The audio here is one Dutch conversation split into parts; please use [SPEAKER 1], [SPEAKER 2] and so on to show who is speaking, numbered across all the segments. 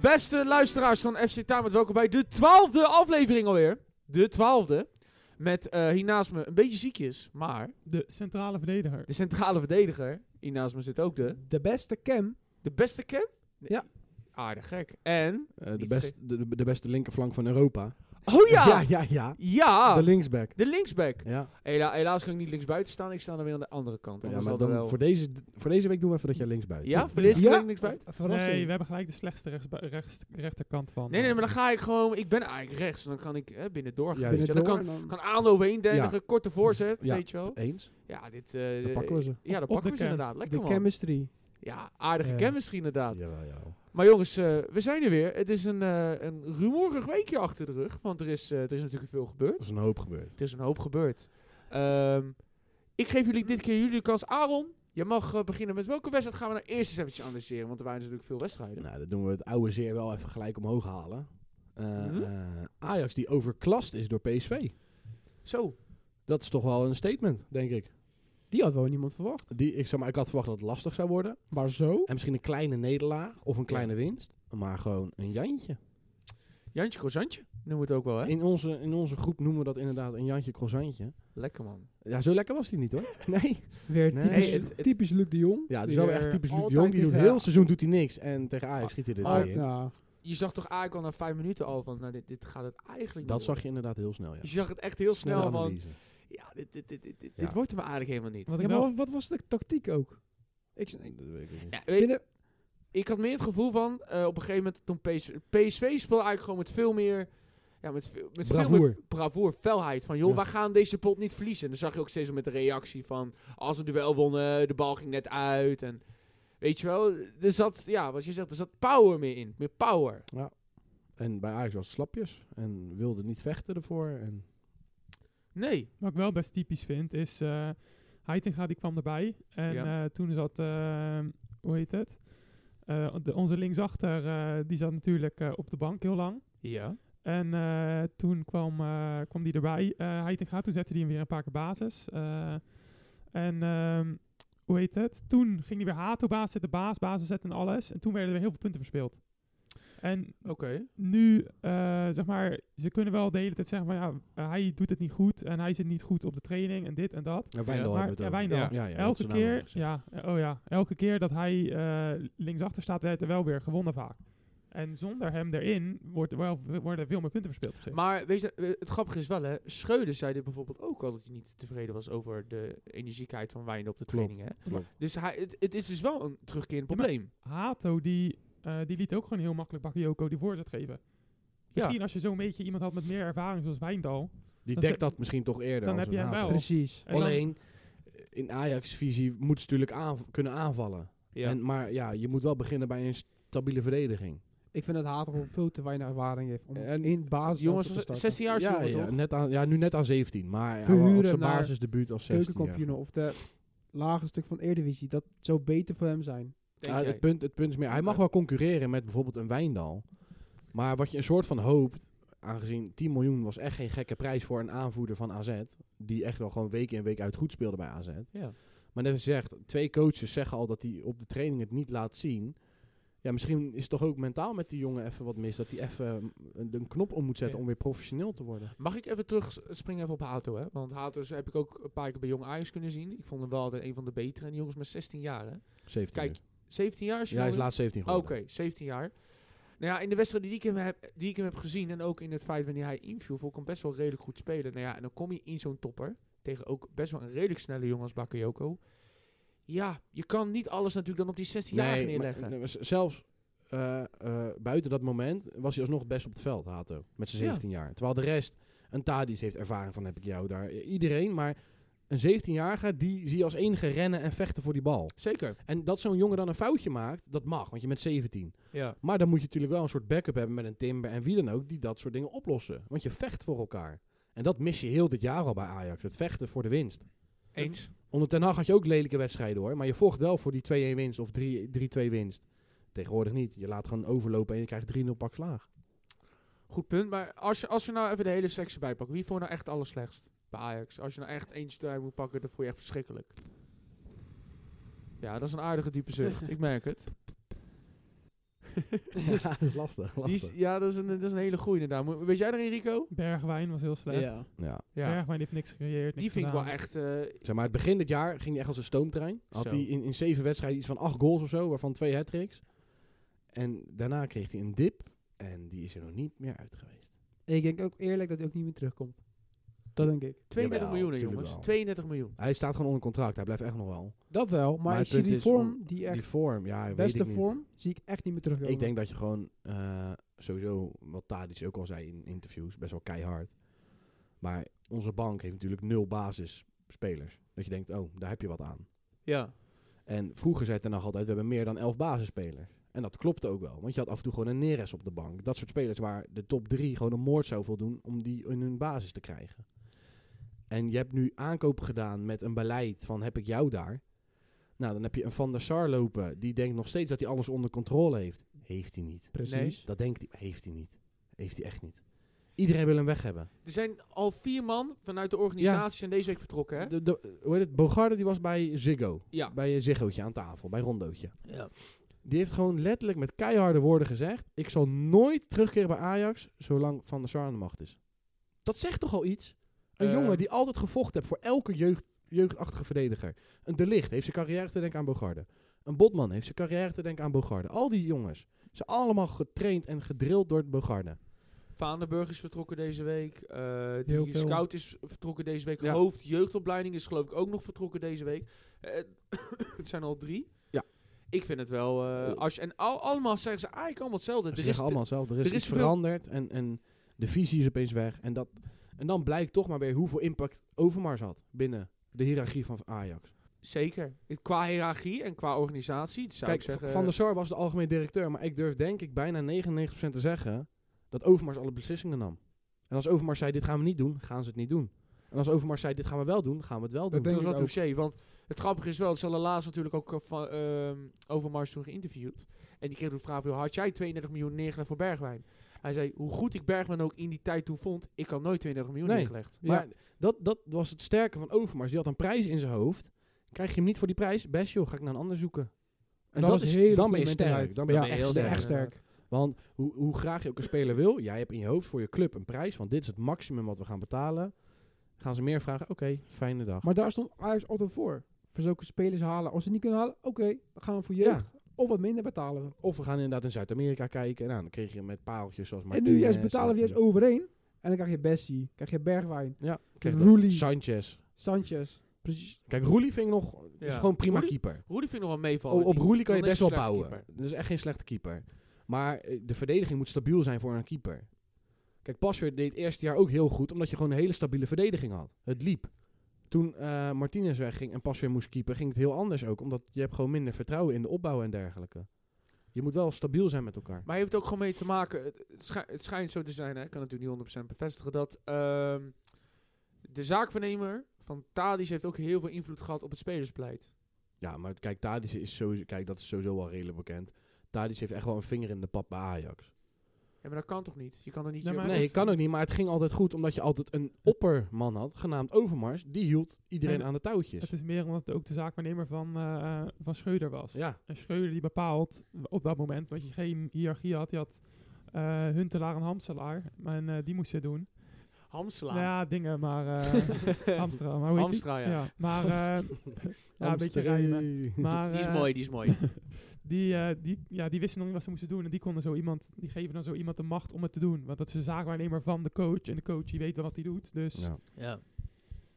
[SPEAKER 1] Beste luisteraars van FC Tamet, welkom bij de twaalfde aflevering alweer. De twaalfde. Met eh hier naast me een beetje ziekjes, maar
[SPEAKER 2] De centrale verdediger.
[SPEAKER 1] de centrale verdediger. Hier naast me zit ook de,
[SPEAKER 3] De beste cam.
[SPEAKER 1] de beste Cam.
[SPEAKER 3] Ja.
[SPEAKER 1] Aardig gek. En...
[SPEAKER 4] Eh, de,
[SPEAKER 1] Niet
[SPEAKER 4] best, de, de beste linkerflank van Europa.
[SPEAKER 1] Oh ja!
[SPEAKER 3] ja,
[SPEAKER 1] Ja!
[SPEAKER 3] ja. ja.
[SPEAKER 1] Ah.
[SPEAKER 4] De linksback.
[SPEAKER 1] de linksback.
[SPEAKER 4] Ja,
[SPEAKER 1] Hela- helaas kan ik niet linksbuiten staan, ik sta dan weer aan de andere kant.
[SPEAKER 4] ja
[SPEAKER 1] Anders
[SPEAKER 4] maar
[SPEAKER 1] hadden
[SPEAKER 4] dan
[SPEAKER 1] we wel...
[SPEAKER 4] voor, deze, voor deze week doen we even dat jij linksbuiten
[SPEAKER 1] Ja, voor deze
[SPEAKER 3] Ja.
[SPEAKER 1] kan ik linksbuiten?
[SPEAKER 3] Verrassing.
[SPEAKER 2] Nee, we hebben gelijk de slechtste rechts, rechts, rechterkant van.
[SPEAKER 1] Nee, nee,
[SPEAKER 2] eh,
[SPEAKER 1] maar dan ga ik gewoon... Ik ben eigenlijk rechts, dan kan ik hè, binnendoor gaan.
[SPEAKER 4] Ja,
[SPEAKER 1] weet je wel. Dan kan, kan Aando overheen denken, korte voorzet,
[SPEAKER 4] Ja.
[SPEAKER 1] weet je wel.
[SPEAKER 4] Eens.
[SPEAKER 1] Ja, dit... eh,
[SPEAKER 4] Dan pakken we ze.
[SPEAKER 1] Ja, dat
[SPEAKER 2] Op de
[SPEAKER 1] pakken we ze
[SPEAKER 2] cam.
[SPEAKER 1] inderdaad. Lekker
[SPEAKER 3] De
[SPEAKER 1] man.
[SPEAKER 3] chemistry.
[SPEAKER 1] Ja, aardige
[SPEAKER 2] Ja.
[SPEAKER 1] chemistry inderdaad.
[SPEAKER 4] Jawel, jawel.
[SPEAKER 1] Maar jongens, eh, we zijn er weer. Het is een, eh een rumoerig weekje achter de rug. Want er is, eh, er is natuurlijk veel gebeurd.
[SPEAKER 4] Dat is een hoop gebeurd.
[SPEAKER 1] Er is een hoop gebeurd. Ehm, ik geef jullie dit keer jullie de kans. Aaron, je mag eh, beginnen met welke wedstrijd gaan we nou eerst eens eventjes analyseren? Want er waren natuurlijk veel wedstrijden.
[SPEAKER 4] Nou, dan doen we het oude zeer wel even gelijk omhoog halen. Eh,
[SPEAKER 1] Mhm.
[SPEAKER 4] eh, Ajax die overklast is door PSV.
[SPEAKER 1] Zo.
[SPEAKER 4] Dat is toch wel een statement, denk ik.
[SPEAKER 3] Die had wel niemand verwacht.
[SPEAKER 4] Die, ik, zeg maar, ik had verwacht dat het lastig zou worden.
[SPEAKER 3] Maar zo?
[SPEAKER 4] En misschien een kleine nederlaag of een kleine winst. Maar gewoon een jantje.
[SPEAKER 1] Jantje Kozantje noemen we het ook wel, hè?
[SPEAKER 4] In onze, in onze groep noemen we dat inderdaad een jantje croissantje.
[SPEAKER 1] Lekker man.
[SPEAKER 4] Ja, zo lekker was die niet hoor. Nee.
[SPEAKER 3] Weer
[SPEAKER 4] Nee,
[SPEAKER 3] typisch,
[SPEAKER 1] het- het-
[SPEAKER 3] typisch Luc de Jong.
[SPEAKER 4] Ja, dat is
[SPEAKER 3] Die
[SPEAKER 4] wel
[SPEAKER 3] weer
[SPEAKER 2] eh,
[SPEAKER 4] echt typisch Luc de
[SPEAKER 3] altijd
[SPEAKER 4] Jong. Die doet
[SPEAKER 3] tegen-
[SPEAKER 4] heel het seizoen doet hij niks. En tegen Ajax schiet hij er
[SPEAKER 3] Altijd,
[SPEAKER 4] twee in.
[SPEAKER 3] ja.
[SPEAKER 1] Je zag toch eigenlijk al na vijf minuten al van, nou, dit, dit gaat het eigenlijk
[SPEAKER 4] Dat
[SPEAKER 1] niet
[SPEAKER 4] zag je inderdaad heel snel, ja.
[SPEAKER 1] worden. Je zag het echt heel snel
[SPEAKER 4] Snelle
[SPEAKER 1] van,
[SPEAKER 4] analyse.
[SPEAKER 1] ja, dit, dit, dit, dit, dit,
[SPEAKER 4] Ja.
[SPEAKER 1] dit wordt hem eigenlijk helemaal niet.
[SPEAKER 2] Wat
[SPEAKER 3] Ja,
[SPEAKER 2] ik
[SPEAKER 3] maar
[SPEAKER 2] wel,
[SPEAKER 3] wat, wat was de tactiek ook? Ik, s-
[SPEAKER 4] Dat weet ik niet.
[SPEAKER 1] Ja, weet-
[SPEAKER 3] binnen,
[SPEAKER 1] ik had meer het gevoel van, eh, op een gegeven moment toen PSV, PSV speelde eigenlijk gewoon met veel meer, ja, met, veel- met veel meer
[SPEAKER 4] Bravoer.
[SPEAKER 1] bravoer, felheid. Van joh,
[SPEAKER 4] Ja.
[SPEAKER 1] wij gaan deze pot niet verliezen. En dan zag je ook steeds met de reactie van, als een duel wonnen, de bal ging net uit. En weet je wel, er zat, ja, wat je zegt, er zat power meer in. Meer power.
[SPEAKER 4] En bij Ajax was het slapjes. En wilde niet vechten ervoor. En
[SPEAKER 1] Nee.
[SPEAKER 2] wat ik wel best typisch vind is. eh Heitinga die kwam erbij. En
[SPEAKER 1] Ja.
[SPEAKER 2] eh, toen zat. eh, hoe heet het? Eh, de, onze linksachter. eh, die zat natuurlijk eh, op de bank heel lang.
[SPEAKER 1] Ja.
[SPEAKER 2] En eh, toen kwam, eh, kwam die erbij. eh Heitinga, toen zette hij hem weer een paar keer basis. Eh, en ehm, hoe heet het? Toen ging hij weer Hato baas zetten, baas, basis zetten en alles. En toen werden er weer heel veel punten verspeeld. En
[SPEAKER 1] Oké.
[SPEAKER 2] nu, eh, zeg maar, ze kunnen wel de hele tijd zeggen van ja, eh, hij doet het niet goed en hij zit niet goed op de training en dit en dat.
[SPEAKER 4] ja, Wijndal
[SPEAKER 2] maar-
[SPEAKER 4] hebben we
[SPEAKER 2] ja,
[SPEAKER 4] het over.
[SPEAKER 2] Wijndal.
[SPEAKER 4] Ja, ja, dat is
[SPEAKER 2] elke
[SPEAKER 4] de naam
[SPEAKER 2] keer,
[SPEAKER 4] nog gezegd.
[SPEAKER 2] ja, eh, oh ja, elke keer dat hij eh, linksachter staat, werd er wel weer gewonnen vaak. En zonder hem erin wordt er wel, worden er veel meer punten verspeeld. Op zich.
[SPEAKER 1] Maar weet je, eh, het grappige is wel, hè, Schreuder zei dit bijvoorbeeld ook al, dat hij niet tevreden was over de energiekheid van Wijn op de
[SPEAKER 4] Klopt.
[SPEAKER 1] training. Hè?
[SPEAKER 4] Klopt.
[SPEAKER 1] Dus hij, het, het is dus wel een terugkerend
[SPEAKER 2] maar-
[SPEAKER 1] probleem.
[SPEAKER 2] Hato, die, eh, die liet ook gewoon heel makkelijk Bakayoko die voorzet geven. Misschien als je zo'n beetje iemand had met meer ervaring zoals Wijndal.
[SPEAKER 4] Die
[SPEAKER 2] Dan
[SPEAKER 4] dekt
[SPEAKER 2] ze-
[SPEAKER 4] dat misschien toch eerder.
[SPEAKER 2] dan
[SPEAKER 4] als
[SPEAKER 2] heb je
[SPEAKER 4] een
[SPEAKER 2] hem
[SPEAKER 4] haat.
[SPEAKER 2] wel.
[SPEAKER 3] Precies.
[SPEAKER 2] En dan-
[SPEAKER 4] Alleen, in Ajax-visie moeten ze natuurlijk aanv- kunnen aanvallen.
[SPEAKER 1] Ja.
[SPEAKER 4] En, maar ja, je moet wel beginnen bij een stabiele verdediging.
[SPEAKER 3] Ik vind dat Hater gewoon veel te weinig ervaring heeft om
[SPEAKER 4] En-
[SPEAKER 3] in basis
[SPEAKER 1] jongens,
[SPEAKER 3] te starten.
[SPEAKER 1] 16 jaar is
[SPEAKER 4] ja,
[SPEAKER 1] jongen,
[SPEAKER 4] ja,
[SPEAKER 1] toch?
[SPEAKER 4] net aan, ja, nu net aan 17. Maar ja,
[SPEAKER 3] Verhuren
[SPEAKER 4] op zijn
[SPEAKER 3] naar
[SPEAKER 4] basisdebuut als 16. ja.
[SPEAKER 3] Keukenkampioenen of de lage stuk van Eredivisie. Dat zou beter voor hem zijn.
[SPEAKER 1] Denk
[SPEAKER 4] Ja,
[SPEAKER 1] jij?
[SPEAKER 4] het, punt, het punt is meer, hij mag wel concurreren met bijvoorbeeld een Wijndal. Maar wat je een soort van hoopt, aangezien 10 miljoen was echt geen gekke prijs voor een aanvoerder van AZ. Die echt wel gewoon week in week uit goed speelde bij AZ.
[SPEAKER 1] Ja.
[SPEAKER 4] Maar net als je zegt, twee coaches zeggen al dat hij op de training het niet laat zien. Ja, misschien is het toch ook mentaal met die jongen even wat mis. Dat hij even eh, een, een knop om moet zetten
[SPEAKER 1] Ja.
[SPEAKER 4] om weer professioneel te worden.
[SPEAKER 1] Mag ik even terugspringen even op Hato, hè? Want Hato is- heb ik ook een paar keer bij Jong Ajax kunnen zien. Ik vond hem wel altijd een van de betere. En die jongens met 16 jaar, hè?
[SPEAKER 4] 17
[SPEAKER 1] Kijk,
[SPEAKER 4] is.
[SPEAKER 1] 17 jaar is
[SPEAKER 4] ja, hij is laatst 17
[SPEAKER 1] Oké,
[SPEAKER 4] geworden.
[SPEAKER 1] 17 jaar. Nou ja, in de wedstrijd die ik, hem heb, die ik hem heb gezien en ook in het feit wanneer hij inviel, vond ik hem best wel redelijk goed spelen. Nou ja, en dan kom je in zo'n topper tegen ook best wel een redelijk snelle jongen als Bakayoko. Ja, je kan niet alles natuurlijk dan op die 16-jarige
[SPEAKER 4] maar-
[SPEAKER 1] neerleggen.
[SPEAKER 4] nee, maar z- zelfs eh, eh, buiten dat moment was hij alsnog het best op het veld, Hato. Met zijn
[SPEAKER 1] Ja.
[SPEAKER 4] 17 jaar. Terwijl de rest, een Tadis heeft ervaring van, heb ik jou daar. I- Iedereen, maar een 17-jarige, die zie je als enige rennen en vechten voor die bal.
[SPEAKER 1] Zeker.
[SPEAKER 4] En dat zo'n jongen dan een foutje maakt, dat mag, want je bent 17.
[SPEAKER 1] Ja.
[SPEAKER 4] Maar dan moet je natuurlijk wel een soort backup hebben met een Timber en wie dan ook die dat soort dingen oplossen. Want je vecht voor elkaar. En dat mis je heel dit jaar al bij Ajax. Het vechten voor de winst.
[SPEAKER 1] Eens.
[SPEAKER 4] Onder Ten Hag had je ook lelijke wedstrijden hoor. Maar je vocht wel voor die 2-1 winst of 3-2 winst. Tegenwoordig niet. Je laat gewoon overlopen en je krijgt 3-0 pak slaag.
[SPEAKER 1] Goed punt. Maar als, je, als we nou even de hele selectie bijpakken, wie vond je nou echt alles slechtst bij Ajax? Als je nou echt eentje eruit moet pakken, dan vond je echt verschrikkelijk. Ja, dat is een aardige diepe zucht. Ik merk het.
[SPEAKER 4] ja, dat is lastig.
[SPEAKER 1] Die is,
[SPEAKER 4] lastig.
[SPEAKER 1] ja, dat is, een, dat is een hele goeie inderdaad. Moet- Weet jij erin, Rico?
[SPEAKER 2] Bergwijn was heel slecht.
[SPEAKER 3] Ja.
[SPEAKER 4] Ja.
[SPEAKER 1] Ja,
[SPEAKER 2] Bergwijn heeft niks gecreëerd.
[SPEAKER 1] die
[SPEAKER 2] niks
[SPEAKER 1] vind ik wel
[SPEAKER 2] gedaan.
[SPEAKER 1] echt... eh,
[SPEAKER 4] Zeg maar, het begin dit jaar ging hij echt als een stoomtrein. Had
[SPEAKER 1] Zo.
[SPEAKER 4] hij in, in zeven wedstrijden iets van acht goals of zo, waarvan twee hat-tricks. En daarna kreeg hij een dip en die is er nog niet meer uit geweest.
[SPEAKER 3] En ik denk ook eerlijk dat hij ook niet meer terugkomt. Dat denk ik.
[SPEAKER 1] 32
[SPEAKER 4] Jawel,
[SPEAKER 1] miljoen, hè,
[SPEAKER 4] tuurlijk
[SPEAKER 1] jongens.
[SPEAKER 4] wel.
[SPEAKER 1] 32 miljoen.
[SPEAKER 4] Hij staat gewoon onder contract, hij blijft echt nog wel.
[SPEAKER 3] Dat wel, maar,
[SPEAKER 4] Maar
[SPEAKER 3] ik
[SPEAKER 4] het
[SPEAKER 3] zie
[SPEAKER 4] punt
[SPEAKER 3] die
[SPEAKER 4] is
[SPEAKER 3] vorm, die echt
[SPEAKER 4] Die vorm, ja, weet
[SPEAKER 3] beste
[SPEAKER 4] ik niet.
[SPEAKER 3] vorm, zie ik echt niet meer terugkomen.
[SPEAKER 4] Ik denk dat je gewoon eh, sowieso, wat Tadic ook al zei in interviews, best wel keihard. Maar onze bank heeft natuurlijk nul basisspelers. Dat je denkt, oh, daar heb je wat aan.
[SPEAKER 1] Ja.
[SPEAKER 4] En vroeger zei het nog altijd, we hebben meer dan elf basisspelers. En dat klopte ook wel, want je had af en toe gewoon een Neres op de bank. Dat soort spelers waar de top drie gewoon een moord zou voldoen om die in hun basis te krijgen. En je hebt nu aankopen gedaan met een beleid van heb ik jou daar. Nou, dan heb je een Van der Sar lopen, die denkt nog steeds dat hij alles onder controle heeft. Heeft hij niet.
[SPEAKER 3] Precies.
[SPEAKER 4] Dat denkt hij, maar heeft hij niet. Heeft hij echt niet. Iedereen wil hem weg hebben.
[SPEAKER 1] Er zijn al vier man vanuit de organisatie zijn deze week vertrokken, hè?
[SPEAKER 4] De, de, hoe heet het? Bogarde die was bij Ziggo.
[SPEAKER 1] Ja.
[SPEAKER 4] Bij een Ziggootje aan tafel, bij Rondootje.
[SPEAKER 1] Ja.
[SPEAKER 4] Die heeft gewoon letterlijk met keiharde woorden gezegd... ik zal nooit terugkeren bij Ajax zolang Van der Sar aan de macht is. Dat zegt toch al iets? Een
[SPEAKER 1] Eh.
[SPEAKER 4] jongen die altijd gevochten heeft voor elke jeugd, jeugdachtige verdediger. Een De Ligt heeft zijn carrière te denken aan Bogarde. Een Botman heeft zijn carrière te denken aan Bogarde. Al die jongens. Ze zijn allemaal getraind en gedrild door Bogarde.
[SPEAKER 1] Vaandenburg is vertrokken deze week. eh,
[SPEAKER 2] Heel
[SPEAKER 1] die
[SPEAKER 2] veel.
[SPEAKER 1] scout is vertrokken deze week.
[SPEAKER 4] Ja.
[SPEAKER 1] Hoofd jeugdopleiding is geloof ik ook nog vertrokken deze week. Eh, het zijn al drie.
[SPEAKER 4] Ja.
[SPEAKER 1] Ik vind het wel... eh, als je, en al, allemaal zeggen ze eigenlijk allemaal hetzelfde.
[SPEAKER 4] Ze
[SPEAKER 1] Er is
[SPEAKER 4] zeggen allemaal hetzelfde. Er is,
[SPEAKER 1] er is
[SPEAKER 4] iets
[SPEAKER 1] veel-
[SPEAKER 4] veranderd en, en de visie is opeens weg. En, dat, en dan blijkt toch maar weer hoeveel impact Overmars had binnen de hiërarchie van Ajax.
[SPEAKER 1] Zeker. Qua hiërarchie en qua organisatie zou
[SPEAKER 4] Kijk,
[SPEAKER 1] ik zeggen...
[SPEAKER 4] Van der Sar was de algemeen directeur, maar ik durf denk ik bijna 99% te zeggen dat Overmars alle beslissingen nam. En als Overmars zei, dit gaan we niet doen, gaan ze het niet doen. En als Overmars zei, dit gaan we wel doen, gaan we het wel
[SPEAKER 3] Dat
[SPEAKER 4] doen.
[SPEAKER 3] denk
[SPEAKER 1] dat was
[SPEAKER 3] ik
[SPEAKER 1] wel touché. Want het grappige is wel, ze hadden laatst natuurlijk ook eh, van, ehm, Overmars toen geïnterviewd. En die kreeg toen de vraag, van, had jij 32 miljoen neergelegd voor Bergwijn? Hij zei, hoe goed ik Bergwijn ook in die tijd toen vond, ik had nooit 32 miljoen
[SPEAKER 4] Nee.
[SPEAKER 1] neergelegd.
[SPEAKER 3] Ja.
[SPEAKER 4] Maar dat, dat was het sterke van Overmars. Die had een prijs in zijn hoofd. Krijg je hem niet voor die prijs? Best joh, ga ik naar een ander zoeken. En
[SPEAKER 3] Dat
[SPEAKER 4] dat
[SPEAKER 3] was
[SPEAKER 4] is,
[SPEAKER 3] een hele
[SPEAKER 4] dan ben
[SPEAKER 3] goede
[SPEAKER 4] je sterk.
[SPEAKER 3] mentaliteit.
[SPEAKER 4] Dan ben je
[SPEAKER 3] Ja,
[SPEAKER 4] echt
[SPEAKER 1] heel
[SPEAKER 4] sterk.
[SPEAKER 3] Echt
[SPEAKER 1] eh,
[SPEAKER 3] sterk.
[SPEAKER 4] Want hoe, hoe graag je ook een speler wil, jij hebt in je hoofd voor je club een prijs. Want dit is het maximum wat we gaan betalen. Gaan ze meer vragen? Oké, fijne dag.
[SPEAKER 3] Maar daar stond Ajax altijd voor. Voor zulke spelers halen. Als ze niet kunnen halen, oké, dan gaan we voor jeugd.
[SPEAKER 4] ja.
[SPEAKER 3] Of wat minder betalen we.
[SPEAKER 4] Of we gaan inderdaad in Zuid-Amerika kijken. Nou, dan kreeg je met paaltjes zoals
[SPEAKER 3] en
[SPEAKER 4] Martinez.
[SPEAKER 3] nu juist betalen we
[SPEAKER 4] en-
[SPEAKER 3] juist overeen. En dan krijg je Bessie, krijg je Bergwijn,
[SPEAKER 4] Ja, kreeg dat.
[SPEAKER 3] Roelie,
[SPEAKER 4] Sanchez.
[SPEAKER 3] Sanchez. Precies.
[SPEAKER 4] Kijk, Roelie vind ik nog... is
[SPEAKER 1] Ja.
[SPEAKER 4] gewoon prima
[SPEAKER 1] Roelie-
[SPEAKER 4] keeper.
[SPEAKER 1] Roelie vind ik nog wel meevallen.
[SPEAKER 4] Op, op
[SPEAKER 1] Die-
[SPEAKER 4] Roelie kan je
[SPEAKER 1] dan is
[SPEAKER 4] best wel
[SPEAKER 1] hij een
[SPEAKER 4] bouwen.
[SPEAKER 1] slechte keeper.
[SPEAKER 4] Dat is echt geen slechte keeper. Maar eh, de verdediging moet stabiel zijn voor een keeper. Kijk, Pasveer deed het eerste jaar ook heel goed, omdat je gewoon een hele stabiele verdediging had. Het liep. Toen eh, Martinez wegging en Pasveer moest keeper, ging het heel anders ook. Omdat je hebt gewoon minder vertrouwen in de opbouw en dergelijke. Je moet wel stabiel zijn met elkaar.
[SPEAKER 1] Maar heeft ook gewoon mee te maken, het, het schij- het schijnt zo te zijn, hè, ik kan natuurlijk niet 100% bevestigen, dat ehm, de zaakvernemer van Tadic heeft ook heel veel invloed gehad op het spelersbeleid.
[SPEAKER 4] Ja, maar kijk, Tadic is sowieso, kijk, dat is sowieso al redelijk bekend. Tadic heeft echt wel een vinger in de pap bij Ajax.
[SPEAKER 1] Ja, maar dat kan toch niet? Je kan er niet...
[SPEAKER 2] Nee,
[SPEAKER 1] je-
[SPEAKER 2] maar
[SPEAKER 4] Nee,
[SPEAKER 2] dat-
[SPEAKER 4] kan ook niet, maar het ging altijd goed, omdat je altijd een opperman had, genaamd Overmars. Die hield iedereen
[SPEAKER 2] En-
[SPEAKER 4] aan de touwtjes.
[SPEAKER 2] Het is meer omdat het ook de zaakwaarnemer van, eh, eh, van Schreuder was.
[SPEAKER 4] Ja.
[SPEAKER 2] En Schreuder die bepaalt op dat moment, want je geen hiërarchie had, je had eh, Huntelaar en Hamselaar. En eh, die moesten het doen.
[SPEAKER 1] Hamsla.
[SPEAKER 2] Nou ja, dingen, maar eh Amsterdam. Maar hoe heet die?
[SPEAKER 1] Hamstra, ja.
[SPEAKER 2] Maar, eh, ja, een beetje rijmen. Maar,
[SPEAKER 1] Die is
[SPEAKER 2] eh,
[SPEAKER 1] mooi, die is mooi.
[SPEAKER 2] Die, eh, die, ja, die wisten nog niet wat ze moesten doen. En die, konden zo iemand, die geven dan zo iemand de macht om het te doen. Want dat is de zaakwaarnemer van de coach. En de coach die weet wel wat hij doet. Dus.
[SPEAKER 4] Ja.
[SPEAKER 1] ja.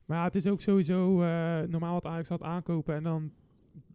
[SPEAKER 2] Maar ja, het is ook sowieso eh, normaal wat Ajax had aankopen. En dan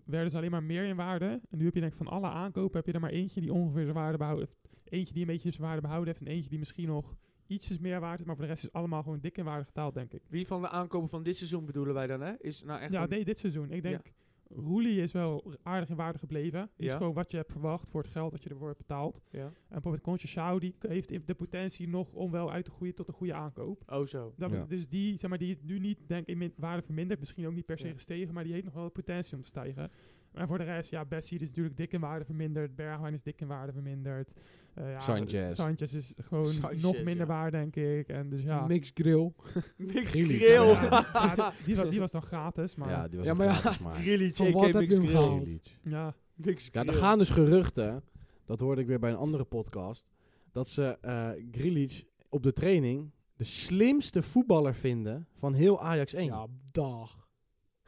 [SPEAKER 2] werden ze alleen maar meer in waarde. En nu heb je denk ik van alle aankopen heb je er maar eentje die ongeveer zijn waarde behouden heeft. Eentje die een beetje zijn waarde behouden heeft. En eentje die misschien nog ietsjes meer waard is. Maar voor de rest is allemaal gewoon dik in waarde getaald, denk ik.
[SPEAKER 1] Wie van de aankopen van dit seizoen bedoelen wij dan, hè? Is nou echt
[SPEAKER 2] ja,
[SPEAKER 1] een-
[SPEAKER 2] nee, dit seizoen. Ik
[SPEAKER 1] Ja.
[SPEAKER 2] denk, Roelie is wel aardig in waarde gebleven. Die
[SPEAKER 1] Ja.
[SPEAKER 2] is gewoon wat je hebt verwacht voor het geld dat je ervoor hebt betaald.
[SPEAKER 1] ja.
[SPEAKER 2] En bijvoorbeeld Conchachao, die heeft in- de potentie nog om wel uit te groeien tot een goede aankoop.
[SPEAKER 1] Oh zo.
[SPEAKER 2] Dat
[SPEAKER 4] Ja.
[SPEAKER 2] moet- Dus die, zeg maar, die het nu niet, denk ik, in min- waarde vermindert. Misschien ook niet per se
[SPEAKER 1] Ja.
[SPEAKER 2] gestegen, maar die heeft nog wel de potentie om te stijgen. En voor de rest, ja, Bessie is natuurlijk dik in waarde verminderd. Bergwijn is dik in waarde verminderd. Eh, ja,
[SPEAKER 4] Sanchez.
[SPEAKER 2] Sanchez is gewoon
[SPEAKER 1] Sanchez,
[SPEAKER 2] nog
[SPEAKER 1] ja.
[SPEAKER 2] minder waar, denk ik. En dus ja.
[SPEAKER 3] Mix grill.
[SPEAKER 1] Mix
[SPEAKER 4] Grealish.
[SPEAKER 1] Grill.
[SPEAKER 4] Ja.
[SPEAKER 1] Ja.
[SPEAKER 2] Ja, die, die, was, die was dan gratis, maar ja.
[SPEAKER 4] die was
[SPEAKER 3] Ja,
[SPEAKER 4] ook
[SPEAKER 3] maar ja.
[SPEAKER 4] gratis, maar-
[SPEAKER 1] Grealish,
[SPEAKER 3] Van
[SPEAKER 1] JK
[SPEAKER 3] wat heb
[SPEAKER 1] Mix
[SPEAKER 3] je hem
[SPEAKER 1] Grill.
[SPEAKER 3] gehaald?
[SPEAKER 4] Grealish. Ja, er gaan dus geruchten Dat hoorde ik weer bij een andere podcast. Dat ze eh Grealish op de training de slimste voetballer vinden van heel Ajax 1.
[SPEAKER 1] Ja, dag.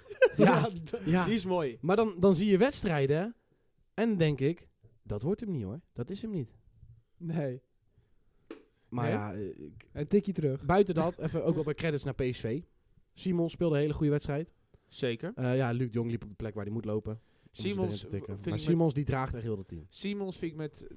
[SPEAKER 4] Ja.
[SPEAKER 1] d-
[SPEAKER 4] Ja.
[SPEAKER 1] die is mooi.
[SPEAKER 4] Maar dan, dan zie je wedstrijden en dan denk ik, dat wordt hem niet hoor. Dat is hem niet.
[SPEAKER 3] Nee,
[SPEAKER 4] Maar
[SPEAKER 1] Nee?
[SPEAKER 4] ja, eh, ik-
[SPEAKER 3] een tikje terug.
[SPEAKER 4] buiten dat, even ook wel bij credits naar PSV. Simon speelde een hele goede wedstrijd.
[SPEAKER 1] Zeker.
[SPEAKER 4] Eh, ja, Luc de Jong liep op de plek waar hij moet lopen. om ze
[SPEAKER 1] Simons,
[SPEAKER 4] erin te tikken.
[SPEAKER 1] vind ik
[SPEAKER 4] maar
[SPEAKER 1] met-
[SPEAKER 4] Simons die draagt echt heel het team.
[SPEAKER 1] Simons vind ik met eh,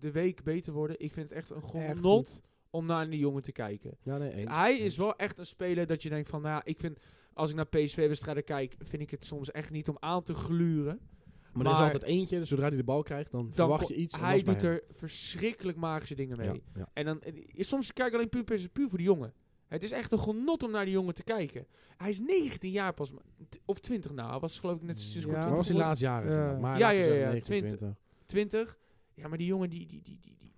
[SPEAKER 1] de week beter worden. Ik vind het echt een
[SPEAKER 3] Echt
[SPEAKER 1] genot om naar die jongen te kijken.
[SPEAKER 4] Ja, nee, eens.
[SPEAKER 1] Hij is wel echt een speler dat je denkt van, nou, ja, ik vind, als ik naar PSV-wedstrijden kijk, vind ik het soms echt niet om aan te gluren.
[SPEAKER 4] Maar, er is
[SPEAKER 1] Maar-
[SPEAKER 4] altijd eentje, dus zodra hij de bal krijgt, dan, verwacht
[SPEAKER 1] ko-
[SPEAKER 4] je iets. en dat
[SPEAKER 1] Hij
[SPEAKER 4] is bij
[SPEAKER 1] doet
[SPEAKER 4] hem.
[SPEAKER 1] er verschrikkelijk magische dingen mee.
[SPEAKER 4] Ja, ja.
[SPEAKER 1] En dan, eh, soms kijk ik alleen puur, puur, puur voor die jongen. Het is echt een genot om naar die jongen te kijken. Hij is 19 jaar pas, maar- t- of 20 nou. Hij was geloof ik net sinds
[SPEAKER 3] Ja,
[SPEAKER 1] kort
[SPEAKER 4] Maar was hij
[SPEAKER 3] voor-
[SPEAKER 4] laatst jaren.
[SPEAKER 3] Ja.
[SPEAKER 4] Maar
[SPEAKER 1] Ja,
[SPEAKER 4] laten we
[SPEAKER 1] ja,
[SPEAKER 4] zeggen
[SPEAKER 1] ja,
[SPEAKER 4] 29.
[SPEAKER 1] 20. Ja, maar die jongen die, die, die, die, die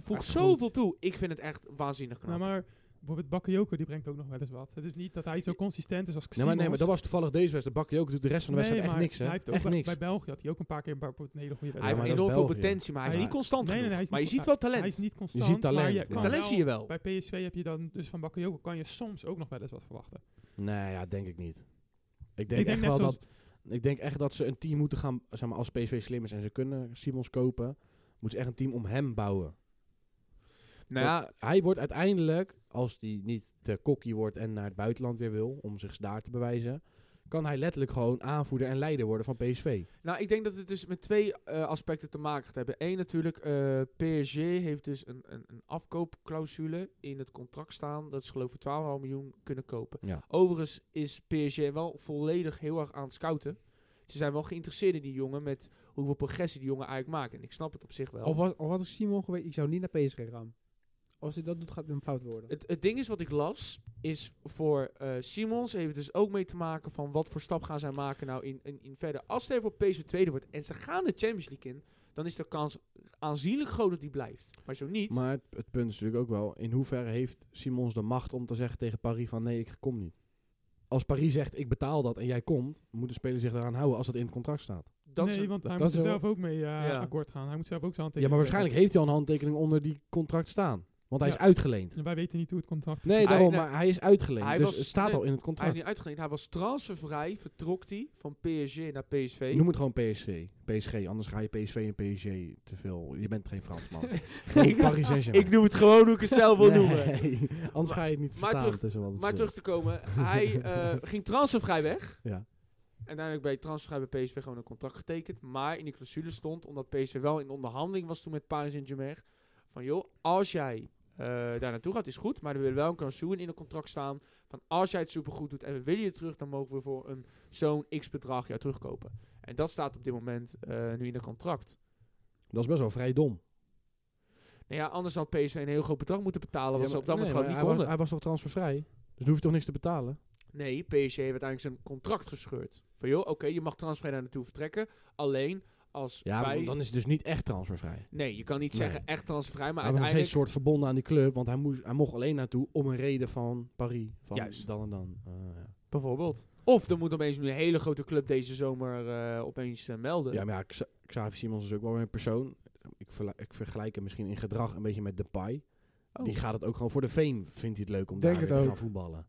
[SPEAKER 1] voegt
[SPEAKER 3] Echt
[SPEAKER 1] zoveel toe. Ik vind het echt waanzinnig knap.
[SPEAKER 2] Nou, maar bijvoorbeeld Bakayoko, die brengt ook nog wel eens wat. Het is niet dat hij zo consistent is als
[SPEAKER 4] Nee,
[SPEAKER 2] Simons.
[SPEAKER 4] maar, nee, maar dat was toevallig deze wedstrijd. Bakker ook doet de rest van de
[SPEAKER 2] Nee,
[SPEAKER 4] wedstrijd echt
[SPEAKER 2] maar
[SPEAKER 4] niks, hè?
[SPEAKER 2] Hij heeft ook
[SPEAKER 4] Echt
[SPEAKER 2] bij,
[SPEAKER 4] niks.
[SPEAKER 2] bij België had hij ook een paar keer een, paar, een hele goede
[SPEAKER 1] hij
[SPEAKER 4] Ja,
[SPEAKER 2] wedstrijd.
[SPEAKER 1] heeft
[SPEAKER 4] maar dat is
[SPEAKER 1] enorm veel
[SPEAKER 4] België.
[SPEAKER 1] potentie, maar hij is
[SPEAKER 2] Hij-
[SPEAKER 1] niet constant
[SPEAKER 2] Nee, nee,
[SPEAKER 1] genoeg.
[SPEAKER 2] hij is
[SPEAKER 1] Maar je
[SPEAKER 2] niet-
[SPEAKER 1] ziet wel talent.
[SPEAKER 2] hij is niet constant,
[SPEAKER 4] Je ziet talent,
[SPEAKER 2] maar
[SPEAKER 4] ja.
[SPEAKER 2] je kan
[SPEAKER 1] talent
[SPEAKER 2] wel-
[SPEAKER 1] zie je wel.
[SPEAKER 2] Bij PSV heb je dan dus van Bakayoko kan je soms ook nog wel eens wat verwachten.
[SPEAKER 4] Nee, ja, denk ik niet. Ik denk,
[SPEAKER 2] denk
[SPEAKER 4] echt
[SPEAKER 2] net
[SPEAKER 4] wel
[SPEAKER 2] zoals-
[SPEAKER 4] dat... Ik denk echt dat ze een team moeten gaan... Zeg maar, als PSV slim is en ze kunnen Simons kopen... Moeten ze echt een team om hem bouwen.
[SPEAKER 1] Nou ja,
[SPEAKER 4] Hij wordt uiteindelijk, als hij niet te kokkie wordt en naar het buitenland weer wil... om zich daar te bewijzen... kan hij letterlijk gewoon aanvoerder en leider worden van PSV.
[SPEAKER 1] nou, ik denk dat het dus met twee eh, aspecten te maken gaat hebben. Eén natuurlijk, eh PSG heeft dus een, een, een afkoopclausule in het contract staan. Dat ze geloof ik voor 12,5 miljoen kunnen kopen.
[SPEAKER 4] Ja.
[SPEAKER 1] Overigens is PSG wel volledig heel erg aan het scouten. Ze zijn wel geïnteresseerd in die jongen met hoeveel progressie die jongen eigenlijk maakt. En ik snap het op zich wel.
[SPEAKER 3] Of was, of had ik Simon geweest, ik zou niet naar PSG gaan. Als hij dat doet, gaat het hem fout worden.
[SPEAKER 1] Het, het ding is wat ik las, is voor eh, Simons heeft het dus ook mee te maken van wat voor stap gaan zij maken nou in, in, in verder. Als hij voor PSV tweede wordt en ze gaan de Champions League in, dan is de kans aanzienlijk groot dat die blijft. Maar zo niet.
[SPEAKER 4] Maar het, het punt is natuurlijk ook wel... in hoeverre heeft Simons de macht om te zeggen tegen Paris van... nee, ik kom niet. Als Paris zegt, ik betaal dat en jij komt... moet de speler zich eraan houden als dat in het contract staat.
[SPEAKER 1] dat is
[SPEAKER 2] nee,
[SPEAKER 1] een-
[SPEAKER 2] want hij
[SPEAKER 3] dat
[SPEAKER 2] moet
[SPEAKER 3] is
[SPEAKER 2] er
[SPEAKER 3] wel-
[SPEAKER 2] zelf ook mee eh,
[SPEAKER 1] Ja.
[SPEAKER 2] akkoord gaan. Hij moet zelf ook zijn
[SPEAKER 4] Ja,
[SPEAKER 2] handtekening
[SPEAKER 4] maar waarschijnlijk
[SPEAKER 2] zetten.
[SPEAKER 4] heeft hij al een handtekening onder die contract staan. Want hij
[SPEAKER 2] Ja.
[SPEAKER 4] is uitgeleend.
[SPEAKER 2] En Wij weten niet hoe het contract
[SPEAKER 4] Nee,
[SPEAKER 1] Hij-
[SPEAKER 4] daarom,
[SPEAKER 1] nee.
[SPEAKER 4] maar hij is uitgeleend.
[SPEAKER 1] Hij
[SPEAKER 4] dus
[SPEAKER 1] was-
[SPEAKER 4] het staat
[SPEAKER 1] nee,
[SPEAKER 4] al in het
[SPEAKER 1] hij heeft
[SPEAKER 4] contract.
[SPEAKER 1] niet uitgeleend. Hij was transfervrij, vertrok hij van PSG naar PSV.
[SPEAKER 4] Noem het gewoon PSG. PSG, anders ga je PSV en PSG te veel. Je bent geen Fransman.
[SPEAKER 1] Ik-
[SPEAKER 4] Gewoon Paris Saint-Germain.
[SPEAKER 1] ik noem het gewoon hoe ik het zelf wil noemen.
[SPEAKER 4] Nee, anders ga je het niet
[SPEAKER 1] Maar
[SPEAKER 4] verstaan.
[SPEAKER 1] terug-
[SPEAKER 4] tussen wat het
[SPEAKER 1] Maar
[SPEAKER 4] is.
[SPEAKER 1] terug te komen, hij eh, ging transfervrij weg.
[SPEAKER 4] Ja.
[SPEAKER 1] En uiteindelijk bij transfervrij bij PSV gewoon een contract getekend. Maar in die clausule stond, omdat PSV wel in onderhandeling was toen met Paris Saint-Germain, van joh, als jij eh, daar naartoe gaat, is goed. Maar er wil wel een clausule in het contract staan van als jij het supergoed doet en we willen je terug, dan mogen we voor een zo'n x-bedrag jou terugkopen. En dat staat op dit moment eh, nu in het contract.
[SPEAKER 4] Dat is best wel vrij dom.
[SPEAKER 1] Nou ja, anders had PSV een heel groot bedrag moeten betalen, wat
[SPEAKER 4] Ja,
[SPEAKER 1] ze
[SPEAKER 4] maar-
[SPEAKER 1] op dat
[SPEAKER 4] nee,
[SPEAKER 1] moment
[SPEAKER 4] maar
[SPEAKER 1] gewoon
[SPEAKER 4] hij
[SPEAKER 1] niet konden.
[SPEAKER 4] was, hij was toch transfervrij? Dus dan hoef je toch niks te betalen?
[SPEAKER 1] Nee, PSG heeft uiteindelijk zijn contract gescheurd. Van joh, oké, je mag transfer daar naartoe vertrekken. Alleen als
[SPEAKER 4] Ja,
[SPEAKER 1] wij...
[SPEAKER 4] maar dan is het dus niet echt transfervrij.
[SPEAKER 1] Nee, je kan niet
[SPEAKER 4] Nee.
[SPEAKER 1] zeggen echt transfervrij, maar
[SPEAKER 4] hij was nog steeds
[SPEAKER 1] uiteindelijk...
[SPEAKER 4] een soort verbonden aan die club. Want hij, moest, hij mocht alleen naartoe om een reden van Paris. Van
[SPEAKER 1] Juist.
[SPEAKER 4] dan en dan. Eh, ja.
[SPEAKER 1] Bijvoorbeeld. Of er moet opeens nu een hele grote club deze zomer eh, opeens eh, melden.
[SPEAKER 4] Ja, maar ja, Xa- Xavi Simons is ook wel weer een persoon. Ik, verla- ik vergelijk hem misschien in gedrag een beetje met Depay.
[SPEAKER 1] Oh.
[SPEAKER 4] Die gaat het ook gewoon voor de fame, vindt hij het leuk om
[SPEAKER 3] Denk
[SPEAKER 4] daar
[SPEAKER 3] het
[SPEAKER 4] weer te
[SPEAKER 3] ook.
[SPEAKER 4] gaan voetballen.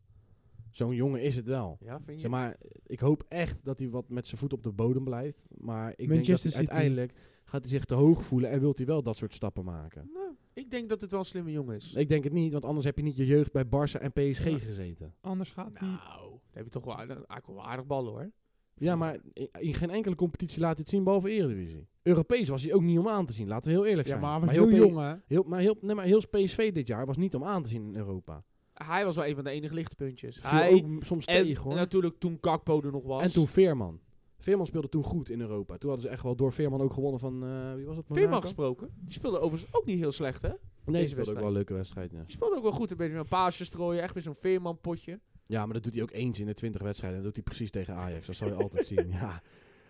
[SPEAKER 4] Zo'n jongen is het wel.
[SPEAKER 1] Ja, vind je?
[SPEAKER 4] Zeg maar, ik hoop echt dat hij wat met zijn voet op de bodem blijft. Maar ik
[SPEAKER 3] Manchester
[SPEAKER 4] denk
[SPEAKER 3] City.
[SPEAKER 4] dat hij uiteindelijk gaat hij zich te hoog voelen en wilt hij wel dat soort stappen maken.
[SPEAKER 1] Ik denk dat het wel een slimme jongen is.
[SPEAKER 4] Ik denk het niet, want anders heb je niet je jeugd bij Barça en PSG
[SPEAKER 2] Ja.
[SPEAKER 4] gezeten.
[SPEAKER 2] Anders gaat hij...
[SPEAKER 1] Nou, dan heb je toch wel aardig, eigenlijk wel aardig ballen hoor.
[SPEAKER 4] Ja, maar in, in geen enkele competitie laat hij het zien, behalve Eredivisie. Europees was hij ook niet om aan te zien, laten we heel eerlijk
[SPEAKER 3] Ja,
[SPEAKER 4] zijn.
[SPEAKER 3] maar hij was heel
[SPEAKER 4] Europees-
[SPEAKER 3] jong, hè?
[SPEAKER 4] Heel, maar, heel, nee, maar heel PSV dit jaar was niet om aan te zien in Europa.
[SPEAKER 1] Hij was wel een van de enige lichtpuntjes.
[SPEAKER 4] Viel
[SPEAKER 1] Hij
[SPEAKER 4] ook m- soms
[SPEAKER 1] en,
[SPEAKER 4] tegen hoor.
[SPEAKER 1] en natuurlijk toen Kakpo er nog was.
[SPEAKER 4] En toen Veerman. Veerman speelde toen goed in Europa. Toen hadden ze echt wel door Veerman ook gewonnen van... eh, wie was het?
[SPEAKER 1] Veerman gesproken. Die speelde overigens ook niet heel slecht hè.
[SPEAKER 4] Nee,
[SPEAKER 1] deze
[SPEAKER 4] die speelde ook wel
[SPEAKER 1] wedstrijd.
[SPEAKER 4] een leuke wedstrijd. Ja.
[SPEAKER 1] Die speelde ook wel goed. Een beetje met een paasje strooien. Echt weer zo'n Veerman potje.
[SPEAKER 4] ja, maar dat doet hij ook eens in de 20 wedstrijden. Dat doet hij precies tegen Ajax. Dat zal je altijd zien. Ja,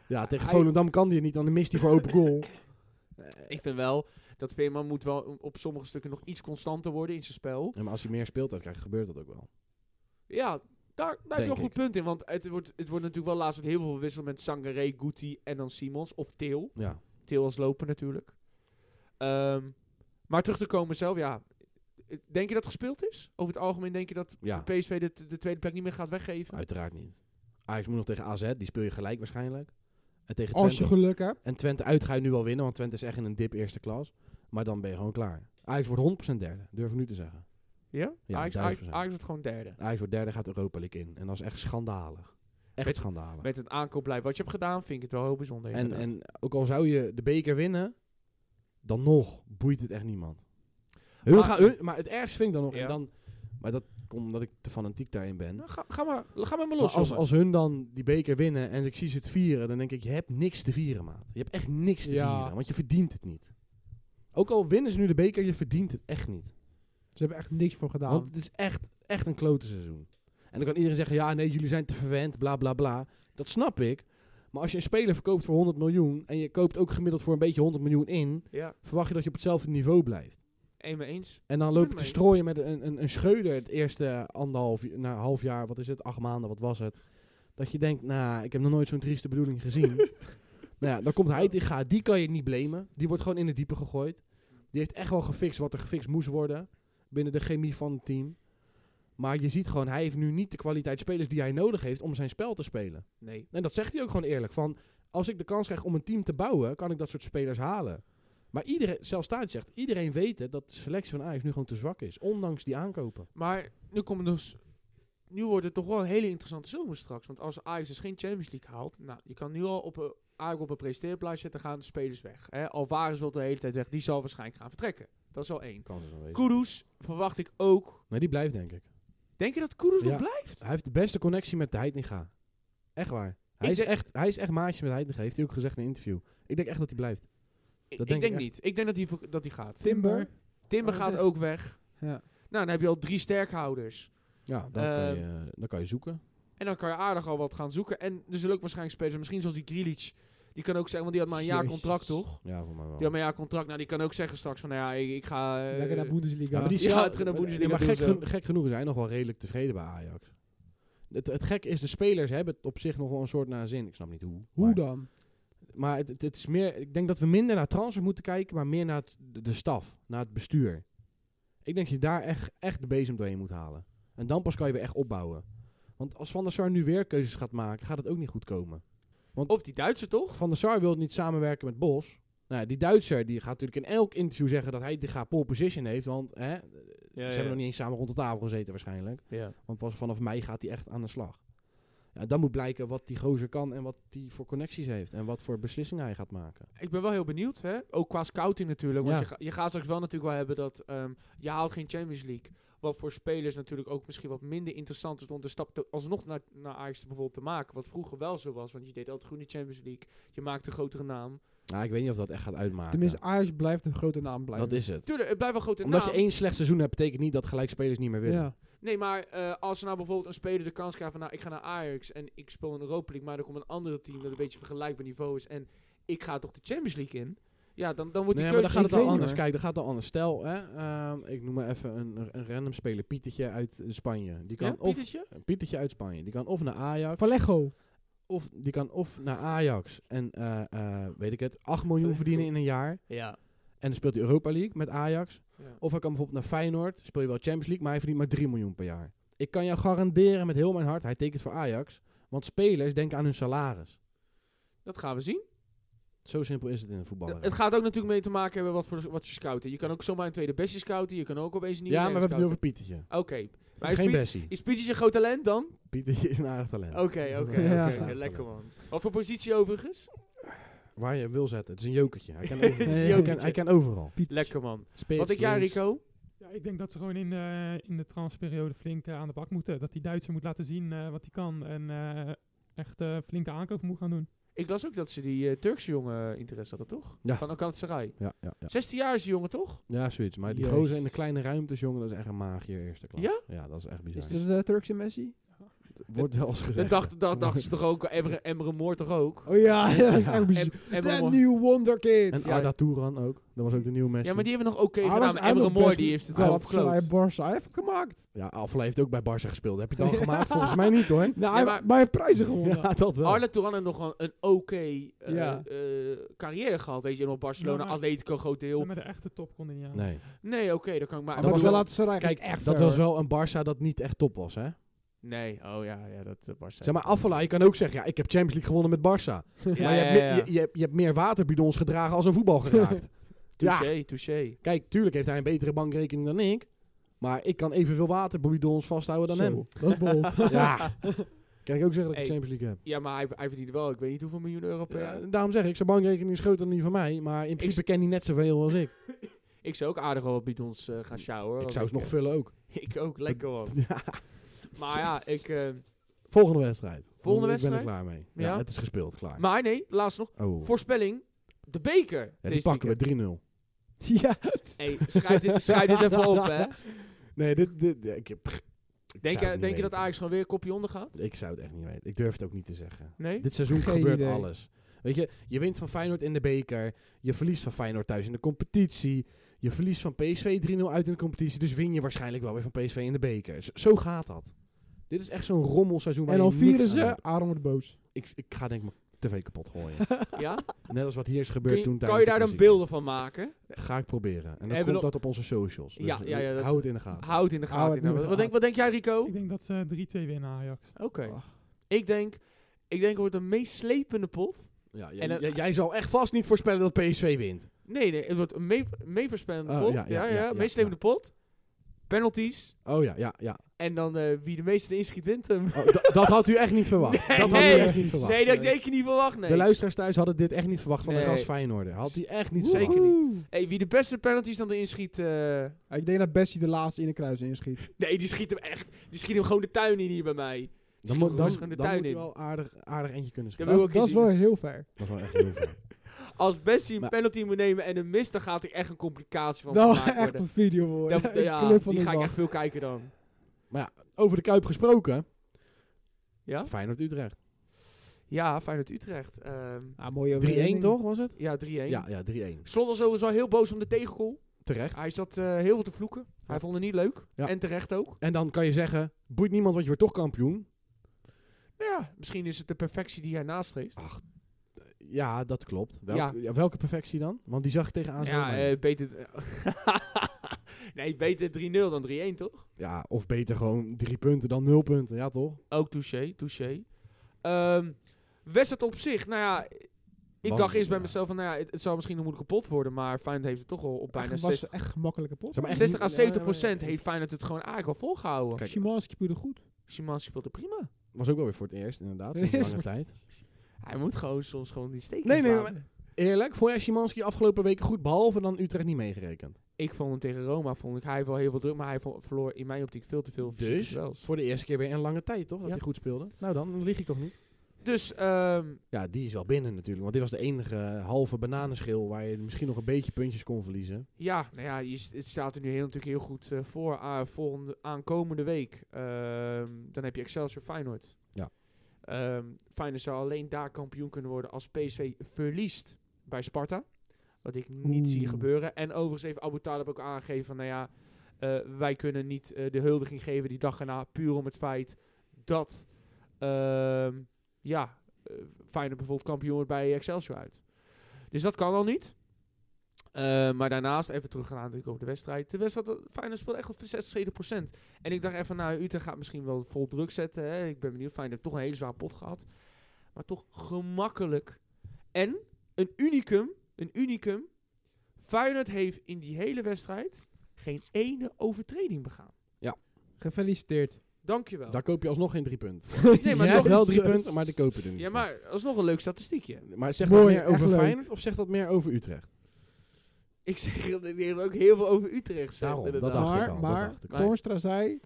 [SPEAKER 4] ja tegen
[SPEAKER 1] Hij-
[SPEAKER 4] Volendam kan hij het niet. Dan mist hij voor open goal. Eh,
[SPEAKER 1] Ik vind wel dat Veerman moet wel op sommige stukken nog iets constanter worden in zijn spel.
[SPEAKER 4] Ja, maar als hij meer speeltijd krijgt, gebeurt dat ook wel.
[SPEAKER 1] Ja, daar, daar heb je
[SPEAKER 4] Denk
[SPEAKER 1] wel een goed
[SPEAKER 4] ik.
[SPEAKER 1] punt in. Want het wordt, het wordt natuurlijk wel laatst met heel veel wisselen met Sangaré, Guti en dan Simons. Of Til.
[SPEAKER 4] Ja.
[SPEAKER 1] Til als lopen natuurlijk. Ehm, maar terug te komen zelf, ja. Denk je dat het gespeeld is? Over het algemeen denk je dat
[SPEAKER 4] Ja.
[SPEAKER 1] de PSV de, de tweede plek niet meer gaat weggeven?
[SPEAKER 4] Uiteraard niet. Ajax moet nog tegen AZ, die speel je gelijk waarschijnlijk. En tegen
[SPEAKER 1] Oh,
[SPEAKER 3] Als
[SPEAKER 4] Twente,
[SPEAKER 3] je geluk hebt.
[SPEAKER 4] en Twente uit ga je nu wel winnen, want Twente is echt in een dip eerste klas. Maar dan ben je gewoon klaar. Ajax wordt 100% derde, durf ik nu te zeggen.
[SPEAKER 1] Ja?
[SPEAKER 4] Ja,
[SPEAKER 1] Ajax,
[SPEAKER 4] 1000%.
[SPEAKER 1] Ajax, Ajax wordt gewoon derde.
[SPEAKER 4] Ajax wordt derde, gaat Europa League in. En dat is echt schandalig. Echt
[SPEAKER 1] Met-
[SPEAKER 4] schandalig.
[SPEAKER 1] Met het aankoopbeleid wat je hebt gedaan, vind ik het wel heel bijzonder.
[SPEAKER 4] en,
[SPEAKER 1] inderdaad.
[SPEAKER 4] en ook al zou je de beker winnen, dan nog boeit het echt niemand. Hun
[SPEAKER 1] Maar-
[SPEAKER 4] maar, gaan, hun, maar het ergste vind ik dan nog.
[SPEAKER 1] Ja.
[SPEAKER 4] En dan, maar dat komt omdat ik te fanatiek daarin ben.
[SPEAKER 1] Nou, ga, ga maar, ga maar, maar
[SPEAKER 4] Maar
[SPEAKER 1] los,
[SPEAKER 4] als,
[SPEAKER 1] jongen.
[SPEAKER 4] als hun dan die beker winnen en ik zie ze het vieren, dan denk ik, je hebt niks te vieren, maat. Je hebt echt niks te
[SPEAKER 3] Ja.
[SPEAKER 4] vieren, want je verdient het niet. Ook al winnen ze nu de beker, je verdient het echt niet.
[SPEAKER 3] Ze hebben echt niks voor gedaan.
[SPEAKER 4] Want het is echt, echt een klote seizoen. En dan kan iedereen zeggen, ja, nee, jullie zijn te verwend, bla, bla, bla. Dat snap ik. Maar als je een speler verkoopt voor 100 miljoen en je koopt ook gemiddeld voor een beetje 100 miljoen in,
[SPEAKER 1] Ja,
[SPEAKER 4] verwacht je dat je op hetzelfde niveau blijft.
[SPEAKER 1] één mee eens.
[SPEAKER 4] En dan
[SPEAKER 1] Ben
[SPEAKER 4] loop je
[SPEAKER 1] mee
[SPEAKER 4] te
[SPEAKER 1] eens.
[SPEAKER 4] strooien met een, een, een scheuder het eerste anderhalf na half jaar, wat is het, acht maanden, wat was het. Dat je denkt, nou, ik heb nog nooit zo'n trieste bedoeling gezien. nou ja, dan komt hij tegen, gaat, die kan je niet blamen. Die wordt gewoon in het diepe gegooid. Die heeft echt wel gefixt wat er gefixt moest worden binnen de chemie van het team. Maar je ziet gewoon, hij heeft nu niet de kwaliteit spelers die hij nodig heeft om zijn spel te spelen.
[SPEAKER 1] Nee.
[SPEAKER 4] En dat zegt hij ook gewoon eerlijk. Van, als ik de kans krijg om een team te bouwen, kan ik dat soort spelers halen. Maar iedereen, zelfs Stuit zegt, iedereen weet het dat de selectie van Ajax nu gewoon te zwak is. Ondanks die aankopen.
[SPEAKER 1] Maar nu komt het dus... Nu wordt het toch wel een hele interessante zomer straks. Want als Ajax dus geen Champions League haalt... Nou, je kan nu al op een, Ajax op een presenteerplaats zetten... gaan de spelers weg. Hè? Alvarez wil de hele tijd weg. Die zal waarschijnlijk gaan vertrekken. Dat is al één.
[SPEAKER 4] Kan er weten.
[SPEAKER 1] Kudus verwacht ik ook...
[SPEAKER 4] Nee, die blijft denk ik.
[SPEAKER 1] Denk je dat Kudus nog
[SPEAKER 4] Ja.
[SPEAKER 1] blijft?
[SPEAKER 4] Hij heeft de beste connectie met de Heitinga. Echt waar. Hij
[SPEAKER 1] Ik
[SPEAKER 4] is
[SPEAKER 1] denk-
[SPEAKER 4] echt, hij is echt maatje met Heitinga. Heeft hij ook gezegd in een interview. Ik denk echt dat hij blijft.
[SPEAKER 1] Ik-
[SPEAKER 4] denk
[SPEAKER 1] ik
[SPEAKER 4] ik
[SPEAKER 1] denk
[SPEAKER 4] echt.
[SPEAKER 1] niet. Ik denk dat hij, voor- dat hij gaat.
[SPEAKER 3] Timber.
[SPEAKER 1] Timber
[SPEAKER 3] Oh,
[SPEAKER 1] gaat
[SPEAKER 3] weg.
[SPEAKER 1] ook weg.
[SPEAKER 3] Ja.
[SPEAKER 1] Nou, dan heb je al drie sterkhouders.
[SPEAKER 4] Ja, dan,
[SPEAKER 1] Ehm.
[SPEAKER 4] kan, je, eh, dan kan je zoeken.
[SPEAKER 1] En dan kan je aardig al wat gaan zoeken. En er zullen ook waarschijnlijk spelers, misschien zoals die Grealish. Die kan ook zeggen, want die had maar een jaar
[SPEAKER 4] Jezus.
[SPEAKER 1] contract, toch?
[SPEAKER 4] Ja, voor mij wel.
[SPEAKER 1] Die had maar een jaar contract. Nou, die kan ook zeggen straks van, nou ja, ik, ik ga... eh,
[SPEAKER 3] Lekker naar Bundesliga.
[SPEAKER 4] Ja, maar die
[SPEAKER 1] Ja,
[SPEAKER 4] scha-
[SPEAKER 1] het ging naar Bundesliga
[SPEAKER 4] maar
[SPEAKER 1] toe
[SPEAKER 4] gek,
[SPEAKER 1] en zo.
[SPEAKER 4] gen- gek genoeg is hij nog wel redelijk tevreden bij Ajax. Het, het gek is, de spelers hebben het op zich nog wel een soort naar zin. Ik snap niet hoe.
[SPEAKER 3] Hoe
[SPEAKER 4] maar-
[SPEAKER 3] dan?
[SPEAKER 4] Maar het, het- het is meer, ik denk dat we minder naar transfers moeten kijken, maar meer naar het- de, de staf, naar het bestuur. Ik denk dat je daar echt, echt de bezem doorheen moet halen. En dan pas kan je weer echt opbouwen. Want als Van der Sar nu weer keuzes gaat maken, gaat het ook niet goed komen.
[SPEAKER 1] Of die Duitser, toch?
[SPEAKER 4] Van der Sar wil niet samenwerken met Bos. Nou, ja, die Duitser die gaat natuurlijk in elk interview zeggen dat hij de ga pole position heeft. Want hè, ze hebben nog niet eens samen rond de tafel gezeten waarschijnlijk. Want pas vanaf mei gaat hij echt aan de slag. Ja, dan moet blijken wat die gozer kan en wat die voor connecties heeft. En wat voor beslissingen hij gaat maken.
[SPEAKER 1] Ik ben wel heel benieuwd, hè? Ook qua scouting natuurlijk. Want
[SPEAKER 4] Ja.
[SPEAKER 1] je, ga- je gaat straks wel natuurlijk wel hebben dat... ehm, je haalt geen Champions League. Wat voor spelers natuurlijk ook misschien wat minder interessant is... om de stap te, alsnog naar, naar Ajax bijvoorbeeld te maken. Wat vroeger wel zo was. Want je deed altijd goed in de Champions League. Je maakte een grotere naam.
[SPEAKER 4] Nou, ik weet niet of dat echt gaat uitmaken.
[SPEAKER 3] Tenminste, Ajax blijft een grote naam blijven.
[SPEAKER 4] dat is het.
[SPEAKER 1] Tuurlijk, het blijft wel een grote
[SPEAKER 4] Omdat
[SPEAKER 1] naam.
[SPEAKER 4] je één slecht seizoen hebt, betekent niet dat gelijk spelers niet meer willen.
[SPEAKER 3] Ja.
[SPEAKER 1] Nee, maar eh, als er nou bijvoorbeeld een speler de kans krijgt van... nou, ik ga naar Ajax en ik speel in de Europa League... maar er komt een andere team dat een beetje vergelijkbaar niveau is... en ik ga toch de Champions League in... Ja, dan, dan wordt die
[SPEAKER 4] Nee,
[SPEAKER 1] keuze...
[SPEAKER 4] maar dan gaat
[SPEAKER 3] ik
[SPEAKER 4] het al
[SPEAKER 3] weet niet
[SPEAKER 4] anders.
[SPEAKER 3] meer.
[SPEAKER 4] Kijk, dan gaat het al anders. Stel, hè, ehm, ik noem maar even een, een random speler, Pietertje uit eh, Spanje. Die kan
[SPEAKER 1] Ja,
[SPEAKER 4] of
[SPEAKER 1] Pietertje?
[SPEAKER 4] Pietertje uit Spanje. Die kan of naar Ajax,
[SPEAKER 3] Vallejo.
[SPEAKER 4] of die kan of naar Ajax en eh, eh, weet ik het, 8 miljoen verdienen in een jaar.
[SPEAKER 1] Ja.
[SPEAKER 4] En dan speelt hij Europa League met Ajax.
[SPEAKER 1] Ja.
[SPEAKER 4] Of hij kan bijvoorbeeld naar Feyenoord, speel je wel Champions League, maar hij verdient maar 3 miljoen per jaar. Ik kan jou garanderen met heel mijn hart, hij tekent voor Ajax. Want spelers denken aan hun salaris.
[SPEAKER 1] Dat gaan we zien.
[SPEAKER 4] Zo simpel is het in een voetballer.
[SPEAKER 1] Het gaat ook natuurlijk mee te maken hebben wat, voor, wat je scouten. Je kan ook zomaar een tweede bestje scouten. Je kan ook opeens een nieuwe
[SPEAKER 4] Ja, maar we hebben het nu
[SPEAKER 1] trainer
[SPEAKER 4] over Pietertje.
[SPEAKER 1] scouten. Oké. Maar is
[SPEAKER 4] Geen
[SPEAKER 1] Piet-
[SPEAKER 4] Bessie.
[SPEAKER 1] Is Pietertje een groot talent dan?
[SPEAKER 4] Pietertje is een aardig talent.
[SPEAKER 1] Oké, oké. oké.
[SPEAKER 3] Ja.
[SPEAKER 1] Ja, Lekker man. Wat voor positie overigens?
[SPEAKER 4] Waar je hem wil zetten. Het is een jokertje. Hij kan overal.
[SPEAKER 3] Een
[SPEAKER 4] hij, kan, hij kan overal.
[SPEAKER 3] Piet.
[SPEAKER 1] Lekker man.
[SPEAKER 4] Spits,
[SPEAKER 1] Wat ik jij
[SPEAKER 4] links.
[SPEAKER 1] Rico?
[SPEAKER 2] Ja, ik denk dat ze gewoon in de, in de transperiode flink eh, aan de bak moeten. Dat die Duitser moet laten zien eh, wat hij kan. En eh, echt eh, flinke aankopen moet gaan doen.
[SPEAKER 1] Ik las ook dat ze die eh, Turkse jongen interesse hadden, toch?
[SPEAKER 4] Ja.
[SPEAKER 1] Van Alcantara.
[SPEAKER 4] Ja, ja, ja.
[SPEAKER 1] 16 jaar is die jongen, toch?
[SPEAKER 4] ja, zoiets. Maar die
[SPEAKER 3] Juist.
[SPEAKER 4] gozer in de kleine ruimtes, jongen, dat is echt een magier eerste klas.
[SPEAKER 1] Ja?
[SPEAKER 4] dat is echt bizar.
[SPEAKER 3] Is dat de Turkse eh, Messi?
[SPEAKER 4] Wordt wel eens
[SPEAKER 1] Dat
[SPEAKER 4] gezegd.
[SPEAKER 1] dacht, dat dacht ze toch ook, Emre, Emre Moor toch ook?
[SPEAKER 3] Oh ja, dat is echt bizar.
[SPEAKER 1] Em, Emre
[SPEAKER 3] That
[SPEAKER 1] Moor.
[SPEAKER 3] new wonder kid.
[SPEAKER 4] En
[SPEAKER 1] Ja.
[SPEAKER 4] Arda Turan ook. Dat was ook de nieuwe Messi.
[SPEAKER 1] Ja, maar die hebben nog oké
[SPEAKER 3] Hij was
[SPEAKER 1] gedaan. maar Emre
[SPEAKER 3] eigenlijk
[SPEAKER 1] Moor
[SPEAKER 3] best
[SPEAKER 1] die heeft het wel
[SPEAKER 3] Galatasaray
[SPEAKER 1] opgekloot.
[SPEAKER 3] Barça Hij heeft gemaakt.
[SPEAKER 4] Ja, Afla heeft ook bij Barca gespeeld. Heb je het dan gemaakt? Volgens mij niet hoor.
[SPEAKER 3] Nou,
[SPEAKER 1] Ja,
[SPEAKER 3] hij,
[SPEAKER 1] maar-
[SPEAKER 3] maar hij heeft prijzen gewonnen.
[SPEAKER 4] Ja, dat wel.
[SPEAKER 1] Arle Turan heeft nog een, een oké eh,
[SPEAKER 3] Ja.
[SPEAKER 1] eh, carrière gehad. Weet je, nog Barcelona,
[SPEAKER 2] Ja, maar-
[SPEAKER 1] Atletico, groot deel.
[SPEAKER 2] En met de echte top kon hij niet aan.
[SPEAKER 4] Nee.
[SPEAKER 1] Nee, oké, dat kan ik maar...
[SPEAKER 3] Maar
[SPEAKER 4] dat was wel-
[SPEAKER 3] Galatasaray ging
[SPEAKER 4] Kijk,
[SPEAKER 3] echt
[SPEAKER 4] dat
[SPEAKER 3] ver,
[SPEAKER 4] was
[SPEAKER 3] hoor.
[SPEAKER 4] wel een Barça dat niet echt top was, hè?
[SPEAKER 1] Nee, oh ja, ja dat was
[SPEAKER 4] Zeg maar, Afla, je kan ook zeggen, ja, ik heb Champions League gewonnen met Barça. maar je, hebt, me- Je, je, hebt- je hebt meer waterbidons gedragen als een voetbal geraakt. ja,
[SPEAKER 1] Touché, touché.
[SPEAKER 4] kijk, tuurlijk heeft hij een betere bankrekening dan ik. Maar ik kan evenveel waterbidons vasthouden dan
[SPEAKER 3] Zo,
[SPEAKER 4] hem.
[SPEAKER 3] Dat is bold.
[SPEAKER 4] Ja. Kan ik ook zeggen dat ik
[SPEAKER 1] Hey.
[SPEAKER 4] Champions League heb.
[SPEAKER 1] Ja, maar hij, hij verdient wel, ik weet niet hoeveel miljoen euro per jaar.
[SPEAKER 4] Ja, daarom zeg ik, zijn bankrekening is groter dan die van mij. Maar in principe ken hij net zoveel als
[SPEAKER 1] Oh,
[SPEAKER 4] ik.
[SPEAKER 1] Ik zou ook aardig wel wat bidons eh gaan sjouwen.
[SPEAKER 4] ik
[SPEAKER 1] want
[SPEAKER 4] zou ze nog
[SPEAKER 1] eh,
[SPEAKER 4] vullen ook.
[SPEAKER 1] Ik ook, lekker man.
[SPEAKER 4] Ja.
[SPEAKER 1] Maar ja, ik... eh,
[SPEAKER 4] Volgende wedstrijd.
[SPEAKER 1] Volgende wedstrijd?
[SPEAKER 4] Ik ben er klaar mee.
[SPEAKER 1] Ja.
[SPEAKER 4] Ja, het is gespeeld, klaar.
[SPEAKER 1] maar nee, laatst nog.
[SPEAKER 4] oh.
[SPEAKER 1] Voorspelling, de beker.
[SPEAKER 4] Ja, die
[SPEAKER 1] deze
[SPEAKER 4] pakken
[SPEAKER 1] weekend.
[SPEAKER 4] we 3-0.
[SPEAKER 3] ja.
[SPEAKER 1] Hey, schrijf dit, schrijf dit even op, hè.
[SPEAKER 4] Nee, dit... dit ik heb, ik
[SPEAKER 1] Denk,
[SPEAKER 4] zou het
[SPEAKER 1] je,
[SPEAKER 4] niet
[SPEAKER 1] denk je dat
[SPEAKER 4] weten.
[SPEAKER 1] Ajax gewoon weer een kopje onder gaat?
[SPEAKER 4] Ik zou het echt niet weten. Ik durf het ook niet te zeggen.
[SPEAKER 1] Nee?
[SPEAKER 4] Dit seizoen
[SPEAKER 3] Geen
[SPEAKER 4] gebeurt
[SPEAKER 3] idee.
[SPEAKER 4] alles. Weet je, je wint van Feyenoord in de beker. Je verliest van Feyenoord thuis in de competitie. Je verliest van PSV 3-0 uit in de competitie. Dus win je waarschijnlijk wel weer van PSV in de beker. Z- zo gaat dat. Dit is echt zo'n rommelseizoen waar
[SPEAKER 3] En
[SPEAKER 4] je
[SPEAKER 3] al
[SPEAKER 4] niks
[SPEAKER 3] vieren
[SPEAKER 4] aan
[SPEAKER 3] ze,
[SPEAKER 4] hebt.
[SPEAKER 3] Aaron wordt boos.
[SPEAKER 4] Ik, ik ga denk ik mijn tv kapot gooien.
[SPEAKER 1] Ja?
[SPEAKER 4] Net als wat hier is gebeurd
[SPEAKER 1] Kun je,
[SPEAKER 4] toen
[SPEAKER 1] kan
[SPEAKER 4] tijdens
[SPEAKER 1] je daar
[SPEAKER 4] de
[SPEAKER 1] dan
[SPEAKER 4] klassieker.
[SPEAKER 1] beelden van maken?
[SPEAKER 4] Ga ik proberen. En dan
[SPEAKER 1] Hebben we
[SPEAKER 4] komt
[SPEAKER 1] nog-
[SPEAKER 4] dat op onze socials. Dus
[SPEAKER 1] Ja, ja, ja, dat-
[SPEAKER 4] hou het in de gaten.
[SPEAKER 1] Houd in de
[SPEAKER 3] Hou
[SPEAKER 1] gaten.
[SPEAKER 3] het in de
[SPEAKER 1] Wat, wat, denk,
[SPEAKER 3] gaten.
[SPEAKER 1] wat denk jij, Rico?
[SPEAKER 2] Ik denk dat ze 3-2 winnen Ajax.
[SPEAKER 1] Oké.
[SPEAKER 3] Ach.
[SPEAKER 1] Ik denk... Ik denk het wordt een meeslepende pot.
[SPEAKER 4] Ja,
[SPEAKER 1] En
[SPEAKER 4] jij,
[SPEAKER 1] dan-
[SPEAKER 4] jij- jij zal echt vast niet voorspellen dat PSV wint.
[SPEAKER 1] Nee, nee, het wordt een mee- meeverspelende
[SPEAKER 4] Oh,
[SPEAKER 1] pot. Ja,
[SPEAKER 4] ja,
[SPEAKER 1] ja,
[SPEAKER 4] ja, ja, ja,
[SPEAKER 1] meeslepende pot. Penalties.
[SPEAKER 4] Oh ja, ja, ja.
[SPEAKER 1] En dan eh, wie de meeste inschiet, wint hem.
[SPEAKER 4] Oh, da- dat had u echt niet verwacht. Dat had u
[SPEAKER 1] Nee.
[SPEAKER 4] echt niet verwacht.
[SPEAKER 1] Nee, dat denk je niet verwacht, nee.
[SPEAKER 4] De luisteraars thuis hadden dit echt niet verwacht van
[SPEAKER 1] Nee.
[SPEAKER 4] de gast Feyenoorder. Had hij echt niet
[SPEAKER 1] Zeker
[SPEAKER 4] verwacht.
[SPEAKER 1] Hey, wie de beste penalties dan erin schiet... eh,
[SPEAKER 3] Ja, Ik denk dat Bessie de laatste in de kruis inschiet.
[SPEAKER 1] Nee, die schiet hem echt. Die schiet hem gewoon de tuin in hier bij mij.
[SPEAKER 4] Dan, moet-
[SPEAKER 1] Schiet
[SPEAKER 4] dan,
[SPEAKER 1] hem gewoon de
[SPEAKER 4] dan,
[SPEAKER 1] tuin
[SPEAKER 4] moet hij
[SPEAKER 1] in.
[SPEAKER 4] wel aardig, aardig eentje kunnen
[SPEAKER 1] Ja,
[SPEAKER 4] schieten.
[SPEAKER 1] wil
[SPEAKER 3] Dat,
[SPEAKER 1] ik
[SPEAKER 3] is-
[SPEAKER 1] eens
[SPEAKER 3] dat is
[SPEAKER 1] zien.
[SPEAKER 3] wel heel ver.
[SPEAKER 4] Dat was wel echt heel veel.
[SPEAKER 1] Als Bessie een
[SPEAKER 4] Maar-
[SPEAKER 1] penalty moet nemen en een mist, dan gaat hij echt een complicatie van
[SPEAKER 3] Dat was
[SPEAKER 1] gemaakt
[SPEAKER 3] echt
[SPEAKER 1] worden.
[SPEAKER 3] een video worden.
[SPEAKER 1] Dan-
[SPEAKER 3] Een
[SPEAKER 1] ja,
[SPEAKER 3] clip van
[SPEAKER 1] die
[SPEAKER 3] de
[SPEAKER 1] ga ik
[SPEAKER 3] dag.
[SPEAKER 1] echt veel kijken dan.
[SPEAKER 4] Over de Kuip gesproken.
[SPEAKER 1] Ja?
[SPEAKER 4] Feyenoord-Utrecht.
[SPEAKER 1] Ja, Feyenoord-Utrecht. Ehm,
[SPEAKER 3] Ah, mooie
[SPEAKER 4] 3-1
[SPEAKER 3] overwinning.
[SPEAKER 4] toch was het?
[SPEAKER 1] ja, 3-1.
[SPEAKER 4] Ja, ja 3-1.
[SPEAKER 1] Slot was sowieso heel boos om de tegengoal.
[SPEAKER 4] Terecht.
[SPEAKER 1] Hij zat eh, heel veel te vloeken. Hij
[SPEAKER 4] Ja.
[SPEAKER 1] vond het niet leuk.
[SPEAKER 4] Ja.
[SPEAKER 1] En terecht ook.
[SPEAKER 4] En dan kan je zeggen, boeit niemand want je wordt toch kampioen.
[SPEAKER 1] Nou ja, misschien is het de perfectie die hij nastreeft.
[SPEAKER 4] Ja, dat klopt. Welke,
[SPEAKER 1] Ja.
[SPEAKER 4] ja, welke perfectie dan? Want die zag ik tegen AZ.
[SPEAKER 1] ja,
[SPEAKER 4] Milan.
[SPEAKER 1] eh, beter... nee, beter 3-0 dan 3-1, toch?
[SPEAKER 4] ja, of beter gewoon drie punten dan nul punten. Ja, toch?
[SPEAKER 1] Ook touché, touché. Ehm wedstrijd op zich, nou ja... Ik
[SPEAKER 4] Want-
[SPEAKER 1] dacht eerst bij
[SPEAKER 4] ja.
[SPEAKER 1] mezelf van, nou ja, het, het zal misschien nog moeilijk kapot worden, maar Feyenoord heeft het toch al op bijna
[SPEAKER 3] Echt, was
[SPEAKER 1] 60,
[SPEAKER 3] echt gemakkelijke pot.
[SPEAKER 4] Zeg maar echt
[SPEAKER 1] 60 à
[SPEAKER 4] niet-
[SPEAKER 1] 70
[SPEAKER 4] Ja, maar-
[SPEAKER 1] heeft Feyenoord het gewoon eigenlijk al volgehouden.
[SPEAKER 4] Kijk,
[SPEAKER 3] Szymanski speelde goed.
[SPEAKER 1] Simans speelde prima.
[SPEAKER 4] was ook wel weer voor het eerst, inderdaad. sinds lange tijd.
[SPEAKER 1] Hij moet gewoon soms gewoon die steekjes
[SPEAKER 4] Nee, nee,
[SPEAKER 1] laten.
[SPEAKER 4] maar eerlijk. Vond jij Szymanski afgelopen weken goed, behalve dan Utrecht niet meegerekend?
[SPEAKER 1] Ik vond hem tegen Roma, vond ik, hij heeft wel heel veel druk, maar hij vo- verloor in mijn optiek veel te veel
[SPEAKER 4] Dus?
[SPEAKER 1] fysieke duels.
[SPEAKER 4] Voor de eerste keer weer in lange tijd, toch? Dat
[SPEAKER 1] Ja.
[SPEAKER 4] hij goed speelde. Nou dan, dan lieg ik toch niet?
[SPEAKER 1] Dus, ehm,
[SPEAKER 4] Ja, die is wel binnen natuurlijk. Want dit was de enige halve bananenschil waar je misschien nog een beetje puntjes kon verliezen.
[SPEAKER 1] ja, nou ja, je, s- het staat er nu heel, natuurlijk heel goed eh, voor ah, volgende, aankomende week. Ehm, dan heb je Excelsior Feyenoord.
[SPEAKER 4] Ja.
[SPEAKER 1] Ehm, Feyenoord zou alleen daar kampioen kunnen worden als PSV verliest bij Sparta. Wat ik niet
[SPEAKER 3] Oeh.
[SPEAKER 1] zie gebeuren. En overigens heeft Abu Talib ook aangegeven van, nou ja, eh, wij kunnen niet eh, de huldiging geven die dag erna. Puur om het feit dat, ehm, ja, eh, Feyenoord bijvoorbeeld kampioen wordt bij Excelsior uit. Dus dat kan al niet. Eh, maar daarnaast, even teruggaan natuurlijk op de wedstrijd. De wedstrijd, eh, Feyenoord speelde echt op 60, 70%. En ik dacht even, nou, Utrecht gaat misschien wel vol druk zetten. Hè. Ik ben benieuwd, Feyenoord heeft toch een hele zware pot gehad. Maar toch gemakkelijk. En een unicum, een unicum. Feyenoord heeft in die hele wedstrijd geen ene overtreding begaan.
[SPEAKER 3] Gefeliciteerd.
[SPEAKER 1] Dankjewel.
[SPEAKER 4] Daar koop je alsnog geen drie punten. voor.
[SPEAKER 1] Nee, maar
[SPEAKER 4] je
[SPEAKER 1] toch-
[SPEAKER 4] hebt wel drie
[SPEAKER 3] Jezus.
[SPEAKER 4] punten, maar die koop je er niet
[SPEAKER 1] ja,
[SPEAKER 4] voor.
[SPEAKER 1] maar alsnog een leuk statistiekje.
[SPEAKER 4] Maar zegt
[SPEAKER 3] Mooi,
[SPEAKER 4] dat meer
[SPEAKER 3] echt
[SPEAKER 4] over
[SPEAKER 3] leuk.
[SPEAKER 4] Feyenoord of zegt dat meer over Utrecht?
[SPEAKER 1] Ik zeg dat ik hier ook heel veel over Utrecht zeg.
[SPEAKER 4] Daarom, dat
[SPEAKER 1] inderdaad.
[SPEAKER 4] dacht ik
[SPEAKER 3] maar
[SPEAKER 4] al, dat
[SPEAKER 3] maar
[SPEAKER 4] dacht ik
[SPEAKER 1] al.
[SPEAKER 3] Torstra zei,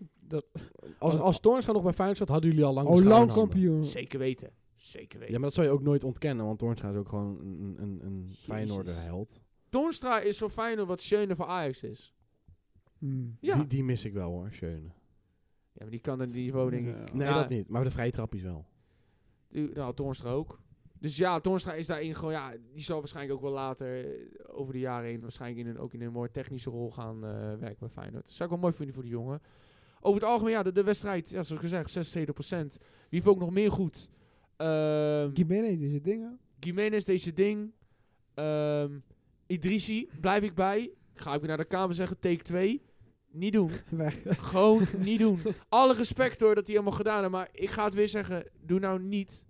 [SPEAKER 4] Als, als Toornstra nog bij Feyenoord zat, hadden jullie al lang de
[SPEAKER 3] oh
[SPEAKER 4] schaal in
[SPEAKER 3] lang
[SPEAKER 4] handen.
[SPEAKER 3] kampioen.
[SPEAKER 1] Zeker weten. Zeker weten.
[SPEAKER 4] Ja, maar dat zou je ook nooit ontkennen, want Toornstra is ook gewoon een, een, een
[SPEAKER 1] Jezus.
[SPEAKER 4] Feyenoorder held.
[SPEAKER 1] Toornstra is voor Feyenoord wat Schöne voor Ajax is.
[SPEAKER 3] Hmm.
[SPEAKER 1] Ja.
[SPEAKER 4] Die, die mis ik wel hoor, Schöne.
[SPEAKER 1] Ja, maar die kan dat niveau, denk ik.
[SPEAKER 3] Ja.
[SPEAKER 4] Nee,
[SPEAKER 1] Ja.
[SPEAKER 4] dat niet. Maar de vrije trappies wel.
[SPEAKER 1] Die- Nou, Toornstra ook. Dus ja, Toornstra is daarin gewoon, ja, die zal waarschijnlijk ook wel later eh, over de jaren heen waarschijnlijk in een, ook in een mooie technische rol gaan eh, werken bij Feyenoord. Dat zou ik wel mooi vinden voor die jongen. Over het algemeen, ja, de, de wedstrijd, ja, zoals gezegd, 76%. Wie heeft ook nog meer goed? Ehm
[SPEAKER 3] Gimenez is het ding, hè?
[SPEAKER 1] Jiménez, deze ding. Ehm Idrisi, blijf ik bij. Ga ik weer naar de kamer zeggen, take 2. Niet doen.
[SPEAKER 3] Weg.
[SPEAKER 1] Gewoon niet doen. Alle respect hoor dat hij helemaal gedaan heeft. Maar ik ga het weer zeggen. Doe nou niet.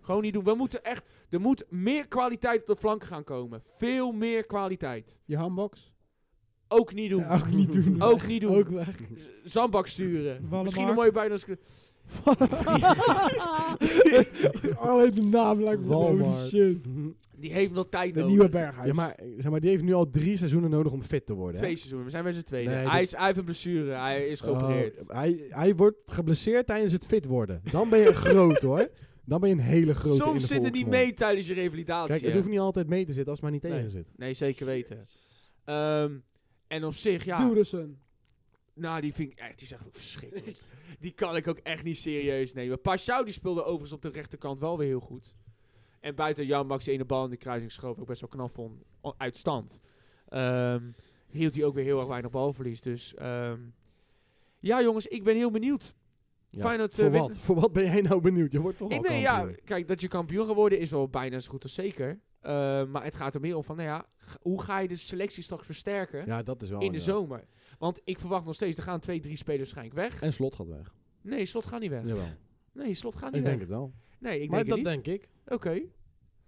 [SPEAKER 1] Gewoon niet doen. We moeten echt... Er moet meer kwaliteit op de flanken gaan komen. Veel meer kwaliteit.
[SPEAKER 3] Je handbox.
[SPEAKER 1] Ook niet doen.
[SPEAKER 3] Ja, ook niet doen.
[SPEAKER 1] Ook niet doen.
[SPEAKER 3] Ook weg.
[SPEAKER 1] Z- Zandbak sturen.
[SPEAKER 2] Wallenmark.
[SPEAKER 1] Misschien een mooie bijna...
[SPEAKER 3] Alleen de naam lijkt me
[SPEAKER 4] Walmart.
[SPEAKER 3] holy shit.
[SPEAKER 1] Die heeft nog tijd
[SPEAKER 3] De
[SPEAKER 1] nodig.
[SPEAKER 3] nieuwe Berghuis.
[SPEAKER 4] Ja, maar, eh, zeg maar die heeft nu al drie seizoenen nodig om fit te worden. hè?
[SPEAKER 1] Twee seizoenen. We zijn bij z'n tweede.
[SPEAKER 4] Nee,
[SPEAKER 1] hij,
[SPEAKER 4] dat-
[SPEAKER 1] is, hij heeft een blessure. Hij is geopereerd.
[SPEAKER 4] Oh, hij, hij wordt geblesseerd tijdens het fit worden. Dan ben je groot hoor. Dan ben je een hele grote in de
[SPEAKER 1] Soms zitten die
[SPEAKER 4] volksmond.
[SPEAKER 1] mee tijdens je revalidatie.
[SPEAKER 4] Kijk, het
[SPEAKER 1] hè?
[SPEAKER 4] hoeft niet altijd mee te zitten als het maar niet
[SPEAKER 1] Nee.
[SPEAKER 4] tegen zit.
[SPEAKER 1] Nee, zeker weten. Ehm, en op zich, ja.
[SPEAKER 3] Doerussen.
[SPEAKER 1] Nou, die vind ik echt, die is echt ook verschrikkelijk. die kan ik ook echt niet serieus nemen. Pashao die speelde overigens op de rechterkant wel weer heel goed. En buiten Jan Max die ene bal in de kruising schoof, ook best wel knap vond, o- uit stand. Ehm, hield hij ook weer heel erg weinig balverlies. Dus ehm, ja, jongens, ik ben heel benieuwd.
[SPEAKER 4] Ja,
[SPEAKER 1] Feyenoord, eh,
[SPEAKER 4] voor
[SPEAKER 1] wint-
[SPEAKER 4] wat? Voor wat ben jij nou benieuwd? Je wordt toch
[SPEAKER 1] Ik
[SPEAKER 4] al
[SPEAKER 1] nee, ja,
[SPEAKER 4] kampioen.
[SPEAKER 1] kijk, dat je kampioen gaat worden is wel bijna zo goed als zeker. Eh, maar het gaat er meer om van, nou ja, g- hoe ga je de selectie straks versterken
[SPEAKER 4] Ja, dat is wel.
[SPEAKER 1] in de
[SPEAKER 4] ja.
[SPEAKER 1] zomer? Want ik verwacht nog steeds, er gaan twee, drie spelers waarschijnlijk weg.
[SPEAKER 4] En slot gaat weg.
[SPEAKER 1] Nee, slot gaat niet weg.
[SPEAKER 4] Jawel.
[SPEAKER 1] Nee, slot gaat niet Ah,
[SPEAKER 4] Ik
[SPEAKER 1] weg.
[SPEAKER 4] denk het wel.
[SPEAKER 1] Nee, ik
[SPEAKER 4] maar
[SPEAKER 1] denk
[SPEAKER 4] dat
[SPEAKER 1] het niet.
[SPEAKER 4] denk ik.
[SPEAKER 1] Oké,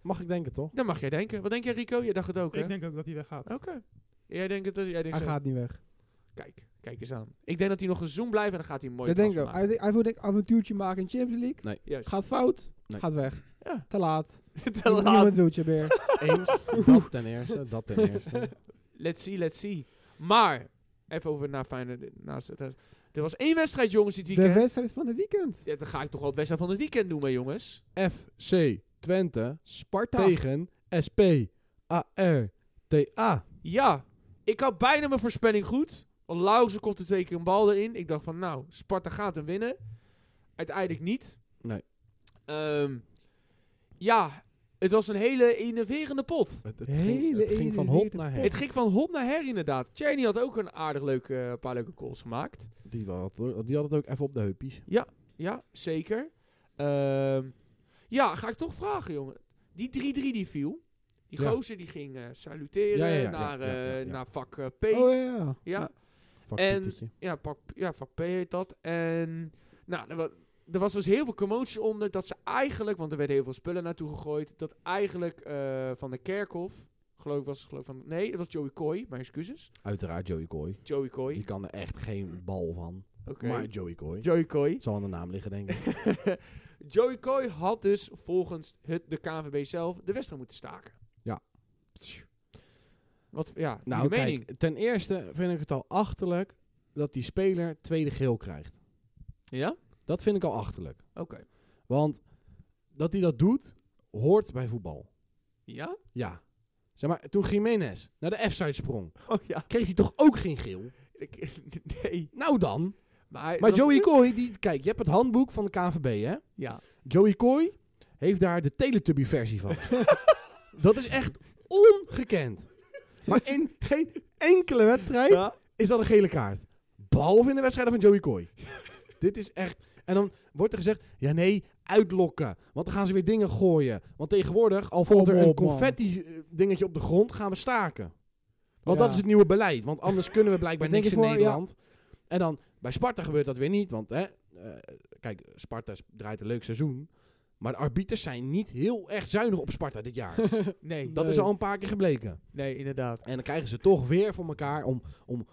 [SPEAKER 4] Mag ik denken toch?
[SPEAKER 1] dan mag jij denken. Wat denk jij, Rico? Jij dacht het ook, hè?
[SPEAKER 2] Ik denk ook dat hij weggaat.
[SPEAKER 1] Oké. Jij denkt het, jij denkt
[SPEAKER 3] Hij
[SPEAKER 1] zo.
[SPEAKER 3] gaat niet weg.
[SPEAKER 1] Kijk, kijk eens aan. Ik denk dat hij nog een seizoen blijft en dan gaat hij een mooie
[SPEAKER 3] Dat denk ik
[SPEAKER 1] pas
[SPEAKER 3] ook.
[SPEAKER 1] maken.
[SPEAKER 3] Hij, hij wil denk ik avontuurtje maken in Champions League.
[SPEAKER 1] Juist.
[SPEAKER 3] Gaat fout.
[SPEAKER 4] Nee.
[SPEAKER 3] Gaat weg.
[SPEAKER 1] Ja.
[SPEAKER 3] Te laat.
[SPEAKER 1] Te laat.
[SPEAKER 3] Niemand wil je meer.
[SPEAKER 4] Eens. dat ten eerste. Dat ten eerste.
[SPEAKER 1] Let's see, let's see. Maar, even over naar Feyenoord. Naast, dat- er was één wedstrijd, jongens, dit
[SPEAKER 3] De
[SPEAKER 1] weekend.
[SPEAKER 3] wedstrijd van het weekend.
[SPEAKER 1] Ja, dan ga ik toch wel het wedstrijd van het weekend noemen, jongens.
[SPEAKER 4] FC Twente
[SPEAKER 3] Sparta.
[SPEAKER 4] tegen SP ARTA.
[SPEAKER 1] Ja, ik had bijna mijn voorspelling goed. Want Lauwse kopte twee keer een bal erin. Ik dacht van, nou, Sparta gaat hem winnen. Uiteindelijk niet.
[SPEAKER 4] Nee.
[SPEAKER 1] Ehm, ja, het was een hele innoverende pot.
[SPEAKER 4] Het, het
[SPEAKER 3] Hele
[SPEAKER 4] ging, het ging van hop
[SPEAKER 3] innoverende
[SPEAKER 4] naar
[SPEAKER 3] pot.
[SPEAKER 4] her.
[SPEAKER 1] Het ging van hop naar her, inderdaad. Tjerny had ook een aardig leuke, een paar leuke goals gemaakt.
[SPEAKER 4] Die had, die had het ook even op de heupies.
[SPEAKER 1] Ja, zeker. Ehm, ja, ga ik toch vragen, jongen. Die 3-3 die viel. Die
[SPEAKER 4] Ja.
[SPEAKER 1] gozer die ging eh, saluteren
[SPEAKER 4] Ja, ja, ja, ja,
[SPEAKER 1] naar,
[SPEAKER 4] ja,
[SPEAKER 1] eh,
[SPEAKER 4] ja, ja.
[SPEAKER 1] naar vak eh, P.
[SPEAKER 3] Oh ja.
[SPEAKER 1] ja.
[SPEAKER 4] Fuck
[SPEAKER 1] En-
[SPEAKER 4] Pietertje.
[SPEAKER 1] Ja, pak, ja, vak P heet dat. En nou, er, wa- er was dus heel veel commotie onder dat ze eigenlijk, want er werden heel veel spullen naartoe gegooid, dat eigenlijk eh, Van de Kerkhof, geloof ik was geloof ik van, nee, dat was Joey Coy, mijn excuses.
[SPEAKER 4] Uiteraard Joey Kooi.
[SPEAKER 1] Joey Coy,
[SPEAKER 4] Die kan er echt geen bal van.
[SPEAKER 1] oké.
[SPEAKER 4] Maar Joey Kooi.
[SPEAKER 1] Joey Coy.
[SPEAKER 4] Zal aan de naam liggen, denk ik.
[SPEAKER 1] Joey Coy had dus volgens het, de KNVB zelf de wedstrijd moeten staken.
[SPEAKER 4] Ja.
[SPEAKER 1] Wat, ja,
[SPEAKER 4] nou,
[SPEAKER 1] nou, mening.
[SPEAKER 4] kijk. Ten eerste vind ik het al achterlijk dat die speler tweede geel krijgt.
[SPEAKER 1] Ja?
[SPEAKER 4] Dat vind ik al achterlijk.
[SPEAKER 1] Oké.
[SPEAKER 4] Want dat hij dat doet, hoort bij voetbal.
[SPEAKER 1] Ja?
[SPEAKER 4] Ja. Zeg maar, toen Jiménez naar de F-side sprong,
[SPEAKER 1] Oh ja.
[SPEAKER 4] kreeg hij toch ook geen geel?
[SPEAKER 1] Ik- nee.
[SPEAKER 4] Nou dan.
[SPEAKER 1] Maar,
[SPEAKER 4] Maar
[SPEAKER 1] dat-
[SPEAKER 4] Joey Kooi, die, kijk, je hebt het handboek van de KNVB, hè?
[SPEAKER 1] Ja.
[SPEAKER 4] Joey Kooi heeft daar de Teletubby-versie van. dat is echt ongekend. Maar in geen enkele wedstrijd
[SPEAKER 1] Ja.
[SPEAKER 4] is dat een gele kaart. Behalve in de wedstrijden van Joey Kooi. Dit is echt... En dan wordt er gezegd, ja nee, uitlokken. Want dan gaan ze weer dingen gooien. Want tegenwoordig, al valt
[SPEAKER 3] Kom
[SPEAKER 4] er een
[SPEAKER 3] op, man.
[SPEAKER 4] confetti-dingetje op de grond, gaan we staken. Want
[SPEAKER 3] Ja.
[SPEAKER 4] dat is het nieuwe beleid. Want anders kunnen we blijkbaar
[SPEAKER 3] Denk
[SPEAKER 4] niks
[SPEAKER 3] je
[SPEAKER 4] in
[SPEAKER 3] voor- ja.
[SPEAKER 4] Nederland. En dan, bij Sparta gebeurt dat weer niet. Want hè, eh, kijk, Sparta s- draait een leuk seizoen. Maar de arbiters zijn niet heel erg zuinig op Sparta dit jaar.
[SPEAKER 1] Nee.
[SPEAKER 4] Dat is
[SPEAKER 3] Nee.
[SPEAKER 4] al een paar keer gebleken.
[SPEAKER 1] Nee, inderdaad.
[SPEAKER 4] En dan krijgen ze toch weer voor elkaar om, om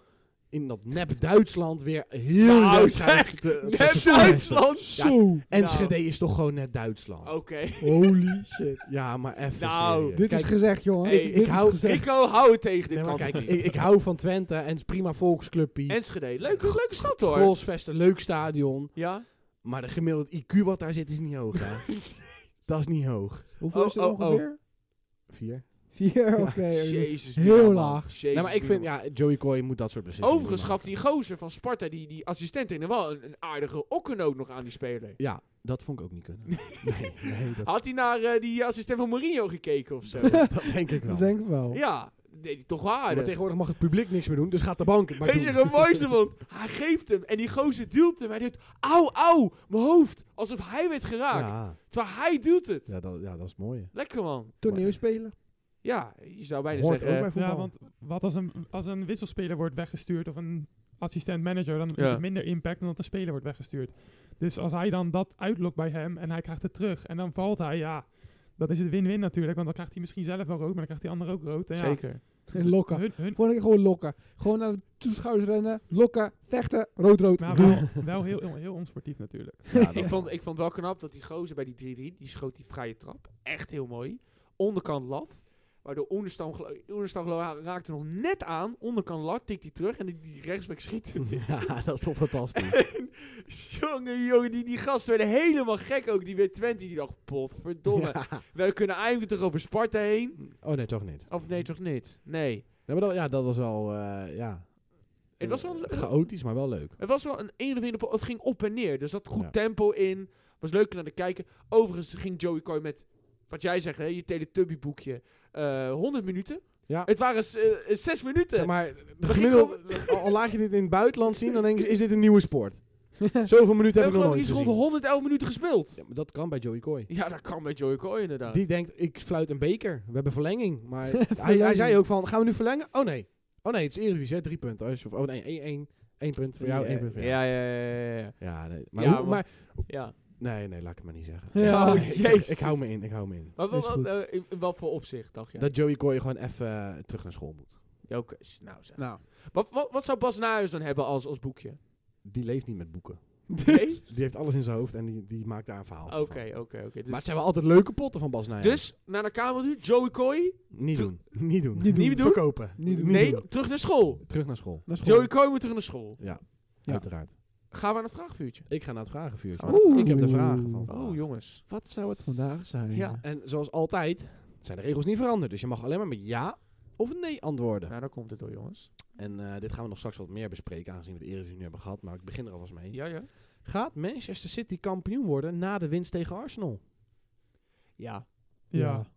[SPEAKER 4] in dat nep Duitsland weer heel
[SPEAKER 1] Nou,
[SPEAKER 4] die
[SPEAKER 1] zeg, Nou.
[SPEAKER 4] wedstrijd te- te
[SPEAKER 1] Net
[SPEAKER 4] verpesten.
[SPEAKER 1] Duitsland!
[SPEAKER 3] Zo.
[SPEAKER 4] En Enschede is toch gewoon net Duitsland.
[SPEAKER 1] Oké.
[SPEAKER 3] Holy shit.
[SPEAKER 4] Ja, maar even
[SPEAKER 1] Nou,
[SPEAKER 4] serieus.
[SPEAKER 3] Dit
[SPEAKER 4] Kijk,
[SPEAKER 3] is gezegd, jongens.
[SPEAKER 1] Hey,
[SPEAKER 3] Dit
[SPEAKER 4] ik
[SPEAKER 3] is
[SPEAKER 4] hou-
[SPEAKER 3] gezegd.
[SPEAKER 1] Rico, hou het tegen dit
[SPEAKER 4] nee, maar
[SPEAKER 1] kan
[SPEAKER 4] kijk,
[SPEAKER 1] toch niet?
[SPEAKER 4] ik, ik hou van Twente en het is prima volksclubpie.
[SPEAKER 1] Enschede, leuke, leuke stad hoor.
[SPEAKER 4] Grolsvesten, leuk stadion.
[SPEAKER 1] Ja?
[SPEAKER 4] Maar de gemiddeld IQ wat daar zit is niet hoog, hè. dat is niet hoog.
[SPEAKER 3] Hoeveel
[SPEAKER 1] Oh,
[SPEAKER 3] is het
[SPEAKER 1] oh, oh.
[SPEAKER 3] ongeveer?
[SPEAKER 4] Vier.
[SPEAKER 3] Vier, oké. oké.
[SPEAKER 1] Jezus.
[SPEAKER 3] Heel
[SPEAKER 1] Bierman.
[SPEAKER 3] laag.
[SPEAKER 1] Jezus,
[SPEAKER 4] Nee, maar ik vind,
[SPEAKER 1] Bierman.
[SPEAKER 4] ja, Joey Coy moet dat soort beslissingen
[SPEAKER 1] Overigens
[SPEAKER 4] niet
[SPEAKER 1] gaf
[SPEAKER 4] maken.
[SPEAKER 1] die gozer van Sparta, die, die assistent, in wel een, een aardige okkennoot nog aan die speler.
[SPEAKER 4] Ja, dat vond ik ook niet kunnen. nee, nee, dat,
[SPEAKER 1] Had hij naar eh, die assistent van Mourinho gekeken of zo?
[SPEAKER 4] dat denk ik wel.
[SPEAKER 3] Dat denk ik wel.
[SPEAKER 1] ja, Ah, dat deed hij toch wel
[SPEAKER 4] maar
[SPEAKER 1] aardig.
[SPEAKER 4] tegenwoordig mag het publiek niks meer doen, dus gaat de bank het maar
[SPEAKER 1] Weet je,
[SPEAKER 4] doen.
[SPEAKER 1] het mooiste vond? Hij geeft hem en die gozer duwt hem. Hij doet, auw, auw, mijn hoofd. Alsof hij werd geraakt.
[SPEAKER 4] Ja,
[SPEAKER 1] Terwijl hij duwt het.
[SPEAKER 4] ja, dat, ja, dat is het mooie.
[SPEAKER 1] Lekker man.
[SPEAKER 3] Toneelspelen.
[SPEAKER 1] Ja, je zou bijna
[SPEAKER 4] Hoort ook
[SPEAKER 1] zeggen... eh,
[SPEAKER 4] bij voetbal.
[SPEAKER 2] Ja, want wat als een, als een wisselspeler wordt weggestuurd of een assistent manager, dan
[SPEAKER 1] Ja.
[SPEAKER 2] heeft het minder impact dan dat een speler wordt weggestuurd. Dus als hij dan dat uitlokt bij hem en hij krijgt het terug en dan valt hij, ja, dat is het win-win natuurlijk. Want dan krijgt hij misschien zelf wel rood, maar dan krijgt die ander ook rood. En ja,
[SPEAKER 1] Zeker.
[SPEAKER 3] En lokken.
[SPEAKER 2] Hun, hun,
[SPEAKER 3] Gewoon, gewoon lokken. Gewoon naar de toeschouwers rennen. Lokken. Vechten. Rood-rood.
[SPEAKER 2] maar wel, wel heel, heel, heel onsportief natuurlijk.
[SPEAKER 4] Ja,
[SPEAKER 1] Ik
[SPEAKER 4] dat-
[SPEAKER 1] vond, ik vond wel knap dat die gozer bij die 3-3, die schoot die vrije trap. Echt heel mooi. Onderkant lat. Waardoor Oenerstam, gelo- Oenerstam gelo- raakte nog net aan. Onderkant lat, tikt hij terug en die, die rechtsback schiet hem.
[SPEAKER 4] ja, dat is toch fantastisch.
[SPEAKER 1] jongen, jongen, die, die gasten werden helemaal gek ook. Die weer Twente, die dacht, potverdomme.
[SPEAKER 4] Ja.
[SPEAKER 1] We kunnen eindelijk toch over Sparta heen?
[SPEAKER 4] Oh nee, toch niet.
[SPEAKER 1] Of nee, toch niet? Nee.
[SPEAKER 4] Nee, maar dat, ja, dat was wel, eh, ja...
[SPEAKER 1] Het was wel een-
[SPEAKER 4] Chaotisch, maar wel leuk.
[SPEAKER 1] Het was wel een een of andere... po- Het ging op en neer. Er zat goed
[SPEAKER 4] Ja.
[SPEAKER 1] tempo in. Was leuk naar te kijken. Overigens ging Joey Coy met... Wat jij zegt, hè, je Teletubby boekje. eh 100 minuten.
[SPEAKER 4] Ja.
[SPEAKER 1] Het waren s- eh, eh, 6 minuten.
[SPEAKER 4] Zeg maar, de
[SPEAKER 1] ging
[SPEAKER 4] gemiddelde, al al laat je dit in het buitenland zien, dan denk je, is dit een nieuwe sport? Zoveel minuten
[SPEAKER 1] we
[SPEAKER 4] heb
[SPEAKER 1] hebben
[SPEAKER 4] ik nog
[SPEAKER 1] gewoon
[SPEAKER 4] nooit
[SPEAKER 1] iets
[SPEAKER 4] gezien.
[SPEAKER 1] rond de 111 minuten gespeeld.
[SPEAKER 4] Ja, maar dat kan bij Joey Coy.
[SPEAKER 1] Ja, dat kan met Joey Coy inderdaad.
[SPEAKER 4] Die denkt, ik fluit een beker. We hebben verlenging. Maar hij, hij
[SPEAKER 3] Verlenging.
[SPEAKER 4] zei ook van, gaan we nu verlengen? Oh nee. Oh nee, het is Eredivisie, hè, drie punten. Of, oh nee, één, één, één punt voor jou,
[SPEAKER 3] Ja,
[SPEAKER 4] één punt voor jou.
[SPEAKER 1] ja, ja, ja, ja, ja.
[SPEAKER 4] Ja, nee. Maar,
[SPEAKER 1] Ja,
[SPEAKER 4] hoe-
[SPEAKER 1] want-
[SPEAKER 4] maar
[SPEAKER 1] ja.
[SPEAKER 4] nee, nee, laat ik het maar niet zeggen.
[SPEAKER 3] Ja.
[SPEAKER 1] Oh,
[SPEAKER 4] ik,
[SPEAKER 1] jezus.
[SPEAKER 4] ik hou me in, ik hou me in.
[SPEAKER 1] Maar
[SPEAKER 3] Is
[SPEAKER 1] wat,
[SPEAKER 3] goed.
[SPEAKER 1] eh, in, in wat voor opzicht, dacht je?
[SPEAKER 4] Dat Joey Coy gewoon even eh, terug naar school moet.
[SPEAKER 1] Ja, oké. S- Nou, zeg.
[SPEAKER 3] Nou.
[SPEAKER 1] Wat, wat, wat zou Bas Nijhuis dan hebben als, als boekje?
[SPEAKER 4] Die leeft niet met boeken.
[SPEAKER 1] Nee?
[SPEAKER 4] Die heeft alles in zijn hoofd en die, die maakt daar een verhaal
[SPEAKER 1] Oké,
[SPEAKER 4] van.
[SPEAKER 1] oké, oké. Dus,
[SPEAKER 4] Maar het zijn wel altijd leuke potten van Bas Nijhuis.
[SPEAKER 1] dus, naar de kamer toe, Joey Coy.
[SPEAKER 4] Niet doen. Niet doen.
[SPEAKER 3] Niet doen.
[SPEAKER 1] Niet doen.
[SPEAKER 4] Verkopen.
[SPEAKER 3] Niet doen.
[SPEAKER 1] Nee, terug naar school.
[SPEAKER 4] Terug naar school.
[SPEAKER 3] Dat is
[SPEAKER 1] Joey
[SPEAKER 3] gewoon...
[SPEAKER 1] Coy moet terug naar school.
[SPEAKER 4] Ja,
[SPEAKER 3] Ja.
[SPEAKER 4] uiteraard.
[SPEAKER 1] Gaan we aan een vraagvuurtje?
[SPEAKER 4] Ik ga naar het vragenvuurtje.
[SPEAKER 1] Gaan we naar het
[SPEAKER 4] Ik heb de
[SPEAKER 3] Oeh.
[SPEAKER 4] vragen van vandaag.
[SPEAKER 1] Oh, jongens.
[SPEAKER 3] Wat zou het vandaag zijn?
[SPEAKER 1] Ja.
[SPEAKER 4] En zoals altijd zijn de regels niet veranderd. Dus je mag alleen maar met ja of nee antwoorden.
[SPEAKER 1] Nou, dan komt het door, jongens.
[SPEAKER 4] En eh, dit gaan we nog straks wat meer bespreken, aangezien we de Eredivisie nu hebben gehad. Maar ik begin er alvast mee.
[SPEAKER 1] Ja, ja.
[SPEAKER 4] Gaat Manchester City kampioen worden na de winst tegen Arsenal?
[SPEAKER 1] Ja.
[SPEAKER 2] Ja.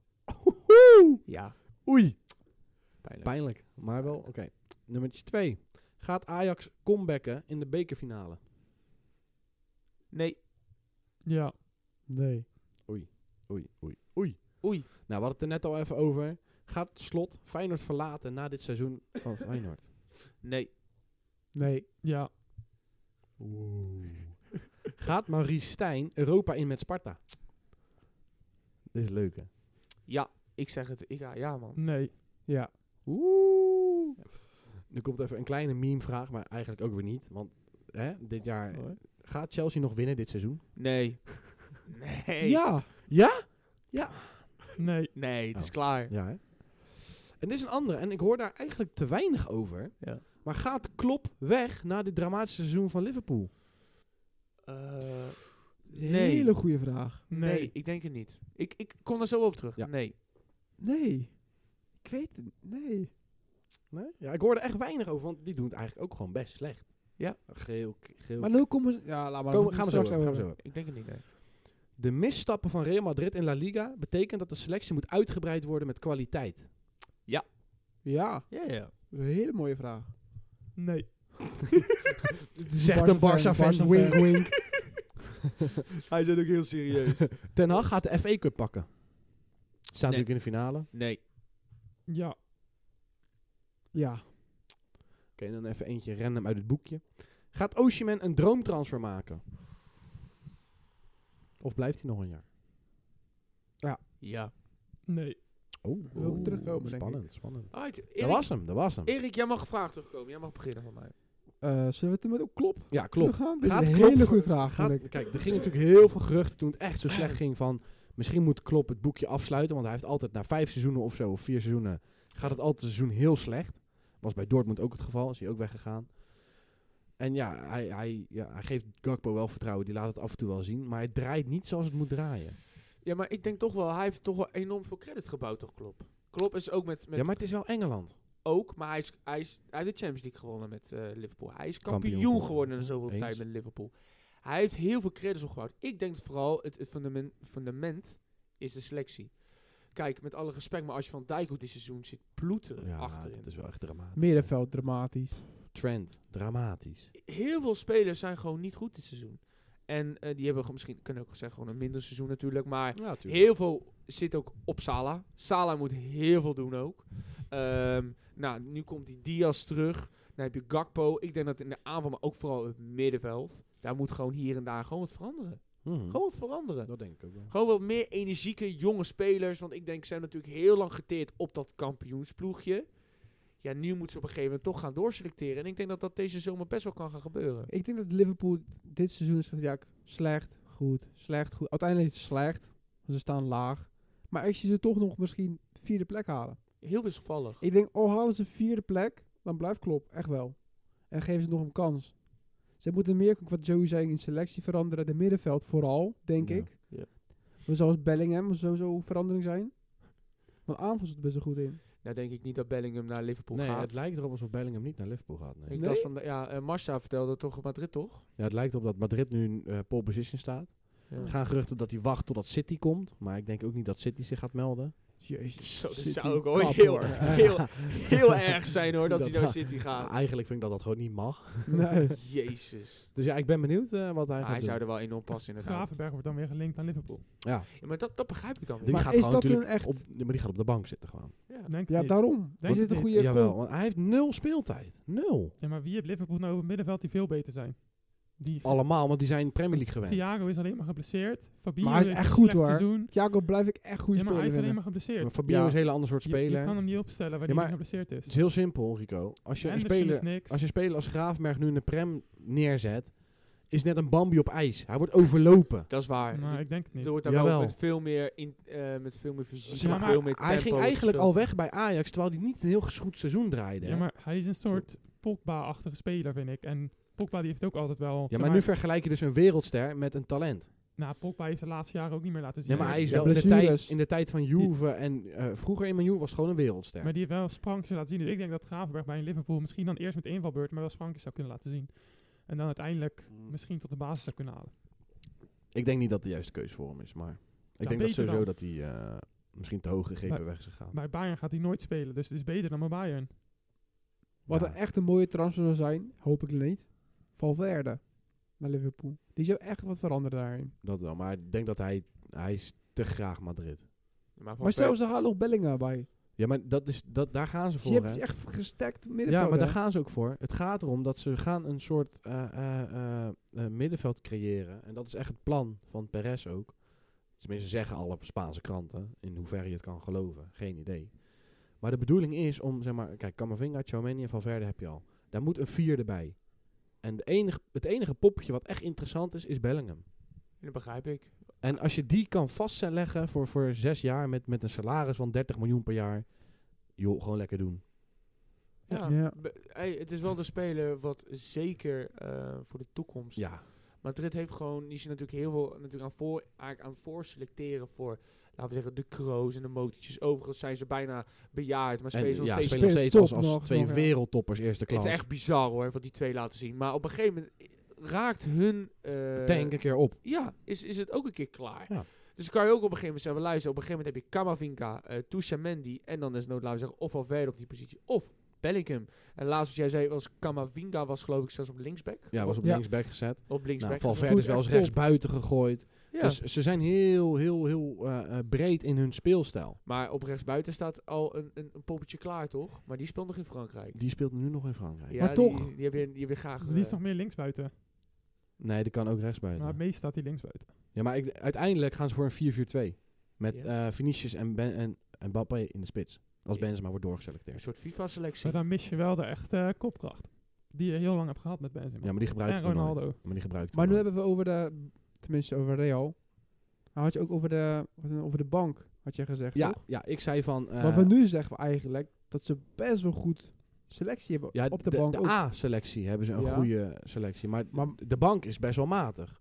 [SPEAKER 1] Ja.
[SPEAKER 4] Oei.
[SPEAKER 1] Pijnlijk.
[SPEAKER 4] Pijnlijk, maar wel oké. Nummertje 2. Gaat Ajax comebacken in de bekerfinale?
[SPEAKER 1] Nee.
[SPEAKER 2] Ja.
[SPEAKER 3] Nee.
[SPEAKER 4] Oei, oei, oei.
[SPEAKER 1] Oei.
[SPEAKER 4] Nou, we hadden het er net al even over. Gaat Slot Feyenoord verlaten na dit seizoen van Feyenoord?
[SPEAKER 1] Nee.
[SPEAKER 3] Nee.
[SPEAKER 2] Ja.
[SPEAKER 4] Gaat Maurice Stijn Europa in met Sparta? Dit is leuk, hè?
[SPEAKER 1] Ja. Ik zeg het. Ik, ja, ja, man.
[SPEAKER 2] Nee.
[SPEAKER 3] Ja.
[SPEAKER 4] Oeh. Nu komt even een kleine meme-vraag, maar eigenlijk ook weer niet. Want hè, dit jaar...
[SPEAKER 2] Hoor.
[SPEAKER 4] Gaat Chelsea nog winnen dit seizoen?
[SPEAKER 1] Nee. Nee.
[SPEAKER 3] Ja.
[SPEAKER 2] Nee.
[SPEAKER 1] Nee, het is
[SPEAKER 4] Oh.
[SPEAKER 1] klaar.
[SPEAKER 4] Ja, hè? En dit is een andere. En ik hoor daar eigenlijk te weinig over.
[SPEAKER 1] Ja.
[SPEAKER 4] Maar gaat Klop weg na dit dramatische seizoen van Liverpool?
[SPEAKER 1] Eh, nee.
[SPEAKER 3] Nee. Hele goede vraag.
[SPEAKER 1] nee.
[SPEAKER 2] Nee.
[SPEAKER 1] ik denk het niet. Ik, ik kom daar zo op terug.
[SPEAKER 4] Ja.
[SPEAKER 1] Nee.
[SPEAKER 3] Nee. Ik weet het. Nee.
[SPEAKER 4] Nee? Ja, ik hoor er echt weinig over, want die doen het eigenlijk ook gewoon best slecht.
[SPEAKER 1] Ja.
[SPEAKER 4] Geel, geel.
[SPEAKER 3] Maar nu komen Ja, laat maar.
[SPEAKER 4] Komen-
[SPEAKER 3] we
[SPEAKER 4] gaan, we zo
[SPEAKER 3] straks
[SPEAKER 4] over, gaan we zo
[SPEAKER 3] hebben.
[SPEAKER 4] over.
[SPEAKER 1] Ik denk het niet, nee.
[SPEAKER 4] De misstappen van Real Madrid in La Liga betekent dat de selectie moet uitgebreid worden met kwaliteit.
[SPEAKER 3] Ja.
[SPEAKER 1] Ja, ja.
[SPEAKER 3] Dat is een hele mooie vraag.
[SPEAKER 2] Nee.
[SPEAKER 4] Zegt een Barca fan. Wink, wink.
[SPEAKER 1] Hij zit ook heel serieus.
[SPEAKER 4] Ten Hag gaat de FA Cup pakken. Staat
[SPEAKER 1] Nee.
[SPEAKER 4] natuurlijk in de finale. Oké,
[SPEAKER 1] nee.
[SPEAKER 2] Ja.
[SPEAKER 3] Ja.
[SPEAKER 4] dan even eentje random uit het boekje. Gaat Osimhen een droomtransfer maken? Of blijft hij nog een jaar?
[SPEAKER 1] Ja.
[SPEAKER 2] Nee.
[SPEAKER 4] Oh,
[SPEAKER 3] Wil ik terugkomen, denk
[SPEAKER 4] spannend, spannend.
[SPEAKER 1] Alright,
[SPEAKER 4] Dat
[SPEAKER 1] Erik,
[SPEAKER 4] was hem, dat was hem.
[SPEAKER 1] Erik, jij mag gevraagd terugkomen. Jij mag beginnen van mij.
[SPEAKER 3] Eh, zullen we het met op klop
[SPEAKER 4] Ja, klopt.
[SPEAKER 3] gaan? Dit is
[SPEAKER 4] Gaat
[SPEAKER 3] een
[SPEAKER 4] Klopp
[SPEAKER 3] hele
[SPEAKER 4] voor-
[SPEAKER 3] goede vraag.
[SPEAKER 4] Gaat-
[SPEAKER 3] vind ik.
[SPEAKER 4] kijk, er ging natuurlijk heel veel geruchten toen het echt zo slecht ging van... Misschien moet Klopp het boekje afsluiten, want hij heeft altijd na vijf seizoenen of zo, of vier seizoenen, gaat het altijd een seizoen heel slecht. Was bij Dortmund ook het geval, is hij ook weggegaan. En ja hij, hij, ja, hij geeft Gakpo wel vertrouwen, die laat het af en toe wel zien, maar hij draait niet zoals het moet draaien.
[SPEAKER 1] Ja, maar ik denk toch wel, hij heeft toch wel enorm veel credit gebouwd, toch Klopp? Klopp is ook met, met
[SPEAKER 4] Ja, maar het is wel Engeland.
[SPEAKER 1] ook, maar hij is, hij is uit de Champions League gewonnen met eh, Liverpool. Hij is
[SPEAKER 4] Kampioen
[SPEAKER 1] kampioen,
[SPEAKER 4] geworden.
[SPEAKER 1] geworden in zoveel
[SPEAKER 4] Eens.
[SPEAKER 1] tijd met Liverpool. Hij heeft heel veel credits opgebouwd. Ik denk dat vooral het, het fundamen- fundament is de selectie. Kijk, met alle respect, maar als je van Dijk hoe dit seizoen zit ploeteren
[SPEAKER 4] Ja,
[SPEAKER 1] achterin.
[SPEAKER 4] dat is wel echt dramatisch.
[SPEAKER 3] Middenveld, dramatisch.
[SPEAKER 4] Trend, dramatisch.
[SPEAKER 1] Heel veel spelers zijn gewoon niet goed dit seizoen. En eh, die hebben gewoon misschien, kunnen ook zeggen, gewoon een minder seizoen natuurlijk. Maar
[SPEAKER 4] Ja, natuurlijk.
[SPEAKER 1] Heel veel zit ook op Sala. Sala moet heel veel doen ook. Ehm, nou, nu komt die Diaz terug. Dan heb je Gakpo. Ik denk dat in de aanval, maar ook vooral het middenveld. Daar moet gewoon hier en daar gewoon wat veranderen.
[SPEAKER 4] Hm.
[SPEAKER 1] Gewoon wat veranderen.
[SPEAKER 4] Mhm. Dat denk ik ook wel.
[SPEAKER 1] Gewoon wat meer energieke jonge spelers. Want ik denk, ze hebben natuurlijk heel lang geteerd op dat kampioensploegje. Ja, nu moeten ze op een gegeven moment toch gaan doorselecteren. En ik denk dat dat deze zomer best wel kan gaan gebeuren.
[SPEAKER 3] Ik denk dat Liverpool dit seizoen staat ja, slecht, goed, slecht, goed. Uiteindelijk is het slecht. want Ze staan laag. Maar ik zie ze toch nog misschien vierde plek halen.
[SPEAKER 1] Heel wisselvallig.
[SPEAKER 3] Ik denk, al halen ze vierde plek, dan blijft Klopp, echt wel. En geven ze nog een kans. Ze moeten meer, wat Joey zei, in selectie veranderen. De middenveld vooral, denk
[SPEAKER 4] Ja.
[SPEAKER 3] ik.
[SPEAKER 1] Ja.
[SPEAKER 3] Maar zoals Bellingham moet sowieso verandering zijn. Want aanval zit er best wel goed in.
[SPEAKER 1] Nou denk ik niet dat Bellingham naar Liverpool
[SPEAKER 4] Nee,
[SPEAKER 1] gaat.
[SPEAKER 4] het lijkt erop alsof Bellingham niet naar Liverpool gaat. Nee.
[SPEAKER 1] Ik
[SPEAKER 3] Nee?
[SPEAKER 1] las van, ja, eh, Marcia vertelde toch op Madrid, toch?
[SPEAKER 4] Ja, het lijkt erop dat Madrid nu eh pole position staat. Er gaan geruchten dat hij wacht totdat City komt. Maar ik denk ook niet dat City zich gaat melden.
[SPEAKER 3] Jezus,
[SPEAKER 1] Zo, dat
[SPEAKER 3] City
[SPEAKER 1] zou ook wel
[SPEAKER 3] kap,
[SPEAKER 1] heel-
[SPEAKER 3] hoor.
[SPEAKER 1] Heel, heel erg zijn hoor, dat,
[SPEAKER 4] Dat
[SPEAKER 1] hij naar
[SPEAKER 4] zou-
[SPEAKER 1] City
[SPEAKER 4] Maar
[SPEAKER 1] gaat.
[SPEAKER 4] eigenlijk vind ik dat dat gewoon niet mag.
[SPEAKER 3] Nee.
[SPEAKER 1] Jezus.
[SPEAKER 4] Dus ja, ik ben benieuwd eh, wat hij
[SPEAKER 1] Maar
[SPEAKER 4] gaat
[SPEAKER 1] hij
[SPEAKER 4] doen.
[SPEAKER 1] zou er wel enorm passen inderdaad.
[SPEAKER 2] Gravenberg wordt dan weer gelinkt aan Liverpool.
[SPEAKER 4] Ja,
[SPEAKER 1] Ja, maar dat, dat begrijp ik dan
[SPEAKER 4] die
[SPEAKER 1] weer.
[SPEAKER 3] Maar
[SPEAKER 4] gaat
[SPEAKER 3] is
[SPEAKER 4] gewoon
[SPEAKER 3] dat
[SPEAKER 4] natuurlijk
[SPEAKER 3] een echt-
[SPEAKER 4] Op, ja, maar die gaat op de bank zitten gewoon.
[SPEAKER 1] Ja.
[SPEAKER 2] Denk
[SPEAKER 3] Ja,
[SPEAKER 2] niet.
[SPEAKER 3] daarom.
[SPEAKER 2] Denk
[SPEAKER 3] Is
[SPEAKER 2] het
[SPEAKER 3] dit een
[SPEAKER 2] niet.
[SPEAKER 3] goede
[SPEAKER 4] Jawel,
[SPEAKER 3] kop?
[SPEAKER 4] want hij heeft nul speeltijd. Nul.
[SPEAKER 2] Ja, maar wie heeft Liverpool nou op het middenveld die veel beter zijn? Die
[SPEAKER 4] Allemaal, want die zijn Premier League gewend.
[SPEAKER 2] Thiago is alleen maar geblesseerd. Fabio
[SPEAKER 3] Maar hij is
[SPEAKER 2] heeft
[SPEAKER 3] echt
[SPEAKER 2] een
[SPEAKER 3] goed,
[SPEAKER 2] slecht
[SPEAKER 3] hoor.
[SPEAKER 2] seizoen.
[SPEAKER 3] Thiago blijf ik echt goede
[SPEAKER 2] Ja, maar hij is
[SPEAKER 3] speler
[SPEAKER 2] alleen
[SPEAKER 3] vinden.
[SPEAKER 2] maar geblesseerd.
[SPEAKER 4] Maar Fabio
[SPEAKER 3] Ja.
[SPEAKER 4] is een heel ander soort
[SPEAKER 2] Je- Je,
[SPEAKER 4] speler.
[SPEAKER 2] kan hem niet opstellen waar
[SPEAKER 4] Ja,
[SPEAKER 2] hij
[SPEAKER 4] maar-
[SPEAKER 2] geblesseerd is.
[SPEAKER 4] Het is heel simpel, Rico. Als je een
[SPEAKER 2] Henderson
[SPEAKER 4] speler
[SPEAKER 2] is niks.
[SPEAKER 4] Als je een speler als Graafmerg nu in de prem neerzet, is net een Bambi op ijs. Hij wordt overlopen.
[SPEAKER 1] Dat is waar.
[SPEAKER 2] Maar
[SPEAKER 1] Die-
[SPEAKER 2] ik denk het niet.
[SPEAKER 1] Er wordt daar
[SPEAKER 4] Jawel.
[SPEAKER 1] wel met veel meer, in, eh, met veel meer fysiek,
[SPEAKER 2] Ja,
[SPEAKER 1] en
[SPEAKER 2] maar
[SPEAKER 1] veel meer tempo.
[SPEAKER 4] Hij ging eigenlijk al
[SPEAKER 1] gespeeld.
[SPEAKER 4] weg bij Ajax, terwijl hij niet een heel goed seizoen draaide. hè?
[SPEAKER 2] Ja, maar hij is een soort Pogba-achtige speler, vind ik. En Pogba die heeft ook altijd wel... zeg maar
[SPEAKER 4] nu vergelijk je dus een wereldster met een talent.
[SPEAKER 2] Nou, Pogba heeft de laatste jaren ook niet meer laten zien.
[SPEAKER 4] Ja, maar hij is
[SPEAKER 3] Ja,
[SPEAKER 4] wel in de,
[SPEAKER 3] blessures.
[SPEAKER 4] tijd, in de tijd van Juve en eh, vroeger in Manu was gewoon een wereldster.
[SPEAKER 2] Maar die heeft wel sprankjes laten zien. Dus ik denk dat Gravenberg bij een Liverpool misschien dan eerst met invalbeurt, maar wel sprankjes zou kunnen laten zien. En dan uiteindelijk
[SPEAKER 1] Mm.
[SPEAKER 2] misschien tot de basis zou kunnen halen.
[SPEAKER 4] Ik denk niet dat de juiste keuze voor hem is, maar ik
[SPEAKER 2] Ja,
[SPEAKER 4] denk dat
[SPEAKER 2] beter
[SPEAKER 4] sowieso
[SPEAKER 2] dan.
[SPEAKER 4] dat hij eh, misschien te hoog gegrepen
[SPEAKER 2] Maar-
[SPEAKER 4] weg is gegaan.
[SPEAKER 2] Bij Bayern gaat hij nooit spelen, dus het is beter dan bij Bayern.
[SPEAKER 3] Wat
[SPEAKER 4] Ja.
[SPEAKER 3] een echt een mooie transfer zou zijn, hoop ik niet. Valverde naar Liverpool. Die zou echt wat veranderen daarin.
[SPEAKER 4] Dat wel, maar ik denk dat hij, hij is te graag Madrid.
[SPEAKER 1] Maar, van
[SPEAKER 3] Maar stel,
[SPEAKER 1] Pep-
[SPEAKER 3] ze halen nog Bellingham bij. Dus
[SPEAKER 4] Ja, maar dat is, dat, daar gaan ze
[SPEAKER 3] Ze
[SPEAKER 4] voor.
[SPEAKER 3] hebben
[SPEAKER 4] hè?
[SPEAKER 3] echt gestekt middenveld.
[SPEAKER 4] Ja, maar daar
[SPEAKER 3] hè?
[SPEAKER 4] gaan ze ook voor. Het gaat erom dat ze gaan een soort eh, eh, eh, eh, middenveld creëren. En dat is echt het plan van Perez ook. Tenminste zeggen alle Spaanse kranten, in hoeverre je het kan geloven. Geen idee. Maar de bedoeling is om, zeg maar, kijk, Camavinga, Chouameni en Valverde heb je al. Daar moet een vierde bij. En de enige, het enige poppetje wat echt interessant is, is Bellingham.
[SPEAKER 1] Dat begrijp ik.
[SPEAKER 4] En als je die kan vastleggen voor, voor zes jaar met, met een salaris van 30 miljoen per jaar. Joh, gewoon lekker doen.
[SPEAKER 1] Ja.
[SPEAKER 3] Ja.
[SPEAKER 1] Be- hey, het is wel de speler wat zeker eh, voor de toekomst
[SPEAKER 4] Ja,
[SPEAKER 1] Madrid heeft gewoon, die zit natuurlijk heel veel natuurlijk aan, voor, eigenlijk aan voor selecteren voor, laten we zeggen, de Kroos en de Motortjes. Overigens zijn ze bijna bejaard, maar
[SPEAKER 4] En
[SPEAKER 1] spelen ze nog
[SPEAKER 4] ja,
[SPEAKER 1] steeds.
[SPEAKER 4] spelen nog
[SPEAKER 3] Spelen
[SPEAKER 4] steeds
[SPEAKER 3] top
[SPEAKER 4] als, als
[SPEAKER 3] nog,
[SPEAKER 4] twee
[SPEAKER 3] nog, ja.
[SPEAKER 4] wereldtoppers eerste
[SPEAKER 1] Het
[SPEAKER 4] klas.
[SPEAKER 1] is echt bizar hoor, wat die twee laten zien. Maar op een gegeven moment eh, raakt hun... eh,
[SPEAKER 4] Tank een keer op.
[SPEAKER 1] Ja, is, is het ook een keer klaar.
[SPEAKER 4] Ja.
[SPEAKER 1] Dus dan kan je ook op een gegeven moment zeggen, luister, op een gegeven moment heb je Kamavinka, eh Touchamendi en dan is nood, laten we zeggen, of Valverde op die positie, of Bellingham. En laatst wat jij zei, was Kamavinga was geloof ik zelfs op linksback.
[SPEAKER 4] Ja, was op
[SPEAKER 3] Ja.
[SPEAKER 4] linksback gezet.
[SPEAKER 1] Op
[SPEAKER 4] Nou,
[SPEAKER 1] linksback.
[SPEAKER 4] Valverde is wel eens
[SPEAKER 3] Goed, eh, echt
[SPEAKER 4] rechts buiten gegooid.
[SPEAKER 1] Ja.
[SPEAKER 4] Dus ze zijn heel, heel, heel eh, eh, breed in hun speelstijl.
[SPEAKER 1] Maar op rechtsbuiten staat al een, een, een poppetje klaar, toch? Maar die speelt nog in Frankrijk.
[SPEAKER 4] Die speelt nu nog in Frankrijk.
[SPEAKER 1] Ja,
[SPEAKER 3] Maar toch.
[SPEAKER 1] Die, die heb, je, die heb je graag...
[SPEAKER 2] Die is
[SPEAKER 1] eh,
[SPEAKER 2] nog meer linksbuiten,
[SPEAKER 4] Nee, die kan ook rechts
[SPEAKER 2] maar het
[SPEAKER 4] buiten.
[SPEAKER 2] meest staat hij linksbuiten.
[SPEAKER 4] Ja, maar ik, uiteindelijk gaan ze voor een 4-4-2. Met
[SPEAKER 1] Ja.
[SPEAKER 4] eh, Vinicius en, ben, en, en Mbappé in de spits. Als
[SPEAKER 1] Ja.
[SPEAKER 4] Benzema wordt
[SPEAKER 1] een
[SPEAKER 4] doorgeselecteerd.
[SPEAKER 1] soort FIFA-selectie.
[SPEAKER 2] Maar dan mis je wel de echte eh, kopkracht. Die je heel lang hebt gehad met Benzema.
[SPEAKER 4] Ja, maar die gebruikt
[SPEAKER 2] en
[SPEAKER 4] het toernooi.
[SPEAKER 2] Ronaldo.
[SPEAKER 4] Maar die gebruikt het
[SPEAKER 3] Maar nu
[SPEAKER 4] toernooi.
[SPEAKER 3] hebben we over de, tenminste over Real. Maar had je ook over de, wat- over de bank, had jij gezegd,
[SPEAKER 4] Ja,
[SPEAKER 3] toch?
[SPEAKER 4] ja, ik zei van... eh,
[SPEAKER 3] Maar we nu zeggen we eigenlijk dat ze best wel goed selectie hebben
[SPEAKER 4] ja,
[SPEAKER 3] op de, bank ook.
[SPEAKER 4] A-selectie hebben ze een
[SPEAKER 3] Ja.
[SPEAKER 4] goede selectie. Maar
[SPEAKER 3] Maar
[SPEAKER 4] de bank is best wel matig.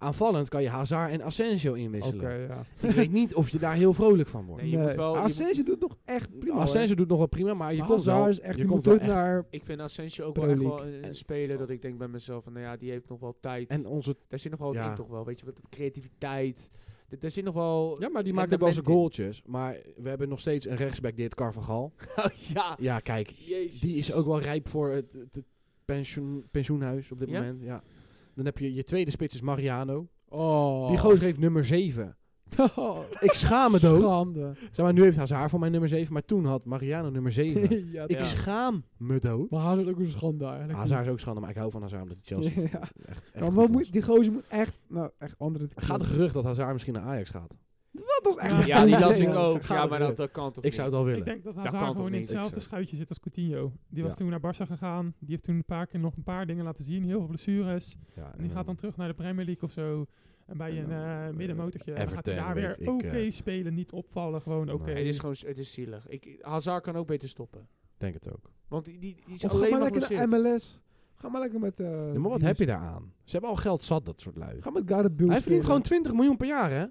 [SPEAKER 4] Aanvallend kan je Hazard en Asensio inwisselen.
[SPEAKER 1] ja.
[SPEAKER 4] Ik weet niet of je daar heel vrolijk van wordt.
[SPEAKER 1] Nee, je moet wel- je
[SPEAKER 3] Asensio doet nog echt prima.
[SPEAKER 4] Asensio doet nog wel prima, maar je
[SPEAKER 3] hoor. Maar
[SPEAKER 4] komt wel...
[SPEAKER 3] Hazard is echt,
[SPEAKER 4] je
[SPEAKER 3] die
[SPEAKER 4] komt
[SPEAKER 3] moet
[SPEAKER 4] wel
[SPEAKER 3] terug
[SPEAKER 4] echt-
[SPEAKER 3] naar...
[SPEAKER 1] Ik vind Asensio ook wel
[SPEAKER 3] Premier
[SPEAKER 1] echt wel
[SPEAKER 3] League.
[SPEAKER 1] een, een speler dat ik denk bij mezelf van, nou ja, die heeft nog wel tijd.
[SPEAKER 4] En onze...
[SPEAKER 1] daar zit nog wel wat
[SPEAKER 4] Ja.
[SPEAKER 1] in toch wel, weet je, wat creativiteit. D- Daar zit nog wel...
[SPEAKER 4] Ja, maar die
[SPEAKER 1] Ja,
[SPEAKER 4] maakt
[SPEAKER 1] de
[SPEAKER 4] ook wel zijn
[SPEAKER 1] Mendy.
[SPEAKER 4] goaltjes. Maar we hebben nog steeds een rechtsback, dit Carvajal.
[SPEAKER 1] Oh, ja.
[SPEAKER 4] Ja, kijk.
[SPEAKER 1] Jezus.
[SPEAKER 4] Die is ook wel rijp voor het, het- het pensioen, pensioenhuis op dit
[SPEAKER 1] Ja?
[SPEAKER 4] moment. Ja. Dan heb je je tweede spits is Mariano.
[SPEAKER 3] Oh.
[SPEAKER 4] Die gozer heeft nummer 7.
[SPEAKER 3] Oh,
[SPEAKER 4] Ik schaam me dood.
[SPEAKER 3] schande.
[SPEAKER 4] Zeg maar, nu heeft Hazard voor mij nummer 7, maar toen had Mariano nummer 7.
[SPEAKER 3] ja,
[SPEAKER 4] Ik
[SPEAKER 1] Ja.
[SPEAKER 4] schaam me dood.
[SPEAKER 3] Maar Hazard is ook een schande eigenlijk.
[SPEAKER 4] Hazard is ook schande, maar ik hou van Hazard omdat hij Chelsea
[SPEAKER 3] Ja.
[SPEAKER 4] echt, echt
[SPEAKER 3] Maar
[SPEAKER 4] goed was.
[SPEAKER 3] wat moet, die gozer moet echt... Nou, echt andere...
[SPEAKER 4] Gaat een gerucht dat Hazard misschien naar Ajax gaat?
[SPEAKER 3] Dat was echt...
[SPEAKER 1] Ja, die las
[SPEAKER 3] Ja.
[SPEAKER 1] ik ook.
[SPEAKER 4] Ga
[SPEAKER 1] Ja,
[SPEAKER 4] maar
[SPEAKER 1] maar
[SPEAKER 4] weer.
[SPEAKER 1] dat, dat kan toch
[SPEAKER 4] Ik zou het
[SPEAKER 1] niet?
[SPEAKER 4] al willen.
[SPEAKER 2] Ik denk dat
[SPEAKER 1] kan
[SPEAKER 2] Hazard
[SPEAKER 1] toch
[SPEAKER 2] gewoon in
[SPEAKER 1] niet?
[SPEAKER 2] hetzelfde
[SPEAKER 4] Ik zeg-
[SPEAKER 2] schuitje zit als Coutinho. Die was
[SPEAKER 4] Ja.
[SPEAKER 2] toen naar Barça gegaan. Die heeft toen een paar keer nog een paar dingen laten zien. Heel veel blessures.
[SPEAKER 4] Ja,
[SPEAKER 2] En die gaat dan terug naar de Premier League of zo. En bij
[SPEAKER 4] En
[SPEAKER 2] een
[SPEAKER 4] dan,
[SPEAKER 2] eh,
[SPEAKER 4] eh,
[SPEAKER 2] middenmotortje. En dan gaat
[SPEAKER 4] Everton,
[SPEAKER 2] hij daar weer
[SPEAKER 4] weet ik,
[SPEAKER 2] oké
[SPEAKER 4] eh.
[SPEAKER 2] spelen. Niet opvallen. Gewoon oké.
[SPEAKER 4] Nee.
[SPEAKER 1] Het is gewoon s- het is zielig. Ik, Hazard kan ook beter stoppen.
[SPEAKER 4] Denk het ook.
[SPEAKER 1] Want die, die, die is
[SPEAKER 3] Of Oh, ga
[SPEAKER 1] alleen
[SPEAKER 3] maar
[SPEAKER 1] maar
[SPEAKER 3] lekker naar
[SPEAKER 1] geblesseerd.
[SPEAKER 3] MLS. Ga maar lekker met... eh,
[SPEAKER 4] Ja, maar wat
[SPEAKER 3] die-
[SPEAKER 4] heb je daaraan? Ze hebben al geld zat, dat soort lui.
[SPEAKER 3] Ga met Gareth Bale
[SPEAKER 4] Hij verdient gewoon
[SPEAKER 3] spelen.
[SPEAKER 4] 20 miljoen per jaar, hè?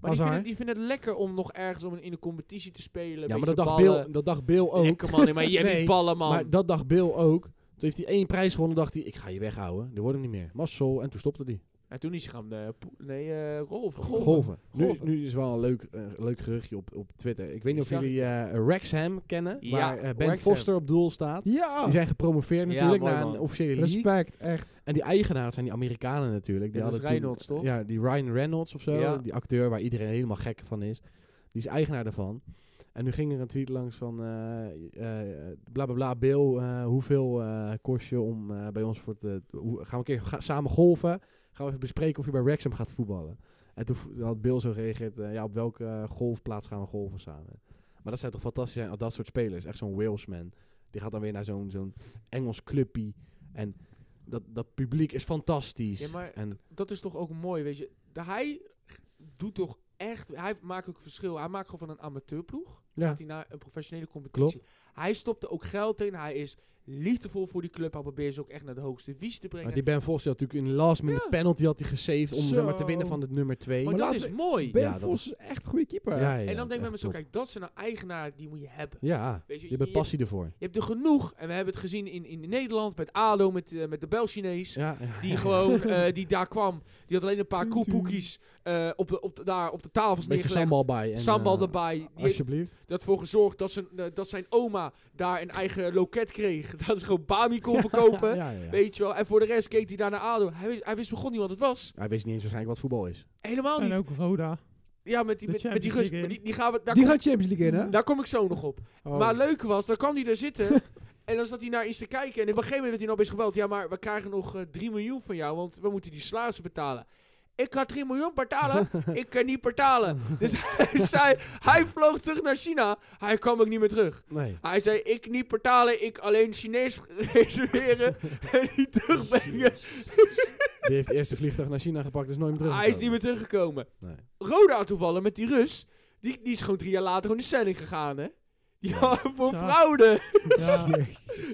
[SPEAKER 1] Maar die vinden,
[SPEAKER 4] Hazard.
[SPEAKER 1] die vinden het lekker om nog ergens om in de competitie te spelen.
[SPEAKER 4] Ja,
[SPEAKER 1] een
[SPEAKER 4] maar dat
[SPEAKER 1] beetje
[SPEAKER 4] dacht,
[SPEAKER 1] ballen.
[SPEAKER 4] Bill, dat dacht Bill ook.
[SPEAKER 1] Lekker man, nee, maar je hebt
[SPEAKER 4] Nee,
[SPEAKER 1] niet ballen man.
[SPEAKER 4] Maar dat dacht Bill ook. Toen heeft hij één prijs gewonnen, dacht hij, ik ga je weghouden. Die wordt hem niet meer. Massel. En toen stopte hij.
[SPEAKER 1] en toen is hij gaan eh, po- nee, eh, golven.
[SPEAKER 4] Golven. Nu,
[SPEAKER 1] Golven.
[SPEAKER 4] nu is wel een leuk, eh, leuk geruchtje op, op Twitter. Ik weet niet of
[SPEAKER 1] Zag
[SPEAKER 4] jullie eh Wrexham kennen,
[SPEAKER 1] Ja,
[SPEAKER 4] waar eh, Ben
[SPEAKER 1] Wrexham.
[SPEAKER 4] Foster op doel staat.
[SPEAKER 3] Ja!
[SPEAKER 4] Die zijn gepromoveerd
[SPEAKER 1] Ja,
[SPEAKER 4] natuurlijk
[SPEAKER 1] mooi
[SPEAKER 4] naar een
[SPEAKER 1] man.
[SPEAKER 4] officiële league.
[SPEAKER 3] Respect, echt.
[SPEAKER 4] En die eigenaars zijn die Amerikanen natuurlijk. Die
[SPEAKER 1] Ja, dat is
[SPEAKER 4] hadden toen-
[SPEAKER 1] Reynolds, toch?
[SPEAKER 4] Ja, die Ryan Reynolds of zo.
[SPEAKER 1] Ja.
[SPEAKER 4] Die acteur waar iedereen helemaal gek van is. Die is eigenaar daarvan. En nu ging er een tweet langs van... eh, eh, bla bla bla, Bill, eh, hoeveel eh, kost je om eh, bij ons voor te... hoe- gaan we een keer ga- samen golven? Gaan we even bespreken of je bij Wrexham gaat voetballen? En toen v- had Bill zo gereageerd... eh, ja, op welke eh, golfplaats gaan we golven samen? Maar dat zou toch fantastisch zijn, dat soort spelers. Echt zo'n Walesman. Die gaat dan weer naar zo'n zo'n Engels clubpie. En dat, dat publiek is fantastisch.
[SPEAKER 1] Ja, maar
[SPEAKER 4] en
[SPEAKER 1] Dat is toch ook mooi, weet je. De, hij g- doet toch echt... Hij maakt ook verschil. Hij maakt gewoon van een amateurploeg.
[SPEAKER 4] ja,
[SPEAKER 1] Gaat hij naar een professionele competitie. Hij stopt er ook geld in. Hij is liefdevol voor die club. Hij probeert ze ook echt naar de hoogste visie te brengen.
[SPEAKER 4] maar die Ben Foster had natuurlijk in de last minute
[SPEAKER 1] Ja.
[SPEAKER 4] penalty had hij gesaved om zeg maar, te
[SPEAKER 3] Zo.
[SPEAKER 4] winnen van het nummer 2.
[SPEAKER 1] maar
[SPEAKER 3] maar
[SPEAKER 1] dat
[SPEAKER 3] laten
[SPEAKER 1] is mooi.
[SPEAKER 4] Ja,
[SPEAKER 3] Ben
[SPEAKER 4] dat
[SPEAKER 3] Vos is echt een goede keeper.
[SPEAKER 1] en dan denk ik bij mezelf, kijk, dat zijn nou eigenaren die moet je hebben.
[SPEAKER 4] Ja,
[SPEAKER 1] Weet je,
[SPEAKER 4] je bent
[SPEAKER 1] je-
[SPEAKER 4] passie ervoor.
[SPEAKER 1] Je hebt er genoeg. En we hebben het gezien in, in Nederland met ADO, met, eh, met de Bel-Chinees.
[SPEAKER 4] Ja, ja.
[SPEAKER 1] Die gewoon, eh, die daar kwam. Die had alleen een paar
[SPEAKER 3] Tuut, tuut.
[SPEAKER 1] koepoekies eh, op, de, op de- daar op de tafels
[SPEAKER 4] beetje
[SPEAKER 1] neergelegd.
[SPEAKER 4] sambal bij. En,
[SPEAKER 1] Sambal
[SPEAKER 4] eh,
[SPEAKER 1] erbij. Die heeft
[SPEAKER 4] Alsjeblieft.
[SPEAKER 1] dat voor gezorgd dat zijn, eh, dat zijn oma daar een eigen loket kreeg. Dat ze gewoon Bami kon verkopen.
[SPEAKER 4] Ja, ja, ja.
[SPEAKER 1] Weet je wel. En voor de rest keek hij daar naar ADO. Hij wist, hij wist begon niet wat het was.
[SPEAKER 4] Hij wist niet eens waarschijnlijk wat voetbal is.
[SPEAKER 1] Helemaal
[SPEAKER 2] En
[SPEAKER 1] niet.
[SPEAKER 2] ook Roda.
[SPEAKER 1] Ja, met die,
[SPEAKER 2] De
[SPEAKER 1] met, met die
[SPEAKER 2] Champions
[SPEAKER 1] rust.
[SPEAKER 2] League
[SPEAKER 1] maar
[SPEAKER 2] in.
[SPEAKER 1] Die, die gaan we, daar,
[SPEAKER 3] Die
[SPEAKER 1] kom,
[SPEAKER 3] gaat Champions League in, hè?
[SPEAKER 1] daar kom ik zo nog op.
[SPEAKER 3] Oh.
[SPEAKER 1] Maar het leuke was, dan kwam hij daar zitten. en dan zat hij naar iets te kijken. En op een gegeven moment werd hij nog eens gebeld. Ja, maar we krijgen nog eh, 3 miljoen van jou, want we moeten die salarissen betalen. Ik had 3 miljoen betalen. ik kan niet betalen. Dus hij, zei, hij vloog terug naar China. Hij kwam ook niet meer terug.
[SPEAKER 4] Nee.
[SPEAKER 1] Hij zei, ik niet betalen, ik alleen Chinees reserveren en niet terugbrengen.
[SPEAKER 4] Die heeft eerst de vliegtuig naar China gepakt, is nooit meer terug.
[SPEAKER 1] Hij Ah, is niet meer teruggekomen.
[SPEAKER 4] Nee.
[SPEAKER 1] Roda toevallig met die Rus, die, die is gewoon drie jaar later gewoon de stelling gegaan, hè? Ja, voor
[SPEAKER 2] Ja.
[SPEAKER 1] fraude.
[SPEAKER 2] Ja,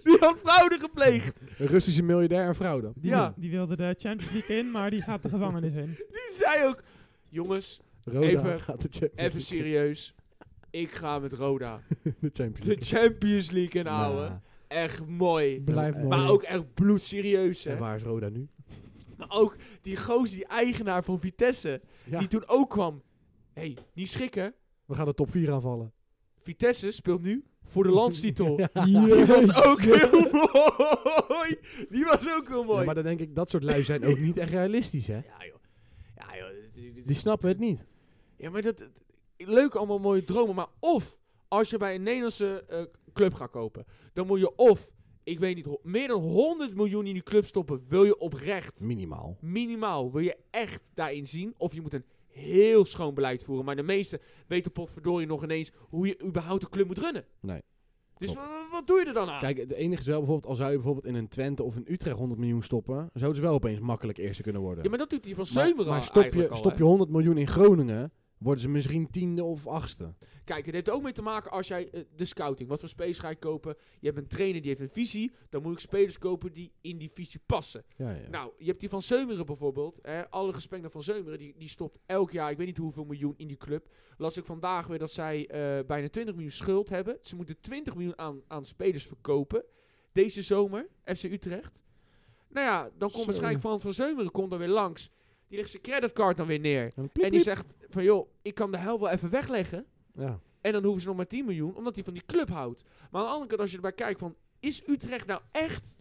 [SPEAKER 1] Die had fraude gepleegd.
[SPEAKER 4] Een Russische miljardair en fraude.
[SPEAKER 2] die,
[SPEAKER 1] Ja.
[SPEAKER 2] die wilde de Champions League in, maar die gaat de gevangenis in.
[SPEAKER 1] Die zei ook, jongens,
[SPEAKER 4] Roda
[SPEAKER 1] Even-
[SPEAKER 4] gaat de Champions
[SPEAKER 1] even
[SPEAKER 4] League
[SPEAKER 1] serieus. Ik ga met Roda
[SPEAKER 4] in. De Champions
[SPEAKER 1] de
[SPEAKER 4] League.
[SPEAKER 1] Champions League inhouden.
[SPEAKER 4] Nou,
[SPEAKER 1] Echt mooi.
[SPEAKER 3] Blijf
[SPEAKER 4] Maar
[SPEAKER 3] mooi.
[SPEAKER 1] Maar ook echt bloedserieus,
[SPEAKER 4] En
[SPEAKER 1] hè?
[SPEAKER 4] waar is Roda nu?
[SPEAKER 1] Maar ook die gozer, die eigenaar van Vitesse,
[SPEAKER 4] Ja.
[SPEAKER 1] die toen ook kwam. Hé, hey, niet schrikken.
[SPEAKER 4] We gaan de top 4 aanvallen.
[SPEAKER 1] Vitesse speelt nu voor de landstitel. Die
[SPEAKER 3] Jezus.
[SPEAKER 1] was ook heel mooi. Die was ook heel
[SPEAKER 4] Ja,
[SPEAKER 1] mooi.
[SPEAKER 4] maar dan denk ik, dat soort lui zijn ook niet echt realistisch, hè?
[SPEAKER 1] Ja, joh. Ja, joh. dit- dit- dit-
[SPEAKER 4] Die snappen het niet.
[SPEAKER 1] Ja, maar dat... dat- Leuk allemaal mooie dromen, maar of als je bij een Nederlandse eh, club gaat kopen, dan moet je of, ik weet niet, ho- meer dan 100 miljoen in die club stoppen, wil je oprecht,
[SPEAKER 4] Minimaal.
[SPEAKER 1] minimaal, wil je echt daarin zien, of je moet een heel schoon beleid voeren, maar de meesten weten potverdorie nog ineens hoe je überhaupt de club moet runnen.
[SPEAKER 4] Nee.
[SPEAKER 1] Dus
[SPEAKER 4] Klopt.
[SPEAKER 1] wa- wa- wat doe je er dan aan?
[SPEAKER 4] Kijk, het enige is wel bijvoorbeeld, al zou je bijvoorbeeld in een Twente of een Utrecht 100 miljoen stoppen, dan zouden ze wel opeens makkelijk eerste kunnen worden.
[SPEAKER 1] ja, maar dat doet hij van
[SPEAKER 4] Maar-
[SPEAKER 1] Zeumeren
[SPEAKER 4] maar stop, je,
[SPEAKER 1] eigenlijk al,
[SPEAKER 4] stop
[SPEAKER 1] hè?
[SPEAKER 4] je 100 miljoen in Groningen, worden ze misschien tiende of achtste.
[SPEAKER 1] Kijk, het heeft ook mee te maken als jij eh, de scouting. Wat voor spelers ga je kopen? Je hebt een trainer die heeft een visie. Dan moet ik spelers kopen die in die visie passen.
[SPEAKER 4] Ja, ja.
[SPEAKER 1] Nou, je hebt die van Zeumeren bijvoorbeeld. Hè, alle gesprekken naar van Zeumeren. Die, die stopt elk jaar, ik weet niet hoeveel miljoen in die club. Las ik vandaag weer dat zij eh, bijna 20 miljoen schuld hebben. Ze moeten 20 miljoen aan, aan spelers verkopen. Deze zomer, FC Utrecht. Nou ja, dan
[SPEAKER 4] Zo.
[SPEAKER 1] komt waarschijnlijk Van van Zeumeren komt dan weer langs. Die legt zijn creditcard dan weer neer.
[SPEAKER 4] en
[SPEAKER 1] En die zegt van joh, ik kan de hel wel even wegleggen.
[SPEAKER 4] ja.
[SPEAKER 1] En dan hoeven ze nog maar 10 miljoen, omdat hij van die club houdt. Maar aan de andere kant, als je erbij kijkt van... Is Utrecht nou echt,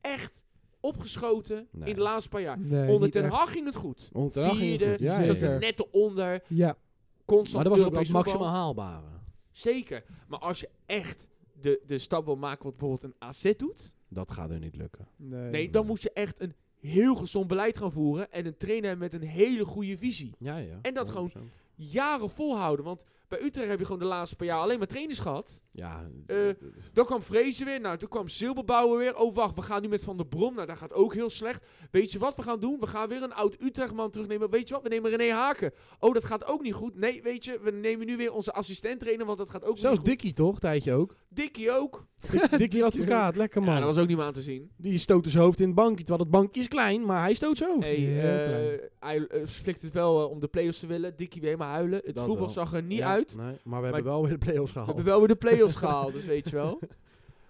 [SPEAKER 1] echt opgeschoten
[SPEAKER 4] Nee.
[SPEAKER 1] in de laatste paar jaar?
[SPEAKER 3] Nee,
[SPEAKER 1] Onder
[SPEAKER 3] niet
[SPEAKER 1] Ten
[SPEAKER 3] echt.
[SPEAKER 1] Hag ging het goed.
[SPEAKER 4] Ondertussen ging het
[SPEAKER 1] Vierde,
[SPEAKER 4] goed. Ja,
[SPEAKER 1] ze
[SPEAKER 4] ja,
[SPEAKER 1] zaten
[SPEAKER 4] ja.
[SPEAKER 1] net eronder.
[SPEAKER 3] Ja,
[SPEAKER 1] Constant
[SPEAKER 4] Maar dat was ook
[SPEAKER 1] Europees
[SPEAKER 4] het
[SPEAKER 1] voetbal.
[SPEAKER 4] maximaal haalbare.
[SPEAKER 1] Zeker. Maar als je echt de, de stap wil maken wat bijvoorbeeld een AZ doet...
[SPEAKER 4] Dat gaat er niet lukken.
[SPEAKER 3] nee.
[SPEAKER 1] Nee, dan moet je echt een heel gezond beleid gaan voeren... en een trainer hebben met een hele goede visie.
[SPEAKER 4] Ja, ja.
[SPEAKER 1] En dat gewoon-
[SPEAKER 4] 100%.
[SPEAKER 1] Jaren volhouden, want bij Utrecht heb je gewoon de laatste paar jaar alleen maar trainers gehad...
[SPEAKER 4] Ja.
[SPEAKER 1] Eh, Dan kwam Vrezen weer. Nou, toen kwam Silberbouwer weer. Oh, wacht, we gaan nu met Van der Brom. Nou, dat gaat ook heel slecht. Weet je wat we gaan doen? We gaan weer een oud Utrechtman terugnemen. Weet je wat? We nemen René Haken. Oh, dat gaat ook niet goed. Nee, weet je, we nemen nu weer onze assistent trainer, want dat gaat ook
[SPEAKER 4] Zelfs
[SPEAKER 1] niet goed.
[SPEAKER 4] Dikkie toch, tijdje ook.
[SPEAKER 1] Dikkie ook.
[SPEAKER 4] Dik- Dikkie advocaat, lekker man.
[SPEAKER 1] Ja, dat was ook niet meer aan te zien.
[SPEAKER 4] Die stoot dus zijn hoofd in het bankje, terwijl het bankje is klein, maar hij stoot zijn hoofd.
[SPEAKER 1] Hey,
[SPEAKER 3] heel
[SPEAKER 1] eh,
[SPEAKER 3] klein.
[SPEAKER 1] hij eh, flikt het wel eh, om de play-offs te willen. Dikkie weer helemaal huilen. Het
[SPEAKER 4] Dat
[SPEAKER 1] voetbal
[SPEAKER 4] wel.
[SPEAKER 1] zag er niet
[SPEAKER 4] Ja,
[SPEAKER 1] uit.
[SPEAKER 4] Nee, maar we hebben wel weer de play-offs
[SPEAKER 1] We
[SPEAKER 4] gehaald.
[SPEAKER 1] hebben wel weer de play-offs gehaald, dus weet je wel.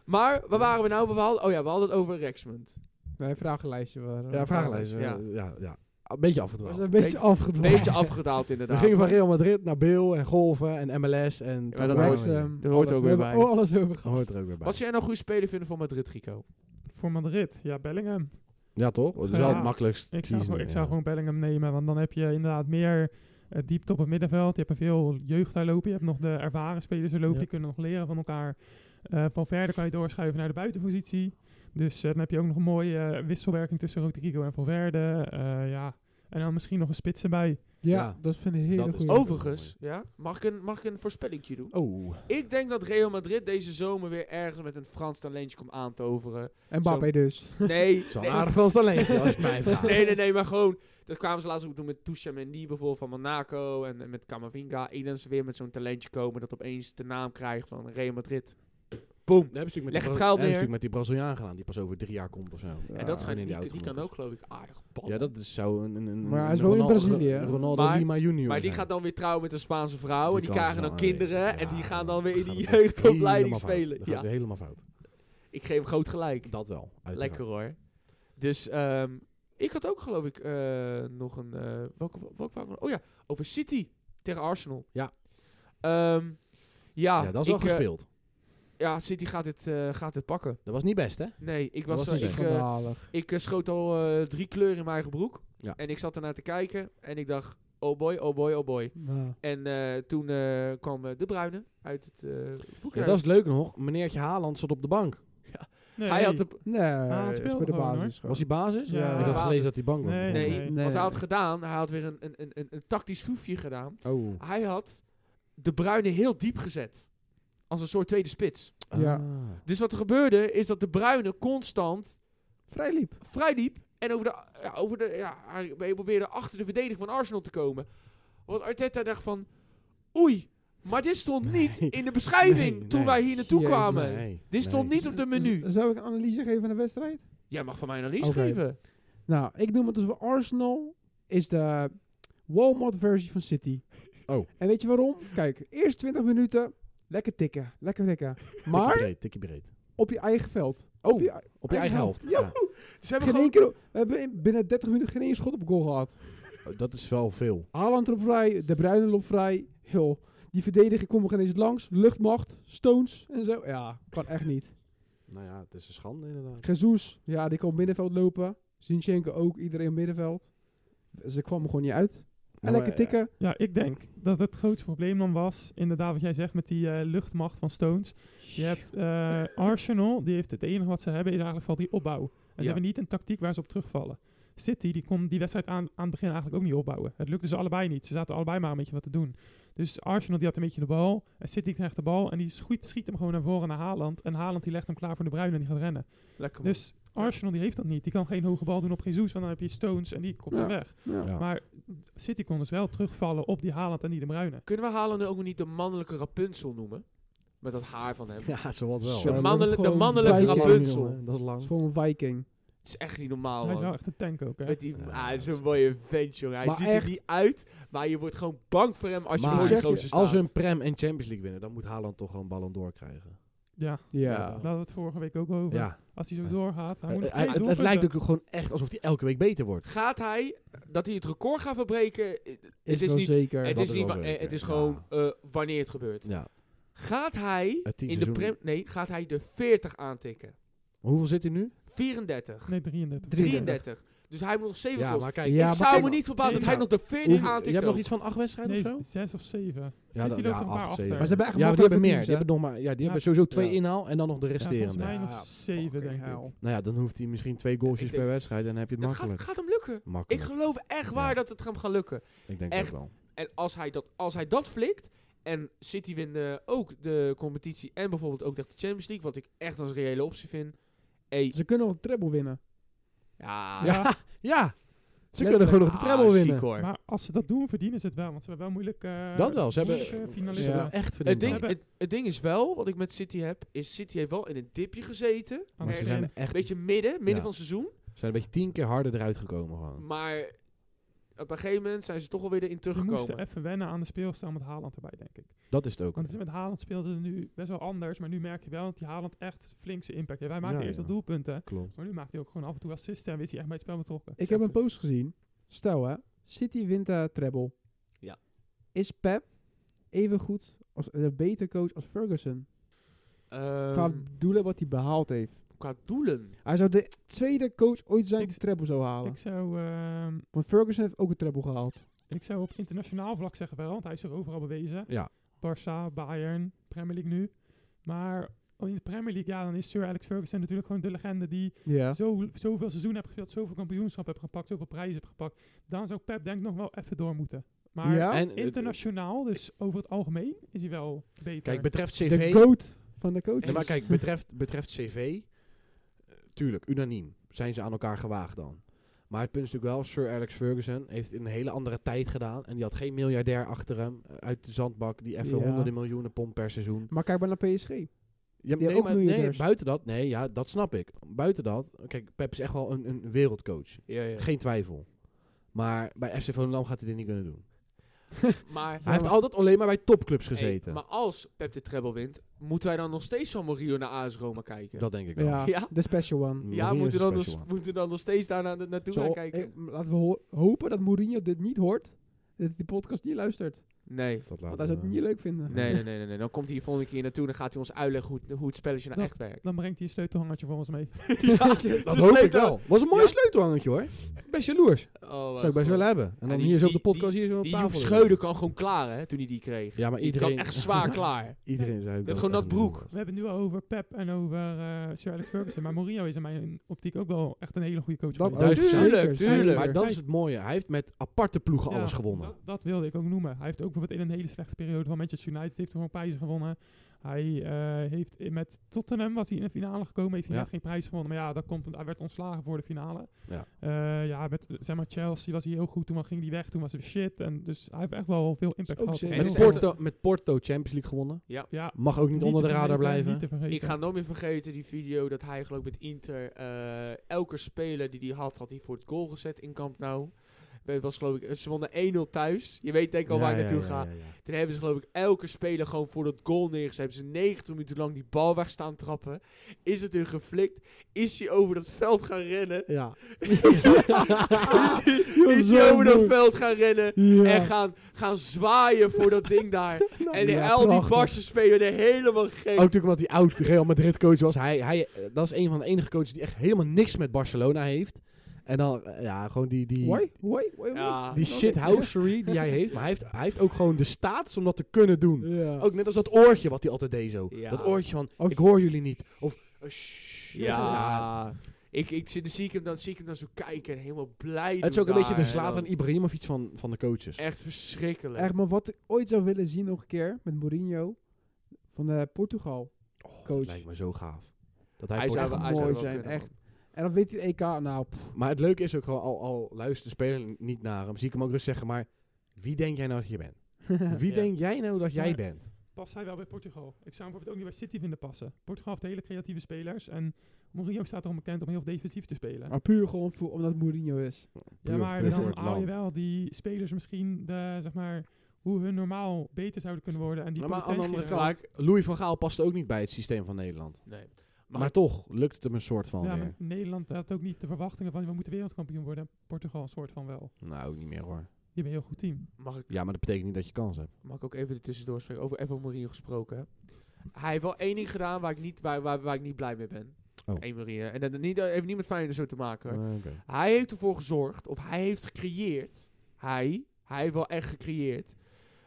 [SPEAKER 1] Maar, waar waren we nou? We hadden, oh ja, we hadden het over Rexmond.
[SPEAKER 3] Nee, vragenlijstje. waren.
[SPEAKER 4] Ja, vragenlijst. Ja.
[SPEAKER 1] Ja.
[SPEAKER 4] Ja, ja. Een beetje
[SPEAKER 3] was
[SPEAKER 4] afgedwaald.
[SPEAKER 3] een beetje
[SPEAKER 1] Beetje- Een
[SPEAKER 3] afgedwaald.
[SPEAKER 1] beetje afgedaald
[SPEAKER 4] We
[SPEAKER 1] inderdaad.
[SPEAKER 4] gingen van Real Madrid naar Bill en golven en MLS en...
[SPEAKER 1] maar dat
[SPEAKER 4] Toen
[SPEAKER 1] hoort-
[SPEAKER 4] kwamen we
[SPEAKER 3] Wrexham,
[SPEAKER 1] dat hoort
[SPEAKER 3] ehm, alles.
[SPEAKER 1] ook
[SPEAKER 3] We
[SPEAKER 1] weer
[SPEAKER 3] hebben
[SPEAKER 1] bij.
[SPEAKER 3] al alles over
[SPEAKER 4] hier. Dat hoort er ook weer bij.
[SPEAKER 1] Wat zou jij nou een goede speler vinden van Madrid, Rico?
[SPEAKER 2] Voor Madrid, ja, Bellingham.
[SPEAKER 4] Ja, toch? Dat is wel
[SPEAKER 2] Ja.
[SPEAKER 4] het makkelijkst.
[SPEAKER 2] Ik zou, gewoon-
[SPEAKER 4] season,
[SPEAKER 2] ik zou
[SPEAKER 4] ja.
[SPEAKER 2] gewoon Bellingham nemen, want dan heb je inderdaad meer eh, diepte op het middenveld. Je hebt er veel jeugd daar lopen. Je hebt nog de ervaren spelers er lopen,
[SPEAKER 4] Ja.
[SPEAKER 2] die kunnen nog leren van elkaar. Eh, van verder kan je doorschuiven naar de buitenpositie. Dus eh, dan heb je ook nog een mooie eh, wisselwerking tussen Rodrigo en Valverde. Eh, ja. En dan misschien nog een spits erbij.
[SPEAKER 3] Ja,
[SPEAKER 4] Ja.
[SPEAKER 3] dat vind ik
[SPEAKER 4] Dat
[SPEAKER 3] heel
[SPEAKER 4] is
[SPEAKER 3] goed.
[SPEAKER 4] ook-
[SPEAKER 1] Overigens, ja, mag, ik een, mag ik een voorspellingje doen?
[SPEAKER 4] Oh,
[SPEAKER 1] Ik denk dat Real Madrid deze zomer weer ergens met een Frans talentje komt aantoveren.
[SPEAKER 3] En Mbappé dus.
[SPEAKER 1] Nee,
[SPEAKER 4] het is wel
[SPEAKER 1] nee,
[SPEAKER 4] een aardig Frans talentje, als je het mij vraagt.
[SPEAKER 1] nee, nee, nee, maar gewoon. Dat kwamen ze laatst ook doen met Touche Mendy bijvoorbeeld van Monaco en, en met Camavinga. Ik denk dat ze weer met zo'n talentje komen dat opeens de naam krijgt van Real Madrid. Boom.
[SPEAKER 4] Dat hebben ze natuurlijk met,
[SPEAKER 1] Leg
[SPEAKER 4] die
[SPEAKER 1] het
[SPEAKER 4] Bra-
[SPEAKER 1] geld
[SPEAKER 4] hebben ze natuurlijk
[SPEAKER 1] neer.
[SPEAKER 4] met die Braziliaan gedaan, die pas over drie jaar komt of zo.
[SPEAKER 1] en dat
[SPEAKER 4] schijnt
[SPEAKER 1] schijnt niet, te- die kan ook geloof ik aardig ballen.
[SPEAKER 4] Ja, dat is zo een... een, een
[SPEAKER 3] Maar hij is
[SPEAKER 4] een
[SPEAKER 3] wel in
[SPEAKER 4] Ronaldo-
[SPEAKER 3] Brazilië, hè?
[SPEAKER 4] Ronaldo
[SPEAKER 1] Maar-
[SPEAKER 4] Lima junior
[SPEAKER 1] maar die
[SPEAKER 4] zijn.
[SPEAKER 1] gaat dan weer trouwen met een Spaanse vrouw. en die
[SPEAKER 4] kan
[SPEAKER 1] krijgen dan
[SPEAKER 4] gewoon- eh,
[SPEAKER 1] kinderen.
[SPEAKER 4] Ja,
[SPEAKER 1] en die gaan dan weer in
[SPEAKER 4] gaat
[SPEAKER 1] die
[SPEAKER 4] het weer
[SPEAKER 1] jeugdopleiding
[SPEAKER 4] helemaal fout.
[SPEAKER 1] spelen.
[SPEAKER 4] Dat gaat
[SPEAKER 1] Ja,
[SPEAKER 4] weer helemaal fout.
[SPEAKER 1] ik geef hem groot gelijk.
[SPEAKER 4] Dat wel, uiteraard.
[SPEAKER 1] Lekker hoor. Dus ehm, ik had ook geloof ik eh, nog een... eh, welke, welke, welke- oh ja, over City tegen Arsenal.
[SPEAKER 4] Ja.
[SPEAKER 1] Ehm, ja,
[SPEAKER 4] Ja, dat is wel
[SPEAKER 1] ik, eh,
[SPEAKER 4] gespeeld.
[SPEAKER 1] ja, City gaat dit, eh, gaat dit pakken.
[SPEAKER 4] Dat was niet best, hè?
[SPEAKER 1] Nee, ik,
[SPEAKER 4] Dat
[SPEAKER 1] was,
[SPEAKER 4] was
[SPEAKER 1] eh,
[SPEAKER 4] niet
[SPEAKER 1] ik,
[SPEAKER 4] best.
[SPEAKER 1] eh,
[SPEAKER 3] Schandalig.
[SPEAKER 1] ik eh, schoot al eh, drie kleuren in mijn eigen broek.
[SPEAKER 4] Ja.
[SPEAKER 1] En ik zat ernaar te kijken en ik dacht, oh boy, oh boy, oh boy.
[SPEAKER 3] Ja.
[SPEAKER 1] En eh, toen eh, kwam eh, De Bruyne uit het eh boek.
[SPEAKER 4] Ja, dat is leuk nog. Meneertje Haaland zat op de bank.
[SPEAKER 2] Nee,
[SPEAKER 1] Ah, Hij had de...
[SPEAKER 3] Nee, hij
[SPEAKER 2] speelde
[SPEAKER 3] de
[SPEAKER 2] gewoon,
[SPEAKER 3] basis.
[SPEAKER 4] Was hij basis?
[SPEAKER 2] Ja.
[SPEAKER 4] Ik had
[SPEAKER 1] Basis.
[SPEAKER 4] gelezen dat hij bank was.
[SPEAKER 2] Nee,
[SPEAKER 1] Nee,
[SPEAKER 2] nee.
[SPEAKER 1] wat hij had
[SPEAKER 3] nee.
[SPEAKER 1] gedaan, hij had weer een, een, een, een, een tactisch foefje gedaan.
[SPEAKER 4] Oh.
[SPEAKER 1] Hij had de Bruyne heel diep gezet. Als een soort tweede spits.
[SPEAKER 3] Ja.
[SPEAKER 4] Ah.
[SPEAKER 1] Dus wat er gebeurde is dat de Bruyne constant
[SPEAKER 3] vrij liep.
[SPEAKER 1] vrij liep. En over de, ja, over de, ja, hij probeerde achter de verdediging van Arsenal te komen. Want Arteta dacht van... Oei, maar dit stond
[SPEAKER 4] Nee.
[SPEAKER 1] niet in de beschrijving
[SPEAKER 4] Nee,
[SPEAKER 1] toen
[SPEAKER 4] nee.
[SPEAKER 1] wij hier naartoe
[SPEAKER 3] Jezus.
[SPEAKER 4] Ah.
[SPEAKER 1] kwamen.
[SPEAKER 3] Nee.
[SPEAKER 1] Dit stond niet op de menu.
[SPEAKER 3] Z- zou ik een analyse geven van de wedstrijd?
[SPEAKER 1] Jij mag van mij een analyse
[SPEAKER 3] Oké.
[SPEAKER 1] geven.
[SPEAKER 3] Nou, ik noem het dus wel Arsenal is de Walmart-versie van City.
[SPEAKER 4] Oh.
[SPEAKER 3] En weet je waarom? Kijk, eerst 20 minuten, lekker tikken, lekker tikken.
[SPEAKER 4] Maar?
[SPEAKER 3] Maar
[SPEAKER 4] breed, tikkie breed.
[SPEAKER 3] op je eigen veld.
[SPEAKER 4] Oh,
[SPEAKER 3] op je,
[SPEAKER 4] Op je eigen helft.
[SPEAKER 3] Ja.
[SPEAKER 1] Ze hebben
[SPEAKER 3] Geen
[SPEAKER 1] gewoon...
[SPEAKER 3] één keer, we hebben in- binnen 30 minuten geen één schot op goal gehad.
[SPEAKER 4] Ja. Dat is wel veel.
[SPEAKER 3] Haaland erop vrij, De Bruyne loopt vrij. Heel. Die verdediging komt nog ineens langs. Luchtmacht, Stones en zo. Ja, kan echt niet.
[SPEAKER 4] Nou ja, het is een schande inderdaad.
[SPEAKER 3] Jesus, ja, die kan op middenveld lopen. Zinchenko ook, iedereen op middenveld. Ze kwam er gewoon niet uit. En lekker tikken.
[SPEAKER 2] Ja, ik denk dat het grootste probleem dan was, inderdaad wat jij zegt met die eh, luchtmacht van Stones. Je hebt eh, Arsenal, die heeft het enige wat ze hebben, is eigenlijk vooral die opbouw. En ze
[SPEAKER 1] Ja.
[SPEAKER 2] hebben niet een tactiek waar ze op terugvallen. City, die kon die wedstrijd aan, aan het begin eigenlijk ook niet opbouwen. Het lukte ze allebei niet. Ze zaten allebei maar een beetje wat te doen. Dus Arsenal die had een beetje de bal. En City krijgt de bal en die schiet, schiet hem gewoon naar voren naar Haaland. En Haaland die legt hem klaar voor de Bruin en die gaat rennen.
[SPEAKER 1] Lekker man.
[SPEAKER 2] Dus Arsenal die heeft dat niet. Die kan geen hoge bal doen op Jesus, want dan heb je Stones en die komt
[SPEAKER 3] Ja.
[SPEAKER 2] er weg.
[SPEAKER 3] Ja.
[SPEAKER 4] Ja.
[SPEAKER 2] Maar City kon dus wel terugvallen op die Haaland en die de Bruyne.
[SPEAKER 1] Kunnen we Haaland ook niet de mannelijke Rapunzel noemen? Met dat haar van hem.
[SPEAKER 4] Ja, zowat wel.
[SPEAKER 1] Zo.
[SPEAKER 4] Dat
[SPEAKER 1] De
[SPEAKER 3] dat
[SPEAKER 1] mannelijk-
[SPEAKER 3] is
[SPEAKER 1] de
[SPEAKER 3] gewoon
[SPEAKER 1] mannelijke
[SPEAKER 3] Viking.
[SPEAKER 1] Rapunzel.
[SPEAKER 4] jongen, Dat is
[SPEAKER 3] Dat is
[SPEAKER 4] lang.
[SPEAKER 3] gewoon een viking.
[SPEAKER 1] Het is echt niet normaal,
[SPEAKER 2] Hij is wel
[SPEAKER 1] man.
[SPEAKER 2] echt een tank ook, hè?
[SPEAKER 1] Met die,
[SPEAKER 4] Ja,
[SPEAKER 1] ah, het is
[SPEAKER 4] dat is-
[SPEAKER 1] een mooie vent, jongen. Hij
[SPEAKER 3] Maar
[SPEAKER 1] ziet
[SPEAKER 3] echt-
[SPEAKER 1] er niet uit, maar je wordt gewoon bang voor hem als je
[SPEAKER 4] Maar
[SPEAKER 1] voor
[SPEAKER 4] ik
[SPEAKER 1] die
[SPEAKER 3] zeg je,
[SPEAKER 1] gozer staat.
[SPEAKER 4] Als we een Prem en Champions League winnen, dan moet Haaland toch gewoon Ballon d'Or krijgen.
[SPEAKER 2] Ja, daar
[SPEAKER 3] Ja.
[SPEAKER 2] hadden we het vorige week ook over.
[SPEAKER 4] Ja.
[SPEAKER 2] Als hij zo
[SPEAKER 4] Ja.
[SPEAKER 2] doorgaat, hij
[SPEAKER 4] Eh,
[SPEAKER 2] moet nog twee
[SPEAKER 4] hij- het, het
[SPEAKER 2] doelpunten.
[SPEAKER 4] lijkt ook gewoon echt alsof hij elke week beter wordt.
[SPEAKER 1] Gaat hij, dat hij het record gaat verbreken, eh,
[SPEAKER 3] Is,
[SPEAKER 1] het is
[SPEAKER 3] wel
[SPEAKER 1] niet...
[SPEAKER 3] zeker.
[SPEAKER 1] Het
[SPEAKER 4] Dat
[SPEAKER 1] is,
[SPEAKER 4] is
[SPEAKER 1] niet
[SPEAKER 4] wel
[SPEAKER 1] wa-
[SPEAKER 4] zeker,
[SPEAKER 1] eh, het is
[SPEAKER 4] ja.
[SPEAKER 1] gewoon eh, wanneer het gebeurt.
[SPEAKER 4] Ja.
[SPEAKER 1] Gaat hij
[SPEAKER 4] Het tien
[SPEAKER 1] in de
[SPEAKER 4] seizoenen.
[SPEAKER 1] prem, nee, gaat hij de 40 aantikken?
[SPEAKER 4] Maar hoeveel zit hij nu?
[SPEAKER 1] 34,
[SPEAKER 2] Nee, 33.
[SPEAKER 1] 33. Dus hij moet nog 7 goals.
[SPEAKER 4] maar kijk.
[SPEAKER 3] Ja,
[SPEAKER 1] ik
[SPEAKER 3] maar
[SPEAKER 1] zou
[SPEAKER 3] kijk-
[SPEAKER 1] me niet verbazen dat
[SPEAKER 4] Ja.
[SPEAKER 1] hij nog de 40
[SPEAKER 4] hoeveel- je
[SPEAKER 1] aantikt.
[SPEAKER 4] hebt nog
[SPEAKER 1] ook.
[SPEAKER 4] iets van acht wedstrijden
[SPEAKER 2] Nee,
[SPEAKER 4] of zo?
[SPEAKER 2] z- zes of zeven.
[SPEAKER 4] Ja,
[SPEAKER 2] City
[SPEAKER 4] dat-
[SPEAKER 2] loopt
[SPEAKER 4] ja,
[SPEAKER 2] er een paar
[SPEAKER 4] acht,
[SPEAKER 2] achter.
[SPEAKER 4] zeven.
[SPEAKER 3] Maar ze hebben echt
[SPEAKER 4] Ja, maar die
[SPEAKER 3] makkelijke
[SPEAKER 4] hebben meer.
[SPEAKER 3] teams,
[SPEAKER 4] Die
[SPEAKER 3] hè?
[SPEAKER 4] hebben, nog maar, ja, die hebben
[SPEAKER 2] Ja.
[SPEAKER 4] sowieso twee
[SPEAKER 1] Ja.
[SPEAKER 4] inhaal en dan nog de
[SPEAKER 2] Ja, volgens
[SPEAKER 4] resterende.
[SPEAKER 2] mij nog
[SPEAKER 3] Ja,
[SPEAKER 2] zeven,
[SPEAKER 3] Ah, fucking
[SPEAKER 2] denk ik.
[SPEAKER 3] hell.
[SPEAKER 4] Nou ja, dan hoeft hij misschien twee goaltjes
[SPEAKER 1] Ik denk-
[SPEAKER 4] per wedstrijd en dan heb je het
[SPEAKER 1] Dat gaat,
[SPEAKER 4] makkelijk.
[SPEAKER 1] gaat hem lukken. Ik
[SPEAKER 4] makkelijk.
[SPEAKER 1] geloof echt waar
[SPEAKER 4] Ja.
[SPEAKER 1] dat het hem gaat lukken.
[SPEAKER 4] Ik denk
[SPEAKER 1] echt-
[SPEAKER 4] ook wel.
[SPEAKER 1] En als hij dat, als hij dat flikt. En City winnen ook de competitie. En bijvoorbeeld ook echt de Champions League. Wat ik echt als reële optie vind. Hey,
[SPEAKER 3] Ze kunnen nog een treble winnen.
[SPEAKER 1] ja,
[SPEAKER 4] Ja, ja. Ze
[SPEAKER 3] Letterlijk.
[SPEAKER 4] kunnen gewoon nog de treble
[SPEAKER 1] ah,
[SPEAKER 4] winnen.
[SPEAKER 1] ziek hoor.
[SPEAKER 2] Maar als ze dat doen, verdienen ze het wel. Want ze hebben wel moeilijk... eh,
[SPEAKER 4] Dat wel, ze hebben-
[SPEAKER 2] moeilijke
[SPEAKER 4] Ze
[SPEAKER 2] finalisten
[SPEAKER 3] Ja.
[SPEAKER 4] hebben echt
[SPEAKER 1] het,
[SPEAKER 4] verdiend.
[SPEAKER 1] ding,
[SPEAKER 4] dan.
[SPEAKER 1] het, het ding is wel, wat ik met City heb, is City heeft wel in een dipje gezeten.
[SPEAKER 2] aan
[SPEAKER 4] Maar
[SPEAKER 2] het
[SPEAKER 4] ze
[SPEAKER 1] ergens-
[SPEAKER 2] begin.
[SPEAKER 4] zijn echt
[SPEAKER 1] Beetje midden, midden
[SPEAKER 4] Ja. Oh.
[SPEAKER 1] van het seizoen.
[SPEAKER 4] ze zijn een beetje tien keer harder eruit gekomen gewoon.
[SPEAKER 1] Maar op een gegeven moment zijn ze toch alweer erin
[SPEAKER 2] Ze
[SPEAKER 1] teruggekomen.
[SPEAKER 2] moesten even wennen aan de speelstijl met Haaland erbij, denk ik.
[SPEAKER 4] Dat is het ook.
[SPEAKER 2] Want het is met Haaland speelden ze nu best wel anders. Maar nu merk je wel dat die Haaland echt flink zijn impact heeft. Hij maakte
[SPEAKER 4] Ja,
[SPEAKER 2] eerst
[SPEAKER 4] ja.
[SPEAKER 2] al doelpunten.
[SPEAKER 4] Klopt.
[SPEAKER 2] Maar nu maakt hij ook gewoon af en toe assisten. En wist hij echt bij het spel betrokken.
[SPEAKER 3] Ik heb een post gezien. Stel hè, City wint de treble.
[SPEAKER 1] Ja.
[SPEAKER 3] Is Pep even goed als een beter coach als Ferguson?
[SPEAKER 1] Ehm,
[SPEAKER 3] Qua doelen wat hij behaald heeft.
[SPEAKER 1] qua doelen.
[SPEAKER 3] Hij zou de tweede coach ooit zijn
[SPEAKER 2] Ik-
[SPEAKER 3] die treble zou halen.
[SPEAKER 2] Ik zou, ehm,
[SPEAKER 3] Want Ferguson heeft ook een treble gehaald.
[SPEAKER 2] ik zou op internationaal vlak zeggen wel. Want hij is er overal bewezen.
[SPEAKER 4] Ja.
[SPEAKER 2] Barça, Bayern, Premier League nu. Maar in de Premier League, ja, dan is Sir Alex Ferguson natuurlijk gewoon de legende die
[SPEAKER 3] Ja.
[SPEAKER 2] zo, zoveel seizoen heeft gespeeld, zoveel kampioenschap heeft gepakt, zoveel prijzen heeft gepakt. Dan zou Pep denk ik nog wel even door moeten. Maar
[SPEAKER 3] Ja.
[SPEAKER 4] En het-
[SPEAKER 2] internationaal, dus over het algemeen, is hij wel beter.
[SPEAKER 4] Kijk, betreft
[SPEAKER 3] De
[SPEAKER 4] CV...
[SPEAKER 3] goat van de coach.
[SPEAKER 4] Nee, maar kijk, betreft, betreft CV... eh, Tuurlijk, unaniem. Zijn ze aan elkaar gewaagd dan. Maar het punt is natuurlijk wel, Sir Alex Ferguson heeft in een hele andere tijd gedaan. En die had geen miljardair achter hem eh, uit de zandbak die even
[SPEAKER 3] Ja.
[SPEAKER 4] honderden miljoenen pond per seizoen.
[SPEAKER 3] Maar kijk maar naar PSG.
[SPEAKER 4] Ja,
[SPEAKER 3] Die
[SPEAKER 4] nee,
[SPEAKER 3] ook
[SPEAKER 4] maar, nee,
[SPEAKER 3] miljardairs.
[SPEAKER 4] buiten dat, nee, ja, dat snap ik. Buiten dat, kijk, Pep is echt wel een, een wereldcoach.
[SPEAKER 1] Ja, ja.
[SPEAKER 4] Geen twijfel. Maar bij FC Volendam gaat hij dit niet kunnen doen.
[SPEAKER 1] Maar,
[SPEAKER 4] Hij heeft altijd alleen maar bij topclubs
[SPEAKER 1] Hey,
[SPEAKER 4] gezeten.
[SPEAKER 1] maar als Pep de treble wint, moeten wij dan nog steeds van Mourinho naar AS Roma kijken?
[SPEAKER 4] dat denk ik wel.
[SPEAKER 3] Ja,
[SPEAKER 1] Ja.
[SPEAKER 3] de special one.
[SPEAKER 4] Mourinho
[SPEAKER 1] ja,
[SPEAKER 4] is
[SPEAKER 1] moeten
[SPEAKER 4] een
[SPEAKER 1] we dan, nog-
[SPEAKER 4] special one.
[SPEAKER 1] moeten we dan nog steeds daar na- naartoe
[SPEAKER 3] Zo,
[SPEAKER 1] gaan kijken?
[SPEAKER 3] eh, laten we ho- hopen dat Mourinho dit niet hoort. Dat hij die podcast niet luistert.
[SPEAKER 1] nee.
[SPEAKER 4] Dat
[SPEAKER 3] Want
[SPEAKER 4] laten
[SPEAKER 3] hij zou
[SPEAKER 4] we-
[SPEAKER 3] het niet leuk vinden.
[SPEAKER 1] eh, Nee, nee, nee, nee, nee. Dan komt hij de volgende keer naartoe en dan gaat hij ons uitleggen hoe, het- hoe het spelletje nou
[SPEAKER 2] Dat-
[SPEAKER 1] echt werkt.
[SPEAKER 2] Dan brengt hij een sleutelhangertje voor ons mee.
[SPEAKER 4] Dat
[SPEAKER 1] Ze
[SPEAKER 4] hoop ik
[SPEAKER 1] slepen-
[SPEAKER 4] wel. Was een mooi
[SPEAKER 1] Ja?
[SPEAKER 4] sleutelhangertje hoor. Best jaloers.
[SPEAKER 1] Oh, mijn
[SPEAKER 4] Zou ik best
[SPEAKER 1] God.
[SPEAKER 4] wel hebben. En dan
[SPEAKER 1] die-
[SPEAKER 4] hier zo op de
[SPEAKER 1] die-
[SPEAKER 4] podcast, hier zo op
[SPEAKER 1] Die
[SPEAKER 4] tafel.
[SPEAKER 1] Joep Schreuder kan gewoon klaar, hè, toen hij die kreeg.
[SPEAKER 4] Ja, maar
[SPEAKER 1] Die kan
[SPEAKER 4] iedereen...
[SPEAKER 1] echt zwaar klaar.
[SPEAKER 4] Iedereen zou
[SPEAKER 1] Met gewoon dat broek.
[SPEAKER 2] We hebben het nu al over Pep en over eh, Sir Alex Ferguson. Maar Mourinho is in mijn optiek ook wel echt een hele goede coach.
[SPEAKER 3] Dat
[SPEAKER 2] geweest. Dus,
[SPEAKER 4] ook.
[SPEAKER 3] zeker,
[SPEAKER 1] Tuurlijk,
[SPEAKER 3] zeker.
[SPEAKER 1] tuurlijk.
[SPEAKER 4] Maar dat is het mooie. Hij heeft met aparte ploegen
[SPEAKER 2] eh, Ja,
[SPEAKER 4] alles gewonnen.
[SPEAKER 2] Dat, dat wilde ik ook noemen. Hij heeft ook bijvoorbeeld in een hele slechte periode van Manchester United heeft gewoon prijzen gewonnen. Hij eh, heeft in- met Tottenham was hij in de finale gekomen, heeft hij
[SPEAKER 4] Ja.
[SPEAKER 2] net geen prijs gewonnen. Maar ja, dat komt, want hij werd ontslagen voor de finale.
[SPEAKER 4] Ja.
[SPEAKER 2] Eh, ja, met zeg maar Chelsea was hij heel goed. Toen ging hij weg, toen was hij shit. En dus hij heeft echt wel veel impact
[SPEAKER 3] ook
[SPEAKER 2] gehad.
[SPEAKER 3] zeker.
[SPEAKER 2] op
[SPEAKER 1] En
[SPEAKER 4] Met
[SPEAKER 1] het
[SPEAKER 2] heel
[SPEAKER 1] is echt-
[SPEAKER 2] veel-
[SPEAKER 4] Porto, met Porto Champions League gewonnen.
[SPEAKER 2] Ja,
[SPEAKER 4] Mag ook niet, onder
[SPEAKER 2] te
[SPEAKER 4] de radar
[SPEAKER 2] vergeten,
[SPEAKER 4] blijven.
[SPEAKER 2] Niet te vergeten.
[SPEAKER 1] Ik ga nooit meer vergeten die video dat hij geloof ik met Inter... eh, elke speler die hij had, had hij voor het goal gezet in Camp Nou. Het was geloof ik... Ze wonnen 1-0 thuis. Je weet denk ik al waar ik naartoe ga. Toen hebben ze geloof ik elke speler gewoon voor dat goal neergezet. Hebben ze 90 minuten lang die bal weg staan trappen. Is het hun geflikt? Is hij over dat veld gaan rennen?
[SPEAKER 3] Ja.
[SPEAKER 1] is hij
[SPEAKER 3] zo
[SPEAKER 1] over dat
[SPEAKER 3] moe.
[SPEAKER 1] veld gaan rennen?
[SPEAKER 3] Ja. Nou,
[SPEAKER 1] En gaan, gaan zwaaien voor dat ding daar. En die-
[SPEAKER 3] Ja,
[SPEAKER 1] al die
[SPEAKER 3] prachtig.
[SPEAKER 1] Barsen spelen er helemaal geen.
[SPEAKER 4] Ook natuurlijk omdat hij oud Real Madrid coach was. Hij, hij, eh, dat is een van de enige coaches die echt helemaal niks met Barcelona heeft. En dan, eh, ja, gewoon die, die,
[SPEAKER 3] Hoi, hoi, hoi.
[SPEAKER 1] Ja.
[SPEAKER 4] die shithousery die hij heeft. Maar hij heeft, hij heeft ook gewoon de status om dat te kunnen doen.
[SPEAKER 3] Ja.
[SPEAKER 4] Ook net als dat oortje wat hij altijd deed zo.
[SPEAKER 1] Ja.
[SPEAKER 4] Dat oortje van,
[SPEAKER 3] Of-
[SPEAKER 4] ik hoor jullie niet. Of, eh, shh.
[SPEAKER 1] Ja. Ik, ik zit, dan zie ik hem dan, zie ik hem dan zo kijken en helemaal blij
[SPEAKER 4] Het is
[SPEAKER 1] doen
[SPEAKER 4] ook een beetje
[SPEAKER 1] daar.
[SPEAKER 4] de
[SPEAKER 1] En dan-
[SPEAKER 4] Zlatan Ibrahimovic van, van de coaches.
[SPEAKER 1] Echt verschrikkelijk.
[SPEAKER 3] Echt, maar wat ik ooit zou willen zien nog een keer met Mourinho van eh, Portugal.
[SPEAKER 4] Oh, dat
[SPEAKER 3] coach.
[SPEAKER 4] lijkt me zo gaaf. Dat hij
[SPEAKER 1] hij zou,
[SPEAKER 4] Portugal-
[SPEAKER 1] wel- hij zou
[SPEAKER 3] echt mooi
[SPEAKER 1] wel
[SPEAKER 3] zijn,
[SPEAKER 1] kunnen,
[SPEAKER 3] echt.
[SPEAKER 1] man.
[SPEAKER 3] En dan weet hij het EK. Nou, pff,
[SPEAKER 4] Maar het leuke is ook gewoon, al, al luistert de speler niet naar hem, zie ik hem ook rustig zeggen, maar wie denk jij nou dat je bent? Wie
[SPEAKER 2] Ja.
[SPEAKER 4] denk jij nou dat jij
[SPEAKER 2] Maar-
[SPEAKER 4] bent?
[SPEAKER 2] Past hij wel bij Portugal? Ik zou hem bijvoorbeeld ook niet bij City vinden passen. Portugal heeft hele creatieve spelers. En Mourinho staat erom bekend om heel defensief te spelen.
[SPEAKER 3] maar puur gewoon voor- omdat Mourinho is.
[SPEAKER 2] Ja,
[SPEAKER 4] Puur-
[SPEAKER 2] maar
[SPEAKER 4] puur voor
[SPEAKER 2] dan
[SPEAKER 4] het
[SPEAKER 2] haal je
[SPEAKER 4] land.
[SPEAKER 2] wel die spelers misschien, de, zeg maar, hoe hun normaal beter zouden kunnen worden. En die
[SPEAKER 4] Maar aan de
[SPEAKER 2] potentie
[SPEAKER 4] andere
[SPEAKER 2] hebben.
[SPEAKER 1] Maar
[SPEAKER 4] kant-
[SPEAKER 1] ik-
[SPEAKER 4] Louis van Gaal paste ook niet bij het systeem van Nederland.
[SPEAKER 1] nee.
[SPEAKER 4] Maar,
[SPEAKER 1] Maar-
[SPEAKER 4] toch lukt het hem een soort van
[SPEAKER 2] Ja, maar
[SPEAKER 4] weer.
[SPEAKER 2] Nederland had ook niet de verwachtingen van we moeten wereldkampioen worden. Portugal een soort van wel.
[SPEAKER 4] Nou, ook niet meer hoor.
[SPEAKER 2] Die hebben een heel goed team.
[SPEAKER 1] Mag ik,
[SPEAKER 4] Ja, maar dat betekent niet dat je kans hebt.
[SPEAKER 1] mag ik ook even er tussendoor spreken? Over Evo Mourinho gesproken. hè? Hij heeft wel één ding gedaan waar ik niet, waar, waar, waar ik niet blij mee ben.
[SPEAKER 4] Oh.
[SPEAKER 1] Eén Mourinho. En dat niet, heeft niet met Feyenoord zo te maken. hoor.
[SPEAKER 4] Ah, oké.
[SPEAKER 1] Hij heeft ervoor gezorgd, of hij heeft gecreëerd. Hij, hij heeft wel echt gecreëerd.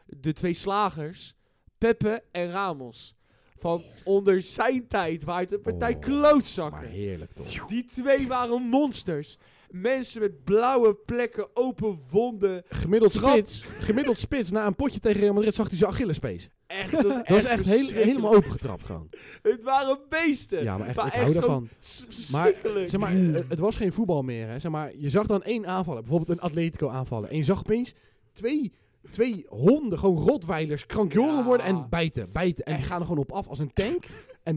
[SPEAKER 1] De twee slagers, Pepe en Ramos. Van onder zijn tijd waar het een partij
[SPEAKER 4] Oh, Maar
[SPEAKER 1] klootzakken.
[SPEAKER 4] heerlijk toch.
[SPEAKER 1] Die twee waren monsters. Mensen met blauwe plekken, open wonden.
[SPEAKER 4] Gemiddeld
[SPEAKER 1] Trap.
[SPEAKER 4] spits, gemiddeld spits, na een potje tegen Real Madrid zag hij zijn Achillespees.
[SPEAKER 1] Echt, dat is echt,
[SPEAKER 4] Dat is echt heel-
[SPEAKER 1] verschrikkelijk.
[SPEAKER 4] helemaal opengetrapt gewoon.
[SPEAKER 1] Het waren beesten.
[SPEAKER 4] Ja, maar echt,
[SPEAKER 1] Maar
[SPEAKER 4] ik
[SPEAKER 1] echt
[SPEAKER 4] hou
[SPEAKER 1] zo'n-
[SPEAKER 4] daarvan.
[SPEAKER 1] S-
[SPEAKER 4] Maar,
[SPEAKER 1] Verschrikkelijk.
[SPEAKER 4] Zeg maar, eh, het was geen voetbal meer. Hè. Zeg maar, je zag dan één aanvallen, bijvoorbeeld een Atletico aanvallen. En je zag opeens twee, twee honden, gewoon rotweilers, krankjoren
[SPEAKER 1] Ja.
[SPEAKER 4] worden en bijten, bijten. En die gaan er gewoon op af als een tank en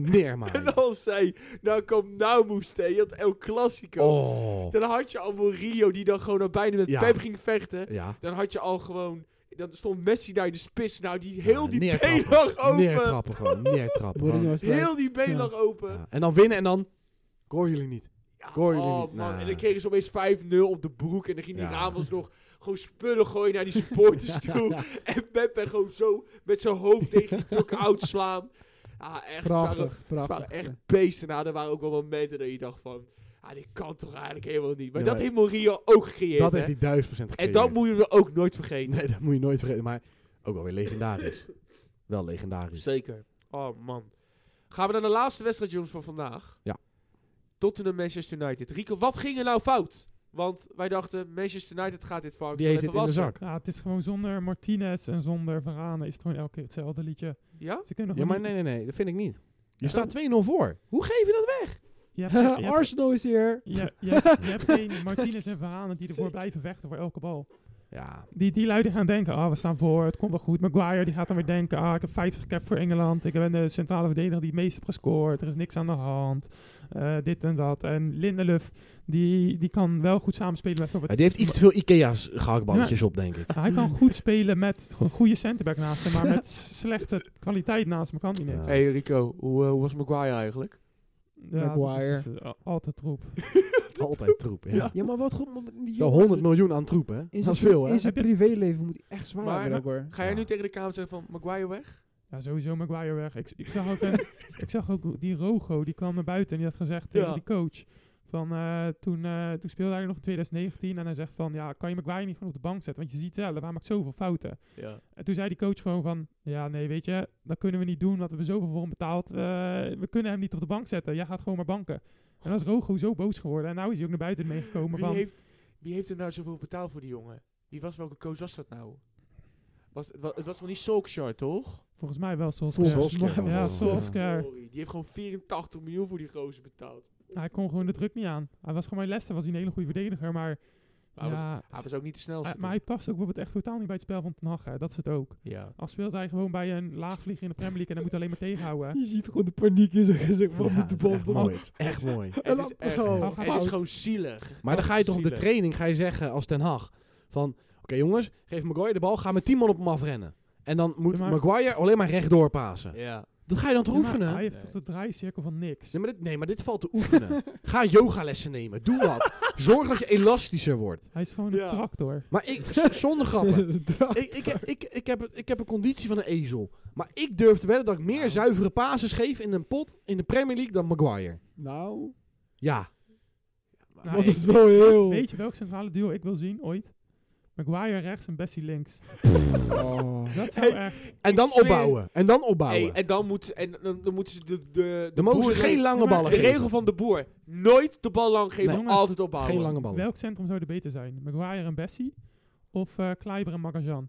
[SPEAKER 4] neermaken.
[SPEAKER 1] en als zij, nou komt nou moest hè, je had El Clasico.
[SPEAKER 4] Oh.
[SPEAKER 1] Dan had je al Mourinho die dan gewoon al bijna met
[SPEAKER 4] Ja.
[SPEAKER 1] Pep ging vechten.
[SPEAKER 4] Ja,
[SPEAKER 1] Dan had je al gewoon, dan stond Messi daar in de spits. Nou, die heel die been
[SPEAKER 4] neertrappen.
[SPEAKER 1] lag open.
[SPEAKER 4] neertrappen gewoon, neertrappen. gewoon.
[SPEAKER 3] Mourinho is leuk.
[SPEAKER 1] Heel die been
[SPEAKER 3] Ja.
[SPEAKER 1] lag open.
[SPEAKER 4] Ja. En dan winnen en dan, goor jullie niet.
[SPEAKER 1] Ja,
[SPEAKER 4] Goor jullie
[SPEAKER 1] oh,
[SPEAKER 4] niet.
[SPEAKER 1] man.
[SPEAKER 4] Nou.
[SPEAKER 1] En dan kregen ze opeens 5-0 op de broek. En dan ging die
[SPEAKER 4] Ja.
[SPEAKER 1] Ramos nog gewoon spullen gooien naar die supporters toe. En Pepe gewoon zo met zijn hoofd tegen die knock-out slaan. Ja, echt. het waren-
[SPEAKER 3] Prachtig,
[SPEAKER 1] Het
[SPEAKER 3] prachtig.
[SPEAKER 1] waren echt beesten. Nou, er waren ook wel momenten dat je dacht van... Ah, dit kan toch eigenlijk helemaal niet. Maar
[SPEAKER 4] Ja,
[SPEAKER 1] dat
[SPEAKER 4] maar-
[SPEAKER 1] heeft Mourinho ook gecreëerd.
[SPEAKER 4] Dat
[SPEAKER 1] hè?
[SPEAKER 4] heeft hij duizend procent
[SPEAKER 1] en dat
[SPEAKER 4] gecreëerd.
[SPEAKER 1] moeten we ook nooit vergeten.
[SPEAKER 4] Nee, dat moet je nooit vergeten, maar ook wel weer legendarisch. wel legendarisch.
[SPEAKER 1] Zeker. Oh, man. Gaan we naar de laatste wedstrijd, jongens, van vandaag.
[SPEAKER 4] Ja.
[SPEAKER 1] Tottenham Manchester United. Rico, wat ging er nou fout? Want wij dachten, Manchester United gaat dit varken.
[SPEAKER 4] Die heeft het in de zak.
[SPEAKER 2] Ja, het is gewoon zonder Martinez en zonder Varane is het gewoon elke keer hetzelfde liedje.
[SPEAKER 1] Ja?
[SPEAKER 2] Ze kunnen nog
[SPEAKER 4] Ja, maar
[SPEAKER 2] wel
[SPEAKER 4] nee,
[SPEAKER 2] niet-
[SPEAKER 4] nee, nee, dat vind ik niet. Je staat 2-0 voor. Hoe geef je dat weg?
[SPEAKER 2] Je hebt- je hebt-
[SPEAKER 3] Arsenal is hier.
[SPEAKER 2] je hebt- je hebt- je hebt geen Martinez en Varane die ervoor blijven vechten voor elke bal.
[SPEAKER 4] Ja,
[SPEAKER 2] Die, die luiden gaan denken, ah, we staan voor, het komt wel goed. Maguire die gaat dan weer denken, ah, ik heb 50 cap voor Engeland. Ik ben de centrale verdediger die het meest heeft gescoord. Er is niks aan de hand. Eh, dit en dat. En Lindelöf, die, die kan wel goed samenspelen met Robert.
[SPEAKER 4] die heeft iets te veel Ikea's gehaktballetjes op, denk ik.
[SPEAKER 2] Hij kan goed spelen met go- goede centerback naast hem, maar met s- slechte kwaliteit naast hem kan hij niks.
[SPEAKER 4] Ja.
[SPEAKER 1] hey, Rico, hoe, eh, hoe was Maguire eigenlijk?
[SPEAKER 2] Ja, dat
[SPEAKER 3] Maguire.
[SPEAKER 2] is, eh, altijd troep.
[SPEAKER 4] Altijd troep, ja.
[SPEAKER 3] Ja, maar wat goed. maar die
[SPEAKER 4] Wel
[SPEAKER 3] jongen-
[SPEAKER 4] 100 miljoen aan troep, hè? dat
[SPEAKER 3] In zijn,
[SPEAKER 4] is veel, hè?
[SPEAKER 3] in zijn
[SPEAKER 2] Heb je-
[SPEAKER 3] privéleven moet hij echt zwaar
[SPEAKER 1] Maar-
[SPEAKER 3] hebben ook, hoor.
[SPEAKER 1] Ga jij
[SPEAKER 4] Ja.
[SPEAKER 1] nu tegen de kamer zeggen van Maguire weg?
[SPEAKER 2] Ja, sowieso Maguire weg. Ik, ik, zag ook een- ik zag ook die Rogo, die kwam naar buiten en die had gezegd tegen
[SPEAKER 1] Ja.
[SPEAKER 2] die coach. Van, eh, toen, eh, toen speelde hij nog in 2019 en hij zegt van, ja, kan je Maguire niet gewoon op de bank zetten? Want je ziet zelf, hij maakt zoveel fouten.
[SPEAKER 1] Ja.
[SPEAKER 2] En toen zei die coach gewoon van, ja, nee, weet je, dat kunnen we niet doen, want we hebben zoveel voor hem betaald. Eh, we kunnen hem niet op de bank zetten, jij gaat gewoon maar banken. En dan is Rogo zo boos geworden en nu is hij ook naar buiten meegekomen
[SPEAKER 1] Wie
[SPEAKER 2] van...
[SPEAKER 1] heeft, wie heeft er nou zoveel betaald voor die jongen? Wie was, welke coach was dat nou? Was, het wa- het was wel niet Solskjaer, toch?
[SPEAKER 2] Volgens mij wel Solskjaer.
[SPEAKER 4] Solskjaer.
[SPEAKER 3] Ja,
[SPEAKER 2] Ja, Solskjaer.
[SPEAKER 1] Sorry, die heeft gewoon 84 miljoen voor die gozer betaald.
[SPEAKER 2] Nou, Hij kon gewoon de druk niet aan. Hij was gewoon bij Leicester, was hij een hele goede verdediger, maar...
[SPEAKER 1] Maar hij was-
[SPEAKER 2] ja,
[SPEAKER 1] Hij was ook niet de snelste.
[SPEAKER 2] Ah, maar hij past ook bijvoorbeeld echt totaal niet bij het spel van Ten Hag. hè. Dat is het ook.
[SPEAKER 1] ja.
[SPEAKER 2] Al speelt hij gewoon bij een laagvlieger in de Premier League en hij moet alleen maar tegenhouden.
[SPEAKER 3] Je ziet gewoon de paniek in zijn gezicht. Wat
[SPEAKER 4] Ja,
[SPEAKER 3] moet de
[SPEAKER 4] dat is
[SPEAKER 3] bal
[SPEAKER 4] echt
[SPEAKER 3] dan?
[SPEAKER 4] mooi. Het is Echt mooi.
[SPEAKER 1] Het is, echt,
[SPEAKER 3] Oh,
[SPEAKER 1] het
[SPEAKER 2] fout.
[SPEAKER 1] is gewoon zielig.
[SPEAKER 4] Maar dan ga je toch op de
[SPEAKER 1] Zielig.
[SPEAKER 4] training ga je zeggen als Ten Hag van... Oké jongens, geef Maguire de bal, ga met 10 man op hem afrennen. En dan moet
[SPEAKER 2] Ja, maar-
[SPEAKER 4] Maguire alleen maar rechtdoor pasen.
[SPEAKER 1] Ja.
[SPEAKER 4] Dat ga je dan toch
[SPEAKER 2] Ja, maar
[SPEAKER 4] oefenen?
[SPEAKER 2] Hij heeft
[SPEAKER 1] Nee.
[SPEAKER 2] toch de draaicirkel van niks.
[SPEAKER 4] Nee maar, dit, nee, maar dit valt te oefenen. ga yogalessen nemen, doe wat. Zorg dat je elastischer wordt.
[SPEAKER 2] Hij is gewoon een
[SPEAKER 1] Ja.
[SPEAKER 2] tractor.
[SPEAKER 4] Maar ik, z- zonder grappen,
[SPEAKER 3] Draag-
[SPEAKER 4] ik, ik, heb- ik, ik, heb, ik heb een conditie van een ezel. Maar ik durf te wedden dat ik meer
[SPEAKER 1] Nou.
[SPEAKER 4] zuivere pases geef in een pot in de Premier League dan Maguire.
[SPEAKER 3] nou,
[SPEAKER 4] Ja.
[SPEAKER 2] Nou,
[SPEAKER 3] dat
[SPEAKER 2] ik-
[SPEAKER 3] is wel
[SPEAKER 4] Oh.
[SPEAKER 3] heel...
[SPEAKER 2] Weet je welk centrale duo ik wil zien ooit? Maguire rechts en Bessie links.
[SPEAKER 3] Oh.
[SPEAKER 2] Dat zou echt...
[SPEAKER 4] En dan
[SPEAKER 1] zweer-
[SPEAKER 4] opbouwen. En dan opbouwen.
[SPEAKER 1] Hey, en dan moeten en, dan, dan moeten ze de, de, de,
[SPEAKER 4] de mogen
[SPEAKER 1] boer-
[SPEAKER 4] ze geen lange
[SPEAKER 2] maar
[SPEAKER 4] ballen
[SPEAKER 1] de
[SPEAKER 4] geven.
[SPEAKER 1] regel van de boer. Nooit de bal lang geven,
[SPEAKER 2] Nee. Jongens,
[SPEAKER 1] altijd opbouwen.
[SPEAKER 4] Geen lange ballen.
[SPEAKER 2] Welk centrum zou er beter zijn? Maguire en Bessie? Of eh Kleiber en Magajan?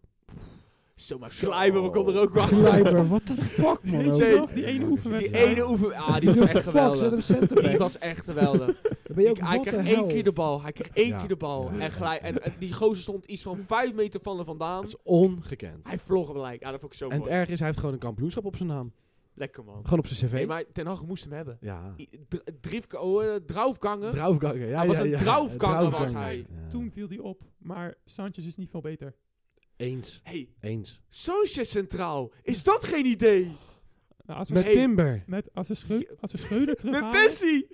[SPEAKER 1] Zo, maar
[SPEAKER 4] Zo.
[SPEAKER 1] Kleiber, we konden er ook wel.
[SPEAKER 3] Kleiber, what the fuck, man.
[SPEAKER 2] Weet
[SPEAKER 3] ook.
[SPEAKER 2] je
[SPEAKER 1] Nee.
[SPEAKER 2] nog? Die ene
[SPEAKER 4] Die
[SPEAKER 1] Die
[SPEAKER 2] oefenwedstrijd.
[SPEAKER 1] ene oefen... Ah, die
[SPEAKER 3] Hoe
[SPEAKER 1] was
[SPEAKER 3] de
[SPEAKER 1] echt
[SPEAKER 3] fuck zet
[SPEAKER 1] geweldig.
[SPEAKER 3] hem center
[SPEAKER 1] Die
[SPEAKER 3] back?
[SPEAKER 1] was echt geweldig.
[SPEAKER 3] ben je ook
[SPEAKER 1] hij
[SPEAKER 3] wat
[SPEAKER 1] kreeg
[SPEAKER 3] de
[SPEAKER 1] één
[SPEAKER 3] hel.
[SPEAKER 1] keer de bal. Hij kreeg één
[SPEAKER 4] Ja.
[SPEAKER 1] keer de bal.
[SPEAKER 4] Ja.
[SPEAKER 1] En, gelijk, en, en die gozer stond iets van vijf meter van er vandaan.
[SPEAKER 4] Dat is ongekend.
[SPEAKER 1] Hij vloog hem gelijk. Ja, dat vond ik zo
[SPEAKER 4] En het
[SPEAKER 1] mooi.
[SPEAKER 4] erg is, hij heeft gewoon een kampioenschap op zijn naam.
[SPEAKER 1] Lekker, man.
[SPEAKER 4] Gewoon op zijn cv.
[SPEAKER 1] Nee, maar Ten Hag moest hem hebben.
[SPEAKER 4] ja.
[SPEAKER 1] I- dr- Drift, oh, eh, draufganger.
[SPEAKER 4] Draufganger. Ja,
[SPEAKER 1] Hij was
[SPEAKER 4] ja,
[SPEAKER 1] een
[SPEAKER 4] ja.
[SPEAKER 1] draufganger, was
[SPEAKER 4] Draufganger.
[SPEAKER 1] hij.
[SPEAKER 4] Ja.
[SPEAKER 2] Toen viel die op, maar Sanchez is niet veel beter.
[SPEAKER 4] Eens.
[SPEAKER 1] hey,
[SPEAKER 4] Eens.
[SPEAKER 1] Sanchez centraal. Is dat geen idee?
[SPEAKER 2] Nou, als we
[SPEAKER 4] Met
[SPEAKER 1] Hey.
[SPEAKER 4] Timber.
[SPEAKER 2] Met, als, we Schreu- als we Schreuder
[SPEAKER 1] Met
[SPEAKER 2] terughalen...
[SPEAKER 1] Messi.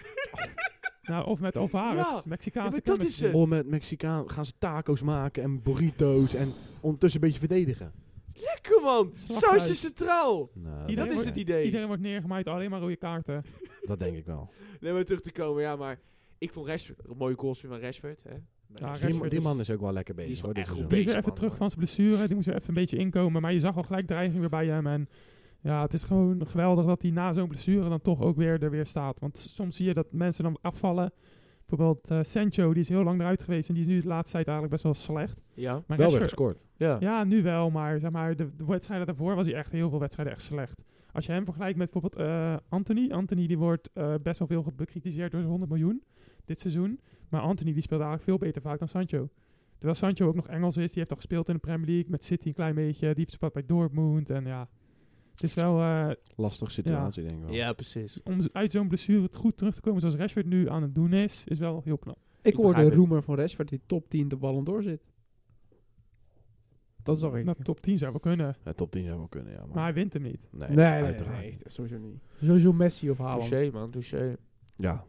[SPEAKER 2] nou, of met Alvarez,
[SPEAKER 1] Ja,
[SPEAKER 2] Mexicaanse
[SPEAKER 1] ja, maar dat is
[SPEAKER 2] chemistry.
[SPEAKER 1] het.
[SPEAKER 4] Oh, met Mexicaan gaan ze taco's maken en burrito's en ondertussen een beetje verdedigen.
[SPEAKER 1] Lekker, man.
[SPEAKER 2] Slaghuis.
[SPEAKER 1] Sanchez centraal.
[SPEAKER 4] Nou,
[SPEAKER 2] Iedereen
[SPEAKER 1] Dat is
[SPEAKER 2] wordt-
[SPEAKER 1] het idee.
[SPEAKER 2] Iedereen wordt neergemaaid, alleen maar rode kaarten.
[SPEAKER 4] Dat denk ik wel.
[SPEAKER 1] Nee, maar terug te komen. Ja, maar ik vond Rashford... Een mooie goals weer van Rashford, hè.
[SPEAKER 2] Rashford
[SPEAKER 4] Die, ma- die
[SPEAKER 2] is-
[SPEAKER 4] man is ook wel lekker bezig.
[SPEAKER 1] die is wel
[SPEAKER 4] hoor, dit
[SPEAKER 1] echt goed
[SPEAKER 2] Die
[SPEAKER 4] seizoen. eh,
[SPEAKER 1] Bezig,
[SPEAKER 2] is weer even
[SPEAKER 1] man,
[SPEAKER 2] terug
[SPEAKER 1] hoor.
[SPEAKER 2] van zijn blessure. Die moest weer even een beetje inkomen. Maar je zag al gelijk dreiging weer bij hem. En ja, het is gewoon geweldig dat hij na zo'n blessure dan toch ook weer er weer staat. Want s- soms zie je dat mensen dan afvallen. Bijvoorbeeld eh Sancho, die is heel lang eruit geweest. En die is nu de laatste tijd eigenlijk best wel slecht.
[SPEAKER 1] Ja.
[SPEAKER 2] Maar
[SPEAKER 4] Wel weer
[SPEAKER 2] Rashford-
[SPEAKER 4] gescoord.
[SPEAKER 1] Ja.
[SPEAKER 2] Ja, nu wel. Maar zeg maar, de, de wedstrijden daarvoor was hij echt heel veel wedstrijden echt slecht. Als je hem vergelijkt met bijvoorbeeld eh, Anthony. Anthony die wordt eh, best wel veel ge- bekritiseerd door zijn 100 miljoen dit seizoen. Maar Anthony die speelt eigenlijk veel beter vaak dan Sancho. Terwijl Sancho ook nog Engels is. Die heeft al gespeeld in de Premier League met City een klein beetje. Die heeft gespeeld bij Dortmund. En ja, het is wel eh,
[SPEAKER 4] Lastig situatie, denk ik wel.
[SPEAKER 1] Ja, precies.
[SPEAKER 2] om z- uit zo'n blessure t- goed terug te komen zoals Rashford nu aan het doen is. Is wel heel knap.
[SPEAKER 3] Ik hoorde
[SPEAKER 1] begrijp het.
[SPEAKER 3] rumor van Rashford die top 10 de Ballon d'Or zit. Dat zag ik.
[SPEAKER 2] Nou, top 10 zou wel kunnen.
[SPEAKER 4] Ja, top 10 zou wel kunnen, ja. Maar,
[SPEAKER 2] Maar hij wint hem niet.
[SPEAKER 4] nee,
[SPEAKER 3] nee, nee, nee,
[SPEAKER 4] uiteraard.
[SPEAKER 3] nee, sowieso niet. Sowieso Messi of Haaland.
[SPEAKER 1] Touché, man. Touché.
[SPEAKER 4] Ja.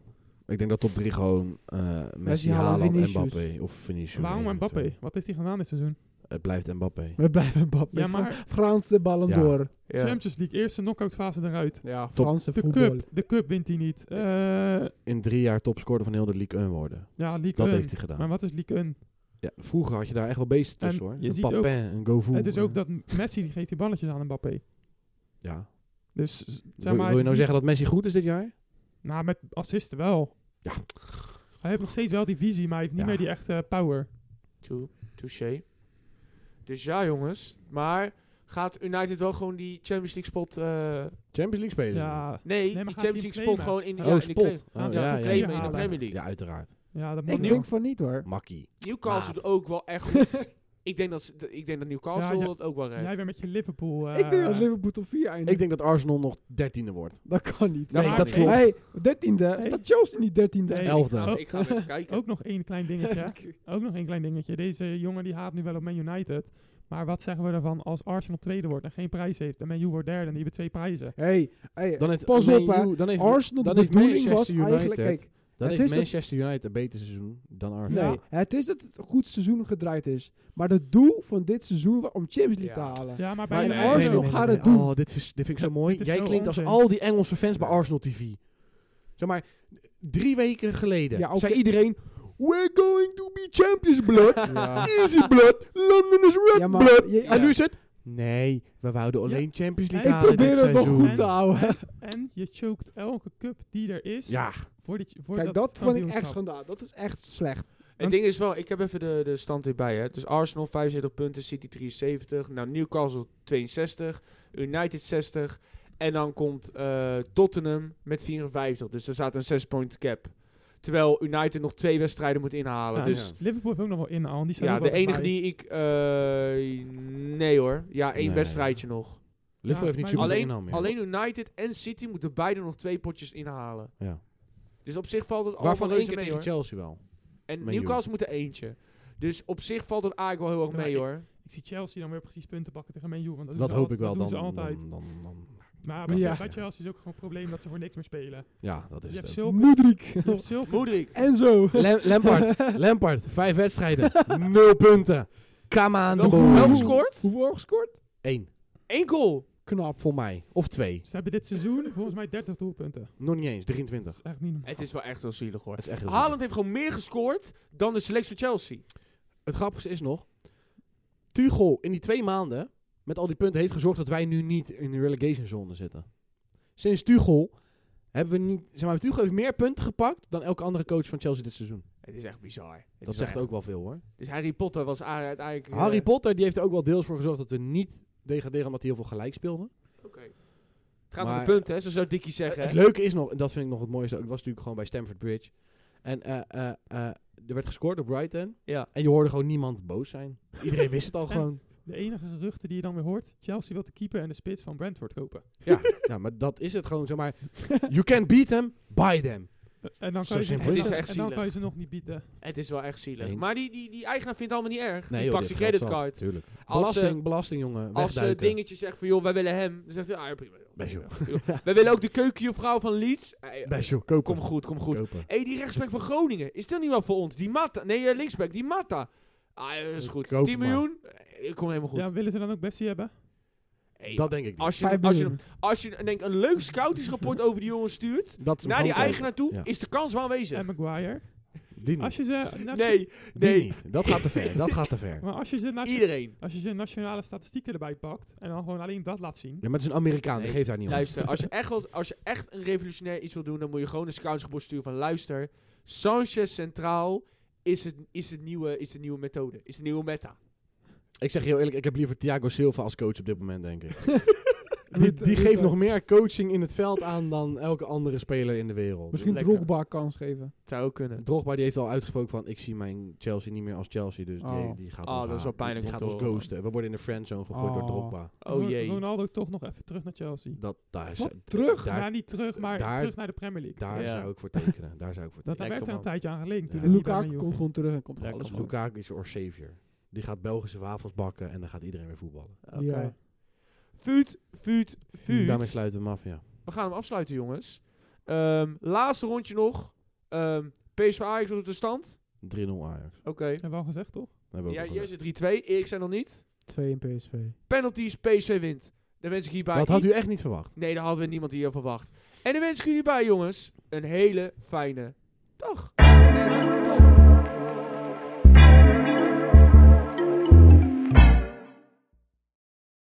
[SPEAKER 4] Ik denk dat top 3 gewoon eh Messi,
[SPEAKER 3] Haaland,
[SPEAKER 4] Haaland en
[SPEAKER 3] Vinicius.
[SPEAKER 4] Mbappé. Of Vinicius.
[SPEAKER 2] Waarom
[SPEAKER 4] één of
[SPEAKER 2] Mbappé?
[SPEAKER 4] twee.
[SPEAKER 2] Wat heeft hij gedaan dit seizoen?
[SPEAKER 4] Het blijft Mbappé.
[SPEAKER 3] We blijven bab.
[SPEAKER 2] Ja, maar-
[SPEAKER 3] Franse Ballon
[SPEAKER 4] Ja.
[SPEAKER 3] d'Or.
[SPEAKER 1] Ja.
[SPEAKER 2] Champions League, eerste knock-out fase eruit.
[SPEAKER 3] Ja, Franse
[SPEAKER 2] De
[SPEAKER 3] voetbal.
[SPEAKER 2] cup, de cup wint hij niet. Eh,
[SPEAKER 4] In drie jaar topscorer van heel de League 1 worden.
[SPEAKER 2] ja,
[SPEAKER 4] Dat
[SPEAKER 2] League
[SPEAKER 4] heeft
[SPEAKER 2] 1.
[SPEAKER 4] hij gedaan.
[SPEAKER 2] Ehm, Maar wat is League 1?
[SPEAKER 4] Ja, vroeger had je daar echt wel beesten tussen
[SPEAKER 2] En
[SPEAKER 4] hoor.
[SPEAKER 2] je
[SPEAKER 4] Een
[SPEAKER 2] ziet
[SPEAKER 4] Papin, een Govu.
[SPEAKER 2] het is
[SPEAKER 4] eh,
[SPEAKER 2] ook dat Messi die geeft die balletjes aan Mbappé.
[SPEAKER 4] Ja.
[SPEAKER 2] Dus z-
[SPEAKER 4] Wil,
[SPEAKER 2] zeg maar... het
[SPEAKER 4] wil je nou
[SPEAKER 2] is niet-
[SPEAKER 4] zeggen dat Messi goed is dit jaar?
[SPEAKER 2] Nou, met assisten wel.
[SPEAKER 4] Ja.
[SPEAKER 2] Hij heeft nog steeds wel die visie, maar hij heeft niet
[SPEAKER 4] Ja.
[SPEAKER 2] meer die echte power.
[SPEAKER 1] Tou- Touché. Dus ja, jongens. Maar gaat United wel gewoon die Champions League spot... eh,
[SPEAKER 4] Champions League spelen. ze
[SPEAKER 2] Ja,
[SPEAKER 1] Nee,
[SPEAKER 2] maar
[SPEAKER 1] die
[SPEAKER 2] gaat hij hem
[SPEAKER 1] Champions League spot
[SPEAKER 2] claimen?
[SPEAKER 1] gewoon in,
[SPEAKER 4] niet.
[SPEAKER 1] ja,
[SPEAKER 4] oh,
[SPEAKER 1] in de
[SPEAKER 4] spot.
[SPEAKER 1] claim.
[SPEAKER 4] Oh,
[SPEAKER 2] Gaan ze
[SPEAKER 4] ja,
[SPEAKER 2] hem
[SPEAKER 4] ja,
[SPEAKER 2] voor
[SPEAKER 1] claimen
[SPEAKER 4] ja,
[SPEAKER 1] in de
[SPEAKER 4] ja.
[SPEAKER 1] Premier League.
[SPEAKER 4] Ja, uiteraard.
[SPEAKER 2] ja dat moet
[SPEAKER 3] Ik
[SPEAKER 1] Opnieuw.
[SPEAKER 3] denk van niet hoor.
[SPEAKER 4] Makkie.
[SPEAKER 1] Newcastle
[SPEAKER 4] Maat.
[SPEAKER 1] doet ook wel echt goed. ik, denk dat, ze- dat- ik denk dat Newcastle
[SPEAKER 2] Ja, ja.
[SPEAKER 1] dat ook wel redt.
[SPEAKER 2] Jij bent met je Liverpool... eh,
[SPEAKER 3] ik denk dat Liverpool top 4 eindigt.
[SPEAKER 4] Ik denk dat Arsenal nog dertiende wordt.
[SPEAKER 3] dat kan niet.
[SPEAKER 1] Nee,
[SPEAKER 4] Nee,
[SPEAKER 1] maar
[SPEAKER 4] dat
[SPEAKER 1] nee.
[SPEAKER 4] klopt.
[SPEAKER 3] Hey, dertiende. Staat Chelsea niet dertiende?
[SPEAKER 2] Nee. Oh,
[SPEAKER 4] Elfde.
[SPEAKER 1] Nou, ik ga even kijken.
[SPEAKER 2] Ook nog één klein dingetje. ook nog één klein dingetje. Deze jongen die haat nu wel op Man United. Maar wat zeggen we ervan als Arsenal tweede wordt en geen prijs heeft. En Man U wordt derde en die hebben twee prijzen.
[SPEAKER 3] Hey, hey,
[SPEAKER 4] Dan heeft
[SPEAKER 3] pas
[SPEAKER 4] Man
[SPEAKER 3] op hè.
[SPEAKER 4] U- dan heeft,
[SPEAKER 3] Arsenal, de
[SPEAKER 4] dan heeft
[SPEAKER 3] bedoeling was
[SPEAKER 4] Manchester United.
[SPEAKER 3] eigenlijk... Kijk,
[SPEAKER 4] dan
[SPEAKER 3] het
[SPEAKER 4] heeft
[SPEAKER 3] is dat-
[SPEAKER 4] Manchester United een beter seizoen dan Arsenal.
[SPEAKER 3] nee,
[SPEAKER 2] Ja.
[SPEAKER 3] het is dat het een goed seizoen gedraaid is. Maar het doel van dit seizoen was om Champions League
[SPEAKER 1] Ja.
[SPEAKER 3] te halen.
[SPEAKER 2] Ja, maar bij
[SPEAKER 4] Maar
[SPEAKER 2] een
[SPEAKER 4] in
[SPEAKER 3] nee,
[SPEAKER 2] Arsenal-
[SPEAKER 4] Arsenal
[SPEAKER 3] nee, nee,
[SPEAKER 4] gaat
[SPEAKER 3] nee,
[SPEAKER 4] het
[SPEAKER 3] nee.
[SPEAKER 4] doen.
[SPEAKER 3] Oh,
[SPEAKER 4] dit, vind ik zo
[SPEAKER 2] mooi.
[SPEAKER 4] mooi.
[SPEAKER 2] Dit is Jij
[SPEAKER 4] Jij
[SPEAKER 2] zo
[SPEAKER 4] klinkt als
[SPEAKER 2] onzin. al
[SPEAKER 4] al die Engelse fans bij Arsenal TV. Zeg maar, drie weken geleden
[SPEAKER 3] Ja, oké.
[SPEAKER 4] zei iedereen... We're going to be champions, blood.
[SPEAKER 3] Ja.
[SPEAKER 4] Easy, blood. London is red,
[SPEAKER 3] Ja, maar-
[SPEAKER 4] blood.
[SPEAKER 3] je-
[SPEAKER 4] En
[SPEAKER 3] ja.
[SPEAKER 4] nu is het... Nee, we wouden alleen Champions League
[SPEAKER 2] Ik
[SPEAKER 4] halen
[SPEAKER 2] probeer
[SPEAKER 4] dit
[SPEAKER 3] het nog
[SPEAKER 4] seizoen.
[SPEAKER 3] goed te houden.
[SPEAKER 2] En je choked elke cup die er is.
[SPEAKER 4] Ja,
[SPEAKER 2] Voor die, voor
[SPEAKER 3] Kijk, dat vond ik echt
[SPEAKER 2] kampioenschap.
[SPEAKER 3] schandaal. Dat is echt slecht.
[SPEAKER 1] Het ding is wel, ik heb even de, de stand erbij. Hè. Dus Arsenal 75 punten, City 73. Nou, Newcastle 62, United 60. En dan komt eh, Tottenham met 54. Dus er staat een 6-point cap. Terwijl United nog twee wedstrijden moet inhalen.
[SPEAKER 2] Ja,
[SPEAKER 1] dus
[SPEAKER 2] ja. Liverpool heeft ook nog wel in aan. Die
[SPEAKER 1] ja,
[SPEAKER 2] staan ook
[SPEAKER 1] de
[SPEAKER 2] wel
[SPEAKER 1] enige
[SPEAKER 2] erbij.
[SPEAKER 1] die ik... eh, nee hoor. Ja, één
[SPEAKER 4] Nee.
[SPEAKER 1] wedstrijdje nog.
[SPEAKER 4] Liverpool heeft niet
[SPEAKER 2] maar-
[SPEAKER 4] super
[SPEAKER 1] Alleen-
[SPEAKER 4] veel inhaal meer.
[SPEAKER 1] Alleen United en City moeten beide nog twee potjes inhalen.
[SPEAKER 4] Ja.
[SPEAKER 1] Dus op zich valt het allemaal
[SPEAKER 4] Waarvan één
[SPEAKER 1] reuze
[SPEAKER 4] keer
[SPEAKER 1] mee
[SPEAKER 4] tegen
[SPEAKER 1] hoor.
[SPEAKER 4] Chelsea wel.
[SPEAKER 1] En
[SPEAKER 4] Man U.
[SPEAKER 1] Newcastle moet er eentje. Dus op zich valt het eigenlijk wel heel erg
[SPEAKER 2] Ja,
[SPEAKER 1] mee
[SPEAKER 2] ik-
[SPEAKER 1] hoor.
[SPEAKER 2] Ik zie Chelsea dan weer precies punten pakken tegen Man U. Want dat doen
[SPEAKER 4] Dat
[SPEAKER 2] ze
[SPEAKER 4] hoop
[SPEAKER 2] al-
[SPEAKER 4] ik wel.
[SPEAKER 2] Dat
[SPEAKER 4] Dan,
[SPEAKER 2] doen ze altijd.
[SPEAKER 4] Dan, dan, dan-
[SPEAKER 2] maar bij,
[SPEAKER 4] kan
[SPEAKER 2] ja.
[SPEAKER 4] zeggen, ja.
[SPEAKER 2] Chelsea is ook gewoon het probleem dat ze voor niks meer spelen.
[SPEAKER 1] Dus
[SPEAKER 4] ja, dat
[SPEAKER 2] Je
[SPEAKER 4] is
[SPEAKER 2] hebt
[SPEAKER 4] het.
[SPEAKER 2] zulke...
[SPEAKER 3] Moedrik.
[SPEAKER 2] Je hebt zulke...
[SPEAKER 1] Moedrik.
[SPEAKER 3] Enzo.
[SPEAKER 4] Lem- Lampard, Lampard, vijf wedstrijden, nul punten. Come aan de
[SPEAKER 1] Welke- welke score?
[SPEAKER 4] boel.
[SPEAKER 1] gescoord?
[SPEAKER 3] Hoeveel gescoord?
[SPEAKER 4] Eén,
[SPEAKER 1] Eén goal.
[SPEAKER 3] Knap.
[SPEAKER 4] voor mij. Of twee.
[SPEAKER 2] Ze hebben dit seizoen volgens mij 30 doelpunten.
[SPEAKER 4] Nog niet eens,
[SPEAKER 2] Dat
[SPEAKER 4] 23.
[SPEAKER 2] is echt niet normaal.
[SPEAKER 1] Het is wel echt wel zielig hoor.
[SPEAKER 4] Het is echt heel
[SPEAKER 1] Haaland heeft gewoon meer gescoord dan de selectie van Chelsea.
[SPEAKER 4] zielig. Het grappigste is nog, Tuchel in die twee maanden met al die punten heeft gezorgd dat wij nu niet in de relegation zone zitten. Sinds Tuchel hebben we niet, zeg maar, Tuchel heeft meer punten gepakt dan elke andere coach van Chelsea dit seizoen.
[SPEAKER 1] Het is echt bizar. Het
[SPEAKER 4] Dat
[SPEAKER 1] is wel
[SPEAKER 4] zegt
[SPEAKER 1] echt-
[SPEAKER 4] ook wel veel hoor.
[SPEAKER 1] Dus Harry Potter was a- uiteindelijk... eh,
[SPEAKER 4] Harry Potter die heeft er ook wel deels voor gezorgd dat we niet degraderen omdat hij heel veel gelijk speelde.
[SPEAKER 1] Oké. Het gaat om
[SPEAKER 4] Maar- Eh,
[SPEAKER 1] de punten hè, zo zou Dickie zeggen.
[SPEAKER 4] Het
[SPEAKER 1] hè.
[SPEAKER 4] leuke is nog, en dat vind ik nog het mooiste, ik was natuurlijk gewoon bij Stamford Bridge. En eh, eh, eh, er werd gescoord op Brighton.
[SPEAKER 1] Ja.
[SPEAKER 4] En je hoorde gewoon niemand boos zijn. Iedereen wist het al gewoon.
[SPEAKER 2] De enige geruchten die je dan weer hoort, Chelsea wil de keeper en de spits van Brentford kopen.
[SPEAKER 4] Ja, maar dat is het gewoon. Zeg maar, you can beat them, buy them.
[SPEAKER 2] En dan
[SPEAKER 4] Zo
[SPEAKER 2] kan je
[SPEAKER 4] simpel
[SPEAKER 2] ze,
[SPEAKER 1] is
[SPEAKER 2] en
[SPEAKER 1] het.
[SPEAKER 2] dan kan je ze nog niet bieden.
[SPEAKER 1] Het is wel echt zielig.
[SPEAKER 4] Eens.
[SPEAKER 1] Maar die, die, die eigenaar vindt het allemaal niet erg.
[SPEAKER 4] Nee,
[SPEAKER 1] die
[SPEAKER 4] joh,
[SPEAKER 1] pakt
[SPEAKER 4] dit
[SPEAKER 1] zijn
[SPEAKER 4] geldt wel.
[SPEAKER 1] creditcard.
[SPEAKER 4] Tuurlijk.
[SPEAKER 1] Als,
[SPEAKER 4] Belasting,
[SPEAKER 1] eh,
[SPEAKER 4] belasting, jongen.
[SPEAKER 1] als eh, ze
[SPEAKER 4] wegduiken.
[SPEAKER 1] dingetje zegt van, joh, wij willen hem. Dan zegt hij, ah, ja, prima. joh.
[SPEAKER 4] Best joh.
[SPEAKER 1] Joh, Wij willen ook de keukenjuffrouw van Leeds. Ah, ja,
[SPEAKER 4] Best joh, kopen.
[SPEAKER 1] Kom goed, kom goed.
[SPEAKER 4] Kopen.
[SPEAKER 1] Hé, hey, die rechtsback van Groningen. Is dat niet wel voor ons? Die Matta. Nee, eh, linksback. Die Matta. Ah, eh, is goed.
[SPEAKER 4] Koop
[SPEAKER 1] 10
[SPEAKER 4] hem
[SPEAKER 1] miljoen. Eh, Komt helemaal goed.
[SPEAKER 2] Ja, willen ze dan ook Bessie hebben?
[SPEAKER 1] Hey,
[SPEAKER 4] Dat denk ik niet.
[SPEAKER 1] als je,
[SPEAKER 3] Vijf
[SPEAKER 1] als, je,
[SPEAKER 3] miljoen.
[SPEAKER 1] als je eh, denk, een leuk scoutingsrapport over die jongen stuurt...
[SPEAKER 4] Dat is hem
[SPEAKER 1] naar die
[SPEAKER 4] gewoon
[SPEAKER 1] eigenaar toe,
[SPEAKER 4] Ja.
[SPEAKER 1] is de kans wel
[SPEAKER 2] En
[SPEAKER 1] aanwezig.
[SPEAKER 2] Maguire.
[SPEAKER 4] kopen. Die niet.
[SPEAKER 2] Als je ze, nation-
[SPEAKER 1] Nee,
[SPEAKER 4] Die
[SPEAKER 1] nee.
[SPEAKER 4] niet. Dat gaat te ver. Dat gaat te ver.
[SPEAKER 2] Maar als je ze, nation-
[SPEAKER 1] iedereen.
[SPEAKER 2] als je ze nationale statistieken erbij pakt en dan gewoon alleen dat laat zien.
[SPEAKER 4] Ja, maar het is een Amerikaan.
[SPEAKER 1] Nee,
[SPEAKER 4] Die geeft daar niet om.
[SPEAKER 1] Luister, als je, echt wat, als je echt een revolutionair iets wil doen... dan moet je gewoon een scoutingsrapport sturen van... luister, Sanchez Centraal is het, is het, nieuwe, is de nieuwe methode. Is de nieuwe meta.
[SPEAKER 4] Ik zeg je heel eerlijk, ik heb liever Thiago Silva als coach op dit moment, denk ik. die,
[SPEAKER 3] Niet- eh,
[SPEAKER 4] die
[SPEAKER 3] niet
[SPEAKER 4] geeft
[SPEAKER 3] waar.
[SPEAKER 4] nog meer coaching in het veld aan dan elke andere speler in de wereld.
[SPEAKER 3] Misschien
[SPEAKER 1] lekker.
[SPEAKER 3] Drogba kans geven.
[SPEAKER 1] Zou ook kunnen.
[SPEAKER 4] Drogba die heeft al uitgesproken van ik zie mijn Chelsea niet meer als Chelsea, dus
[SPEAKER 3] Oh.
[SPEAKER 4] die, die gaat
[SPEAKER 1] Oh,
[SPEAKER 4] ons
[SPEAKER 1] dat is wel
[SPEAKER 4] halen.
[SPEAKER 1] pijnlijk
[SPEAKER 4] Die
[SPEAKER 1] om
[SPEAKER 4] gaat
[SPEAKER 1] te
[SPEAKER 4] ons
[SPEAKER 1] horen.
[SPEAKER 4] ghosten. We worden in de friendzone gegooid door
[SPEAKER 3] Oh.
[SPEAKER 4] Drogba.
[SPEAKER 1] Oh
[SPEAKER 2] Ro-
[SPEAKER 1] jee.
[SPEAKER 2] Ronaldo toch nog even terug naar Chelsea.
[SPEAKER 4] Dat, daar is-
[SPEAKER 3] Wat?
[SPEAKER 4] daar-
[SPEAKER 3] Terug?
[SPEAKER 4] Daar,
[SPEAKER 2] ja, niet terug, maar
[SPEAKER 4] daar-
[SPEAKER 2] terug naar de Premier League.
[SPEAKER 4] daar
[SPEAKER 1] Ja.
[SPEAKER 4] zou ik voor tekenen. Daar zou ik voor
[SPEAKER 2] dat
[SPEAKER 1] Lekker,
[SPEAKER 2] daar werd er een
[SPEAKER 1] man.
[SPEAKER 2] tijdje aan gelegen. Toen
[SPEAKER 4] Ja.
[SPEAKER 2] hij niet bij
[SPEAKER 3] Lukaku
[SPEAKER 2] Man U ging.
[SPEAKER 3] komt gewoon terug en komt
[SPEAKER 1] Ja,
[SPEAKER 3] alles
[SPEAKER 1] komt
[SPEAKER 3] goed.
[SPEAKER 1] goed.
[SPEAKER 4] Lukaku is our savior. Die gaat Belgische wafels bakken en dan gaat iedereen weer voetballen.
[SPEAKER 1] Oké.
[SPEAKER 3] Ja.
[SPEAKER 1] Vuut, vuut, vuut.
[SPEAKER 4] Daarmee sluiten we hem af, ja.
[SPEAKER 1] We gaan hem afsluiten, jongens. Ehm, laatste rondje nog. Ehm PSV Ajax op de stand.
[SPEAKER 4] 3-0 Ajax.
[SPEAKER 1] Oké.
[SPEAKER 2] Hebben we al gezegd, toch?
[SPEAKER 4] Dat hebben we ook
[SPEAKER 1] Jij,
[SPEAKER 4] al
[SPEAKER 1] jij
[SPEAKER 4] gedaan.
[SPEAKER 1] zit 3-2. Ik zijn nog niet.
[SPEAKER 3] 2 in PSV.
[SPEAKER 1] Penalties, PSV wint. Dan wens ik hierbij...
[SPEAKER 4] Dat had u echt niet verwacht.
[SPEAKER 1] Nee, daar hadden we niemand hier verwacht. En dan wens ik jullie bij, jongens, een hele fijne dag.